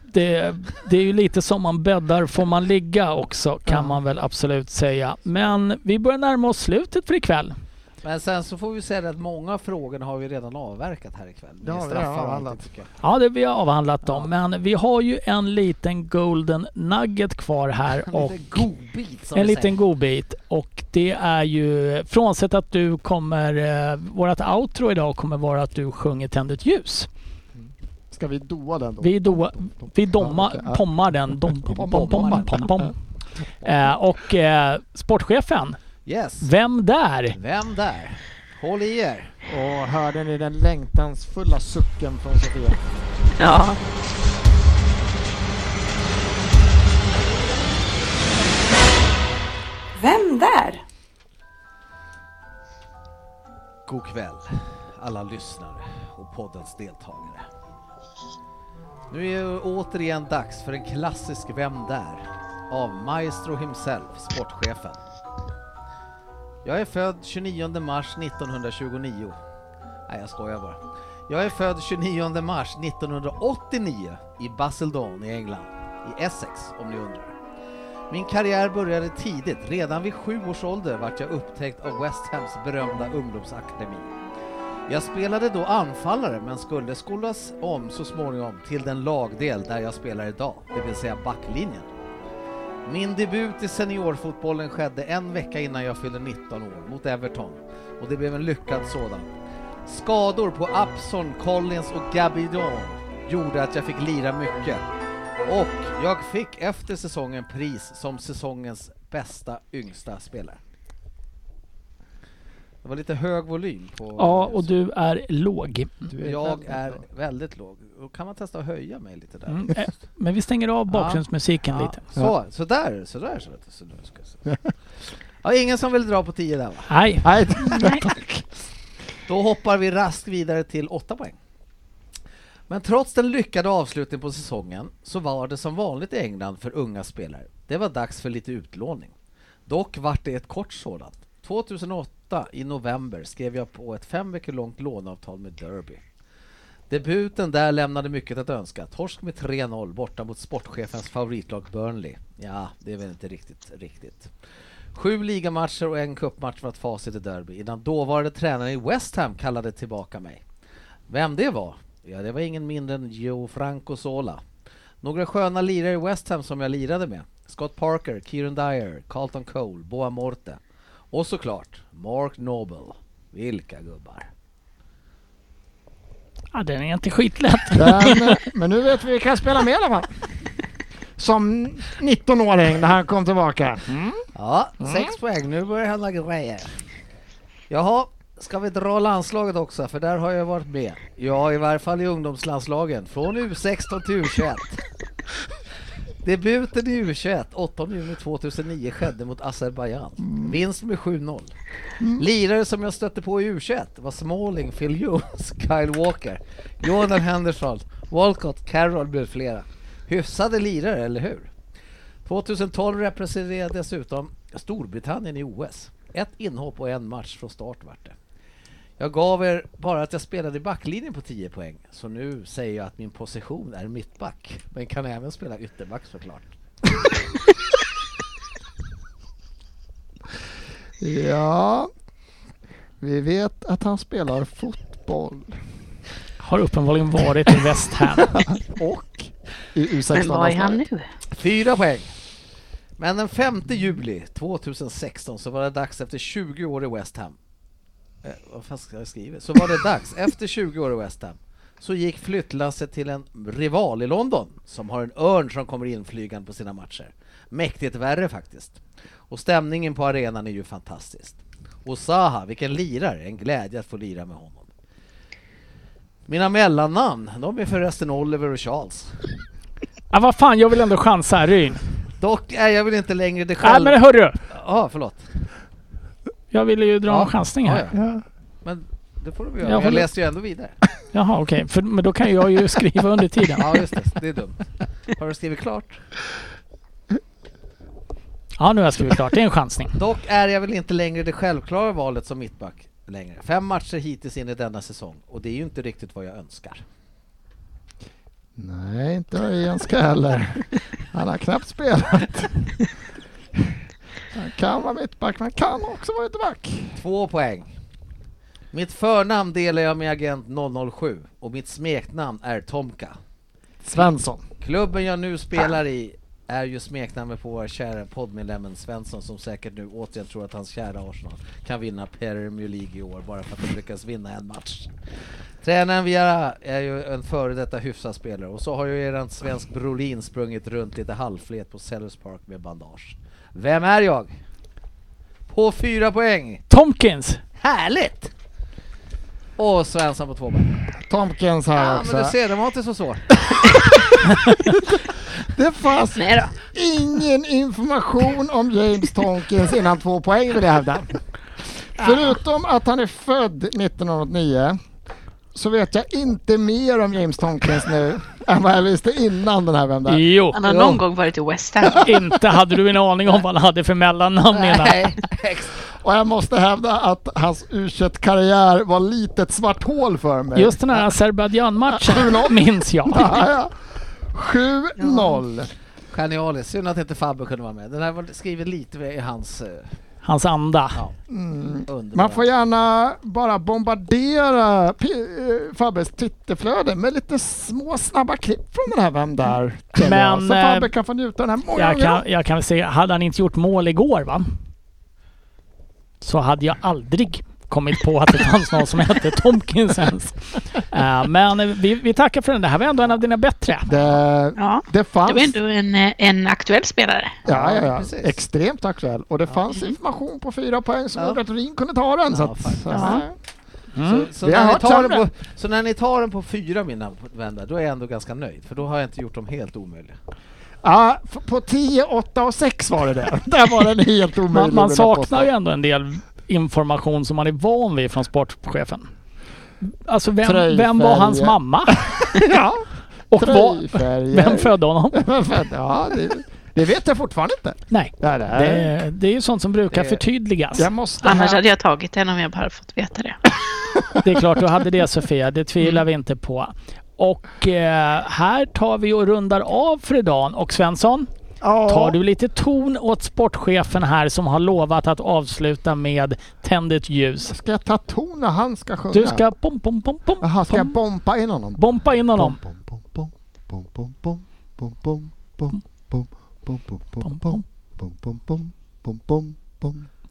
Speaker 1: det, det är ju lite som man bäddar får man ligga också kan
Speaker 2: Ja.
Speaker 1: man väl absolut säga. Men vi börjar närma oss slutet för ikväll.
Speaker 3: Men sen så får vi säga det att många av frågorna har vi redan avverkat här ikväll.
Speaker 2: Det har vi, det har
Speaker 3: straffar och allting,
Speaker 2: avhandlat.
Speaker 3: tycker jag.
Speaker 1: Ja, det vi har avhandlat dem, men vi har ju en liten golden nugget kvar här
Speaker 3: En
Speaker 1: och
Speaker 3: liten godbit som
Speaker 1: en
Speaker 3: vi
Speaker 1: liten godbit. Och det är ju, frånsett att du kommer, eh, vårat outro idag kommer vara att du sjunger Tänd ett ljus.
Speaker 2: Ska vi doa den då?
Speaker 1: Vi, då, vi domma,
Speaker 2: Ja, okej.
Speaker 1: pommar den. Dom, pom, pom, pom, pom, pom, pom. Eh, och eh, sportchefen,
Speaker 3: säger. Yes.
Speaker 1: Vem där?
Speaker 3: Vem där? Håll i er.
Speaker 2: Och hörde ni den längtansfulla sucken från Sofia?
Speaker 4: Ja.
Speaker 5: Vem där?
Speaker 3: God kväll, alla lyssnare och poddens deltagare. Nu är det återigen dags för en klassisk Vem där? av Maestro himself, sportchefen. Jag är född 29 mars 1929. Nej, jag skojar bara. Jag är född 29 mars 1989 i Basildon i England, i Essex om ni undrar. Min karriär började tidigt. Redan vid sju års ålder vart jag upptäckt av West Hams berömda ungdomsakademi. Jag spelade då anfallare men skulle skolas om så småningom till den lagdel där jag spelar idag, det vill säga backlinjen. Min debut i seniorfotbollen skedde en vecka innan jag fyllde 19 år mot Everton och det blev en lyckad sådan. Skador på Upson, Collins och Gabidon gjorde att jag fick lira mycket och jag fick efter säsongen pris som säsongens bästa yngsta spelare. Det var lite hög volym på...
Speaker 1: Ja, och du är låg.
Speaker 2: Du
Speaker 3: Jag
Speaker 2: väldigt
Speaker 3: är
Speaker 2: bra.
Speaker 3: väldigt låg. Då kan man testa att höja mig lite där.
Speaker 1: Mm. eh, Men vi stänger av bakgrundsmusiken
Speaker 3: Ja,
Speaker 1: lite.
Speaker 3: så, så där, så där. Så där, så där ska jag se. Ja, ingen som vill dra på 10 där va?
Speaker 1: Nej.
Speaker 2: Nej,
Speaker 3: Då hoppar vi raskt vidare till 8 poäng. Men trots den lyckade avslutningen på säsongen så var det som vanligt i England för unga spelare. Det var dags för lite utlåning. Dock vart det ett kort sådant. 2008 i november skrev jag på ett fem veckor långt låneavtal med Derby. Debuten där lämnade mycket att önska. Torsk med 3-0 borta mot sportchefens favoritlag Burnley. Ja, det är väl inte riktigt riktigt. Sju ligamatcher och en cupmatch var ett facit i derby innan dåvarande tränaren i West Ham kallade tillbaka mig. Vem det var? Ja, det var ingen mindre än Gianfranco Sola. Några sköna lirare i West Ham som jag lirade med. Scott Parker, Kieran Dyer, Carlton Cole, Boa Morte och såklart Mark Noble. Vilka gubbar!
Speaker 1: Ja, den är inte skitlätt.
Speaker 2: Den, men nu vet vi vilka jag spelar med i alla fall. Som 19-åring när han kom tillbaka.
Speaker 3: Ja, sex poäng. Nu börjar det hända grejer. Jaha, ska vi dra landslaget också? För där har jag varit med. Ja, i varje fall i ungdomslandslagen. Från U16 till U21. Debuten i U21, 8 juni 2009, skedde mot Azerbajdzjan. Vinst med 7-0. Lirare som jag stötte på i U21 var Smalling, Phil Jones, Kyle Walker, Jordan Henderson, Walcott, Carroll med flera. Hyfsade lirare, eller hur? 2012 representerade jag dessutom Storbritannien i OS. Ett inhopp och en match från start vart det. Jag gav er bara att jag spelade i backlinjen på 10 poäng, så nu säger jag att min position är mittback, men kan även spela ytterback såklart.
Speaker 2: Ja, vi vet att han spelar fotboll
Speaker 1: Har uppenbarligen varit i West Ham.
Speaker 2: och i U16.
Speaker 4: Men var är han nu?
Speaker 3: Fyra poäng! Men den 5 juli 2016 så var det dags efter 20 år i West Ham. Eh, vad fan ska jag skriva? Så var det dags, efter 20 år i West Ham, så gick flyttlasset till en rival i London som har en örn som kommer inflygande på sina matcher. Mäktigt värre faktiskt. Och stämningen på arenan är ju fantastisk. Och Zaha, vilken lirare! En glädje att få lira med honom. Mina mellannamn, de är förresten Oliver och Charles.
Speaker 1: Ja, vad fan, jag vill ändå chansa här, Ryn.
Speaker 3: Dock är jag väl inte längre det
Speaker 1: Nej,
Speaker 3: själv...
Speaker 1: men hörru!
Speaker 3: Ja, förlåt.
Speaker 1: Jag ville ju dra
Speaker 3: Ja.
Speaker 1: en chansning här.
Speaker 3: Ja, ja. Men det får du väl
Speaker 1: Jag
Speaker 3: göra. Jag, jag
Speaker 1: håller-
Speaker 3: läste ju ändå vidare.
Speaker 1: Jaha, okej. För- Men då kan jag ju skriva under tiden.
Speaker 3: Ja, just det. Det är dumt. Har du skrivit klart?
Speaker 1: Ja, nu har jag skrivit klart. Det är en chansning.
Speaker 3: Dock är jag väl inte längre det självklara valet som mittback längre. Fem matcher hittills in i denna säsong och det är ju inte riktigt vad jag önskar.
Speaker 2: Nej, inte Öjenska heller. Han har knappt spelat. Han kan vara mittback, men han kan också vara ytterback.
Speaker 3: Två poäng. Mitt förnamn delar jag med agent 007 och mitt smeknamn är Tomka.
Speaker 2: Svensson.
Speaker 3: Klubben jag nu spelar i är ju smeknamnet på vår kära poddmedlemmen Svensson som säkert nu återigen tror att hans kära Arsenal kan vinna Premier League i år bara för att de lyckas vinna en match. Tränaren Viera är ju en före detta hyfsad spelare och så har ju eran svensk Brolin sprungit runt lite halvflet på Sellers Park med bandage. Vem är jag? På fyra poäng!
Speaker 1: Tomkins!
Speaker 3: Härligt! Och Svensson på två ben.
Speaker 2: Tomkins här
Speaker 3: Ja,
Speaker 2: också.
Speaker 3: men du ser, det var inte så svårt.
Speaker 2: Det fanns
Speaker 4: Nej då.
Speaker 2: ingen information om James Tomkins innan två poäng vill jag hävda. Förutom att han är född 1989 så vet jag inte mer om James Tomkins nu än vad jag visste innan den här Vem där?
Speaker 1: Jo,
Speaker 4: Han har
Speaker 3: Ja.
Speaker 4: någon gång varit i West Ham.
Speaker 1: inte hade du en aning om vad han hade för mellannamn innan.
Speaker 3: Nej, ex-
Speaker 2: Och jag måste hävda att hans u karriär var lite ett svart hål för mig.
Speaker 1: Just den här Azerbajdzjan-matchen minns jag.
Speaker 2: Ja, ja. 7-0.
Speaker 3: Genialiskt. Synd att inte Fabbe kunde vara med. Den här var skriven lite i hans eh,
Speaker 1: Hans anda.
Speaker 3: Ja.
Speaker 2: Mm.
Speaker 3: underbara...
Speaker 2: Man får gärna bara bombardera P- eh, Fabbes Twitterflöde med lite små snabba klipp från den här Vem där? tänker
Speaker 1: Men,
Speaker 2: jag. Så
Speaker 1: eh,
Speaker 2: Fabbe kan få njuta av den här många
Speaker 1: Jag
Speaker 2: gånger
Speaker 1: kan, jag kan väl säga, hade han inte gjort mål igår va? Så hade jag aldrig kommit på att det fanns någon som hette Tomkins ens. Eh, men eh, vi, vi tackar för den. Det här var ändå en av dina bättre.
Speaker 2: Det,
Speaker 4: Ja.
Speaker 2: det fanns,
Speaker 4: Det var ändå en, eh, en aktuell spelare.
Speaker 2: ja, ja,
Speaker 3: Ja,
Speaker 2: ja,
Speaker 3: precis.
Speaker 2: extremt aktuell. Och det fanns information på fyra poäng som
Speaker 3: Ja.
Speaker 2: gjorde att Rin kunde ta den. så
Speaker 3: Ja,
Speaker 2: att,
Speaker 3: faktiskt.
Speaker 2: så,
Speaker 4: Ja.
Speaker 1: Mm.
Speaker 3: Så, så,
Speaker 2: Vi har
Speaker 3: när ni
Speaker 2: hört
Speaker 3: tar den
Speaker 2: sämre.
Speaker 3: på, så när ni tar den på fyra, mina vänner, då är jag ändå ganska nöjd. För då har jag inte gjort dem helt omöjliga.
Speaker 2: Ja, f- på 10, 8 och 6 var det det. Där var den helt omöjlig.
Speaker 1: Man, man
Speaker 2: vill jag påstå.
Speaker 1: saknar ju ändå en del information som man är van vid från sportchefen. Alltså vem,
Speaker 2: Tröjfärger.
Speaker 1: vem var hans mamma?
Speaker 2: ja,
Speaker 1: Och vad,
Speaker 2: tröjfärger.
Speaker 1: vem födde honom?
Speaker 2: Vem födde- Ja, det, det vet jag fortfarande inte.
Speaker 1: Nej,
Speaker 2: Ja, det är,
Speaker 1: det, det är ju sånt som brukar
Speaker 3: Det-
Speaker 1: förtydligas.
Speaker 2: jag måste
Speaker 4: Annars
Speaker 2: ha-
Speaker 4: hade jag tagit den om jag bara fått veta det.
Speaker 1: Det är klart du hade det Sofia, det tvivlar vi inte på. Och eh, här tar vi och rundar av för idag. Och Svensson,
Speaker 2: Ja.
Speaker 1: tar du lite ton åt sportchefen här som har lovat att avsluta med Tänd ett ljus.
Speaker 2: Ska jag ta ton när han ska sjunga?
Speaker 1: Du ska pom, pom, pom, pom,
Speaker 2: Jaha, ska jag
Speaker 1: pom,
Speaker 2: bompa in honom?
Speaker 1: bompa in honom.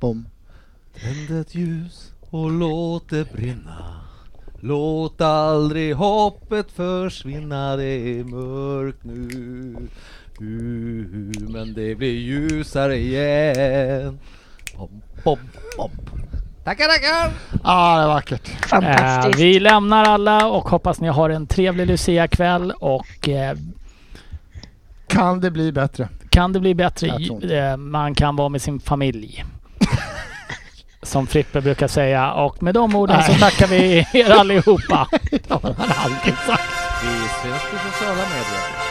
Speaker 3: Tänd ett ljus och låt det brinna Låt aldrig hoppet försvinna Det är mörkt nu Uh, Men det blir ljusare igen Pom, pom, pom. Tackar, tackar!
Speaker 2: Ja, det är vackert.
Speaker 1: Eh,
Speaker 4: Fantastiskt.
Speaker 1: vi lämnar alla och hoppas ni har en trevlig Lucia-kväll och eh,
Speaker 2: Kan det bli bättre?
Speaker 1: kan det bli bättre?
Speaker 2: Jag tror inte.
Speaker 1: Eh, man kan vara med sin familj. Som Frippe brukar säga och med de orden så
Speaker 2: Nej.
Speaker 1: tackar vi er allihopa.
Speaker 2: Det har han aldrig sagt.
Speaker 3: Vi syns på sociala medier